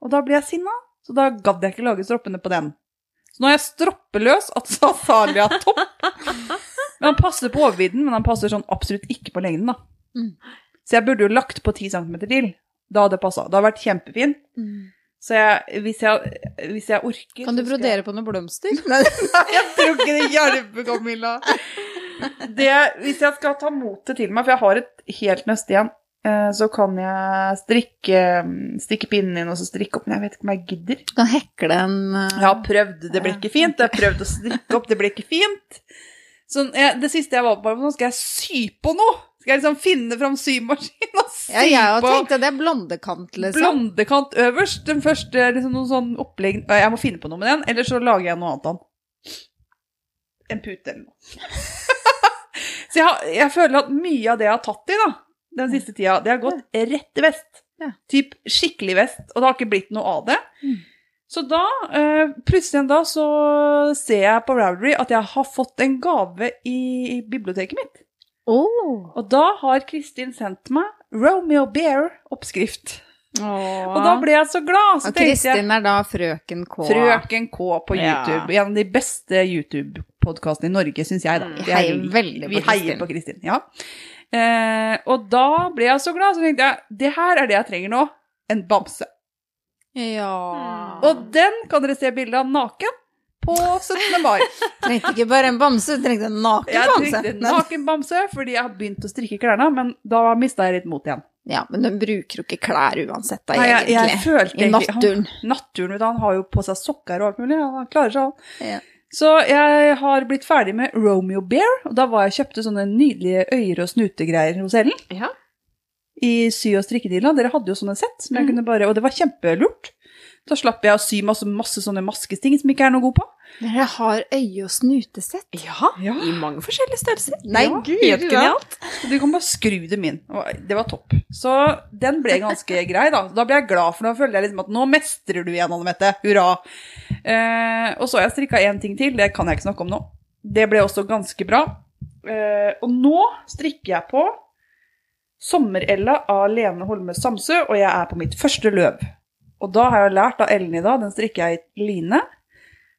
S2: Og da ble jeg sinna, så da gadd jeg ikke lage stroppene på den. Så nå er jeg stroppeløs altså Salia-topp. Men han passer på overvidden, men han passer sånn absolutt ikke på lengden, da.
S1: Mm.
S2: Så jeg burde jo lagt på 10 cm til. Da hadde det passa. Det hadde vært kjempefint.
S1: Mm.
S2: Så jeg, hvis, jeg, hvis jeg orker
S1: Kan du
S2: så skal jeg-
S1: brodere på noen blomster?
S2: Nei, jeg tror ikke det hjelper, Camilla. Det, hvis jeg skal ta motet til meg, for jeg har et helt nøst igjen, eh, så kan jeg strikke, stikke pinnen inn og så strikke opp. Men jeg vet ikke om jeg gidder.
S1: Du kan hekle en eh,
S2: Jeg har prøvd, det ble ikke fint. Jeg har prøvd å strikke opp, det ble ikke fint. Så jeg, det siste jeg var på, var nå skal jeg sy på noe. Skal jeg liksom finne fram symaskin og sy
S1: Ja, jeg har
S2: på
S1: tenkt at det er blondekant, liksom.
S2: blondekant øverst? Den første liksom noen sånn opplegg Nei, Jeg må finne på noe med den, eller så lager jeg noe annet av den. En pute eller noe. så jeg, har, jeg føler at mye av det jeg har tatt i da, den siste tida, det har gått rett i vest.
S1: Ja.
S2: Typ skikkelig vest, og det har ikke blitt noe av det.
S1: Mm.
S2: Så da, eh, plutselig en dag, så ser jeg på Ravelry at jeg har fått en gave i biblioteket mitt.
S1: Oh.
S2: Og da har Kristin sendt meg Romeo Bear-oppskrift. Og da ble jeg så glad. Så
S1: Og
S2: tenkte jeg
S1: Kristin er da frøken K.
S2: Frøken K på
S1: Ja.
S2: YouTube. En av de beste YouTube-podkastene i Norge, syns jeg, da.
S1: Vi
S2: Det er
S1: Mm. heier veldig på
S2: vi heier
S1: Kristin.
S2: på Kristin. Ja. Eh, og da ble jeg så glad, så tenkte jeg det her er det jeg trenger nå. En bamse.
S1: Ja.
S3: Mm.
S1: Og
S2: Og den kan dere se bilde av naken på 17. mai.
S1: trengte ikke bare en bamse, du trengte en naken
S2: Jeg
S1: bamse.
S2: trykte
S1: Men-
S2: naken bamse fordi jeg har begynt å strikke klærne, men da mista jeg litt mot igjen.
S1: Ja, men den bruker jo ikke klær uansett, da,
S2: Nei, jeg,
S1: egentlig.
S2: jeg følte
S1: I
S2: egentlig-
S1: naturen.
S2: Naturen, vet du, han har jo på seg sokker og alt mulig, han klarer seg han.
S1: Ja.
S2: Så jeg har blitt ferdig med Romeo Bear, og da var jeg og kjøpte sånne nydelige øyre- og snutegreier hos Ellen.
S3: Ja.
S2: I sy- og strikkedealen. Dere hadde jo sånne sett, som jeg
S1: Mhm.
S2: kunne bare, og det var kjempelurt. Da slapp jeg å sy masse, masse sånne maskesting som jeg ikke er noe god på.
S1: Dere har øye- og snutesett.
S3: ja.
S2: Ja.
S3: I mange forskjellige størrelser.
S1: Nei,
S3: Ja,
S1: gud,
S3: Helt
S1: ja.
S3: genialt.
S2: Så du kan bare skru dem inn. Og det var topp. Så den ble ganske grei, da. Da ble jeg glad, for nå føler jeg liksom at nå mestrer du igjen, Anne Mette. Hurra. Eh, og så har jeg strikka én ting til, det kan jeg ikke snakke om nå. Det ble også ganske bra. Eh, og nå strikker jeg på Sommer-Ella av Lene Holme Samsø, og jeg er på mitt første løv. Og da har jeg lært av Ellen i dag, den strikker jeg i line.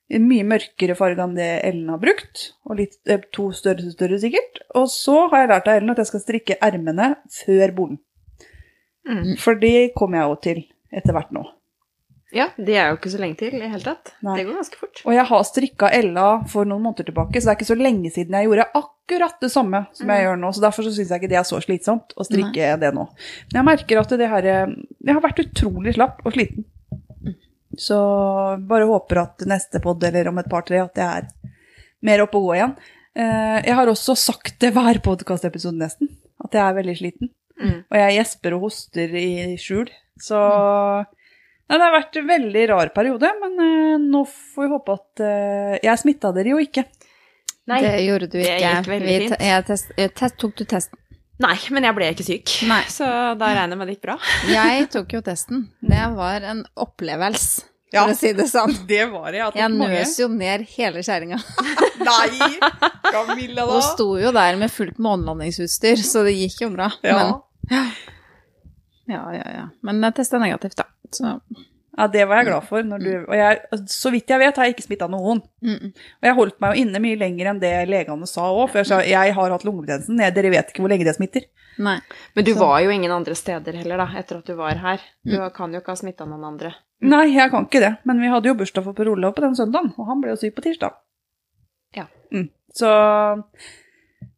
S2: I en mye mørkere farge enn det Ellen har brukt, og litt, eh, to størrelser større sikkert. Og så har jeg lært av Ellen at jeg skal strikke ermene før bolen.
S3: Mm.
S2: For det kommer jeg jo til etter hvert nå.
S3: Ja, det er jo ikke så lenge til i det hele tatt.
S2: Nei.
S3: Det går ganske fort.
S2: Og jeg har strikka Ella for noen måneder tilbake, så det er ikke så lenge siden jeg gjorde akkurat det samme som jeg
S3: Mm.
S2: gjør nå. Så derfor så syns jeg ikke det er så slitsomt å strikke det nå. Men jeg merker at det her eh, Jeg har vært utrolig slapp og sliten. Så bare håper at neste podd eller om et par-tre at jeg er mer oppe og gå igjen. Eh, Jeg har også sagt det hver podkastepisode nesten, at jeg er veldig sliten.
S3: Mm.
S2: Og jeg gjesper og hoster i skjul. Så Nei, det har vært en veldig rar periode, men eh, nå får vi håpe at eh, Jeg smitta dere jo ikke.
S3: Nei.
S1: Det gjorde du
S3: det
S1: ikke.
S3: gikk veldig
S1: Vi te-
S3: fint.
S1: Jeg test, jeg test, tok du testen?
S3: Nei, men jeg ble ikke syk.
S1: Nei.
S3: Så da regner jeg med det gikk bra.
S1: Jeg tok jo testen. Det var en opplevelse, for
S2: Ja.
S1: å si det sånn.
S2: Det var det.
S1: Jeg nøs jo ned hele kjerringa.
S2: Nei! Camilla,
S1: Og sto jo der med fullt månelandingsutstyr, så det gikk jo bra. Men, ja, ja, ja. Men jeg testa negativt, da. Så
S2: Ja, det var jeg glad for. Når du, og jeg, så vidt jeg vet, har jeg ikke smitta noen.
S1: mm, mm.
S2: Og jeg holdt meg jo inne mye lenger enn det legene sa òg, for jeg sa jeg har hatt lungebetennelsen. Jeg- Dere vet ikke hvor lenge det smitter.
S1: Nei.
S3: Men du
S2: Så-
S3: var jo ingen andre steder heller, da, etter at du var her. Du kan jo ikke ha smitta noen andre.
S2: Nei, jeg kan ikke det. Men vi hadde jo bursdag for Per Olav på den søndagen, og han ble jo syk på tirsdag.
S3: Ja.
S2: Mm. Så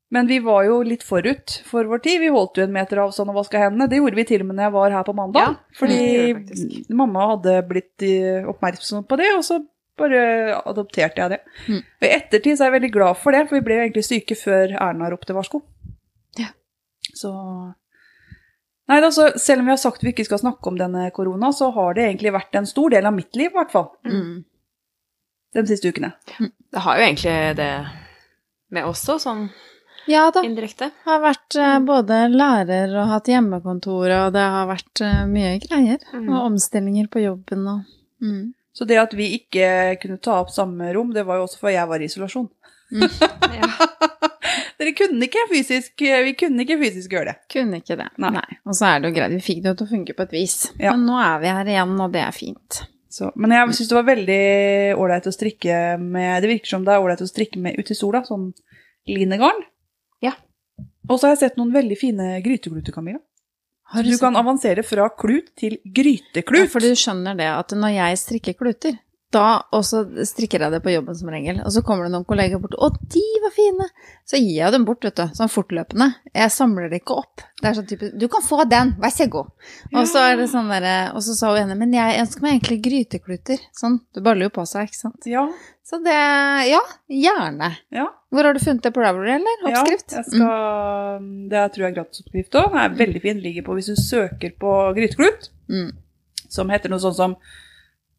S2: Men vi var jo litt forut for vår tid. Vi holdt jo en meter avstand og vaska hendene. Det gjorde vi til og med når jeg var her på mandag.
S3: Ja,
S2: fordi
S3: det gjorde vi
S2: mamma hadde blitt eh, oppmerksom på det, og så bare adopterte jeg det.
S1: Mm.
S2: Og I ettertid så er jeg veldig glad for det, for vi ble jo egentlig syke før Erna ropte varsko.
S1: Ja.
S2: Så Nei, altså, selv om vi har sagt vi ikke skal snakke om denne korona, så har det egentlig vært en stor del av mitt liv, i hvert fall.
S1: Mm.
S2: De siste ukene.
S3: Det har jo egentlig det med oss også, sånn
S1: Ja da.
S3: indirekte.
S1: Har vært eh, både lærer og hatt hjemmekontor, og det har vært eh, mye greier.
S3: Mm.
S1: Og omstillinger på jobben og mm.
S2: Så det at vi ikke kunne ta opp samme rom, det var jo også for jeg var i isolasjon.
S3: Ja.
S2: Dere kunne ikke fysisk, vi kunne ikke fysisk gjøre det.
S1: Kunne ikke det.
S2: Nei.
S1: Og så er det jo greit, vi fikk det jo til å funke på et vis.
S2: Ja.
S1: Men nå er vi her igjen, og det er fint.
S2: Så, men jeg syns det var veldig ålreit å strikke med Det virker som det er ålreit å strikke med ute i sola, sånn linegarn.
S3: Ja.
S2: Og så har jeg sett noen veldig fine grytekluter, Camilla.
S1: Har
S2: Du kan avansere fra klut til gryteklut.
S1: Ja, for du skjønner det at når jeg strikker kluter, da også strikker jeg det på jobben som regel. Og så kommer det noen kolleger bort, å, de var fine! Så gir jeg dem bort, vet du, sånn fortløpende. Jeg samler det ikke opp. Det er sånn type, du kan få den, vær så god! Og så er det sånn derre, og så sa hun ene, men jeg ønsker meg egentlig grytekluter. Sånn, det baller jo på seg, ikke sant.
S2: Ja,
S1: Så det, ja, gjerne.
S2: ja.
S1: Hvor har du funnet det på Ravelry, eller? Oppskrift?
S2: Ja, jeg skal, Det er, tror jeg er gratisoppskrift òg. Den er veldig fin. Ligger på hvis du søker på gryteklut,
S1: Mm.
S2: som heter noe sånn som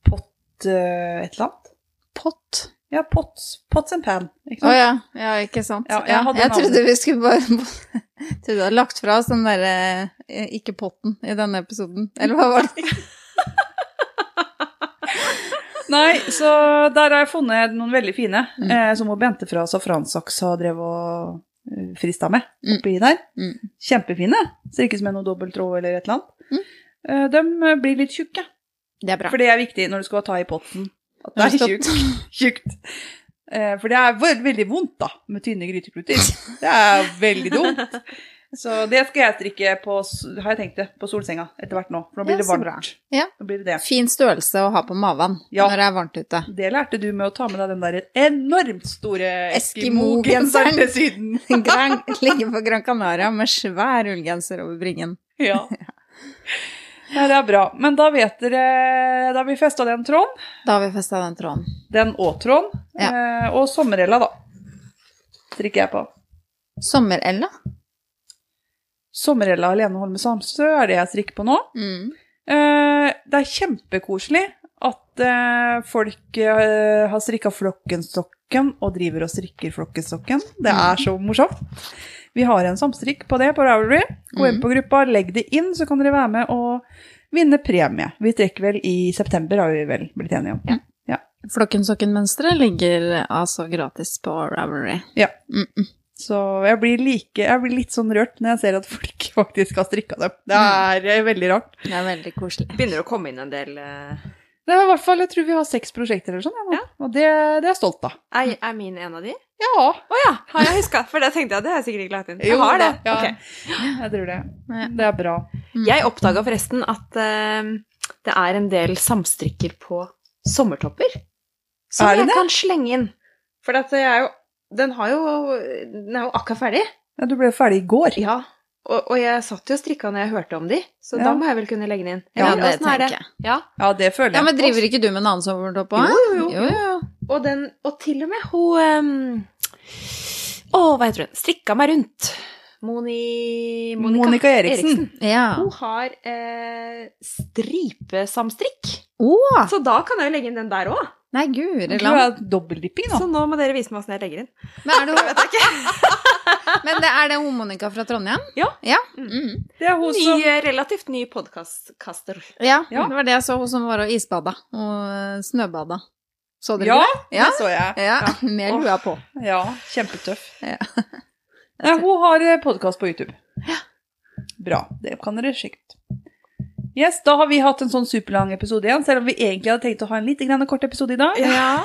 S2: pott eh, et eller annet.
S1: Pott.
S2: Ja, pots, pots and pan. Ikke
S1: Å
S2: sant?
S1: ja. ja, ikke sant. Ja,
S2: Ja, jeg
S1: jeg
S2: hadde navnet.
S1: trodde vi skulle bare Trodde du hadde lagt fra oss den derre eh, ikke-potten i denne episoden. Eller hva var det?
S2: Nei, så der har jeg funnet noen veldig fine,
S1: Mm.
S2: eh, som hun Bente fra Safransaks har drevet og eh, frista med
S1: Mm.
S2: oppi der.
S1: Mm.
S2: Kjempefine. Strikkes med noe dobbelttråd eller et eller annet.
S1: Mm.
S2: Eh, de eh, blir litt tjukke,
S1: Det er bra.
S2: for det er viktig når du skal ta i potten. At det
S1: Når du
S2: er
S1: skal-
S2: tjukt. tjukt. Eh, For det er veld- veldig vondt, da, med tynne grytekluter. Det er veldig dumt. Så det skal jeg strikke på, s- har jeg tenkt det, på solsenga etter hvert nå. For nå
S1: Ja,
S2: blir det
S1: så bra.
S2: varmt.
S1: Ja.
S2: Nå blir det det.
S1: Fin størrelse å ha på maven
S2: Ja.
S1: når det er varmt ute.
S2: Det lærte du med å ta med deg den der enormt store
S1: Eskimo-genseren.
S2: Eskimo-genseren til Syden.
S1: Gran, ligge på Gran Canaria med svær ullgenser over bringen.
S2: Ja. Nei, det er bra. Men da vet dere Da har vi festa den tråden.
S1: Da har vi festa den tråden.
S2: Den og tråden. Eh, og sommerella, da. Strikker jeg på.
S1: Sommer-Ella.
S2: Sommerella Lene Holme Samsø er det jeg strikker på nå.
S1: Mm.
S2: Eh, det er kjempekoselig at eh, folk eh, har strikka flokkenstokken og driver og strikker flokkenstokken. Det er så morsomt. Vi har en samstrikk på det på Ravelry. Gå inn
S1: Mm.
S2: på gruppa, legg det inn, så kan dere være med og vinne premie. Vi trekker vel i september, har vi vel blitt enige om.
S1: Flokkensokkenmønsteret ligger altså gratis på Ravelry.
S2: Ja.
S1: Mm -mm.
S2: Så jeg blir, like, jeg blir litt sånn rørt når jeg ser at folk faktisk har strikka dem. Det er eh, veldig rart.
S1: Det er veldig koselig.
S3: Begynner å komme inn en del eh,
S2: Det er i hvert fall, Jeg tror vi har seks prosjekter eller sånn, ja. og det, det er jeg stolt av.
S3: Er, er min en av de?
S2: Ja,
S3: Å ja, har jeg huska? For det tenkte jeg, det har jeg sikkert ikke lagt inn. Jeg
S2: Jo
S3: har det.
S2: da, ja.
S3: Ok.
S2: jeg tror det.
S1: Ja.
S2: Det er bra.
S3: Jeg oppdaga forresten at eh, det er en del samstrikker på sommertopper. Som
S2: Er det
S3: jeg
S2: det?
S3: kan slenge inn. For at jeg er jo, den, har jo, den er jo akkurat ferdig.
S2: Ja, du ble ferdig i går.
S3: Ja. Og, og jeg satt jo og strikka når jeg hørte om de, så
S2: Ja.
S3: da må jeg vel kunne legge den inn.
S1: Ja, sånn
S3: Eller,
S1: det
S3: åssen er
S1: tenker jeg.
S3: Ja.
S2: Ja, det føler jeg.
S1: Ja, men driver ikke du med en annen sommertopp òg?
S3: Jo, jo, jo.
S1: jo, jo.
S3: Og, den, og til og med hun ehm, Å, hva heter hun? Strikka meg rundt. Moni, Monica,
S2: Monica Eriksen.
S1: Ja.
S3: Hun har eh, stripesamstrikk.
S1: Å!
S3: Så da kan jeg jo legge inn den der òg.
S1: Nei, guri
S2: Det
S1: land.
S2: er dobbeltdipping nå.
S3: Så nå må dere vise meg åssen jeg legger inn.
S1: Men er det, Men det er det hun Monica fra Trondheim?
S3: Ja.
S1: Ja.
S3: Mm.
S1: Mm.
S2: Det er hun
S3: Ny,
S2: som
S3: eh, relativt ny podkastkaster.
S1: ja.
S2: Ja.
S1: Det var det jeg så, hun som var og isbada og eh, snøbada. Så dere
S2: Ja,
S1: det? Ja.
S2: det så jeg.
S1: Ja, med lua på.
S2: Ja, kjempetøff.
S1: Ja.
S2: Nei, hun har podkast på YouTube. Bra. Det kan dere sjekke ut. Yes, da har vi hatt en sånn superlang episode igjen, selv om vi egentlig hadde tenkt å ha en litt grann kort episode i dag.
S3: Ja.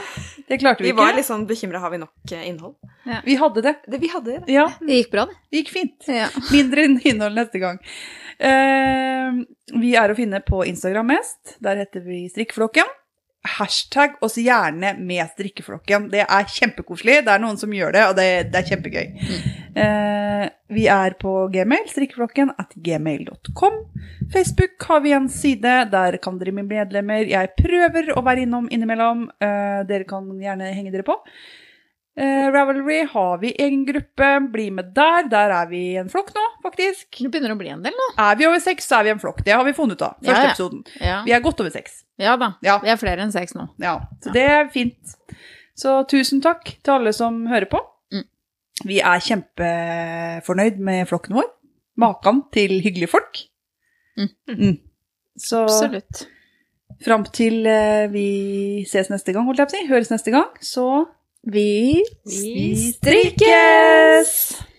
S2: Det klarte vi,
S3: Vi var
S2: ikke.
S3: litt sånn bekymra, har vi nok eh, innhold?
S2: Vi hadde det.
S3: Det, vi hadde det.
S2: Ja,
S1: Det gikk bra, det.
S2: det gikk fint.
S1: Ja.
S2: Mindre innhold neste gang. Ehm, Eh, vi er å finne på Instagram mest. Der heter vi Strikkflokken. hashtag oss gjerne med strikkeflokken. Det er kjempekoselig. Det er noen som gjør det, og det, det er kjempegøy. Eh, vi er på gmail, strikkeflokken at gmail.com. Facebook har vi en side, der kan dere bli medlemmer. Jeg prøver å være innom innimellom. Eh, dere kan gjerne henge dere på. Eh, Ravelry har vi egen gruppe, bli med der. Der er vi en flokk nå, faktisk.
S1: Det begynner å bli en del nå.
S2: Er vi over seks, så er vi en flokk. Det har vi funnet ut av. Første
S1: Ja, ja.
S2: episoden.
S1: Ja,
S2: Vi er godt over seks.
S1: ja da.
S2: Ja.
S1: Vi er flere enn seks nå.
S2: Ja, så det er fint. Så tusen takk til alle som hører på.
S1: Mm.
S2: Vi er kjempefornøyd med flokken vår. Makan til hyggelige folk.
S1: Mm.
S2: Mm. Så
S1: Absolutt.
S2: fram til eh, vi ses neste gang, holdt jeg på å si, høres neste gang, så
S1: Vi
S3: Vi
S2: strikkes!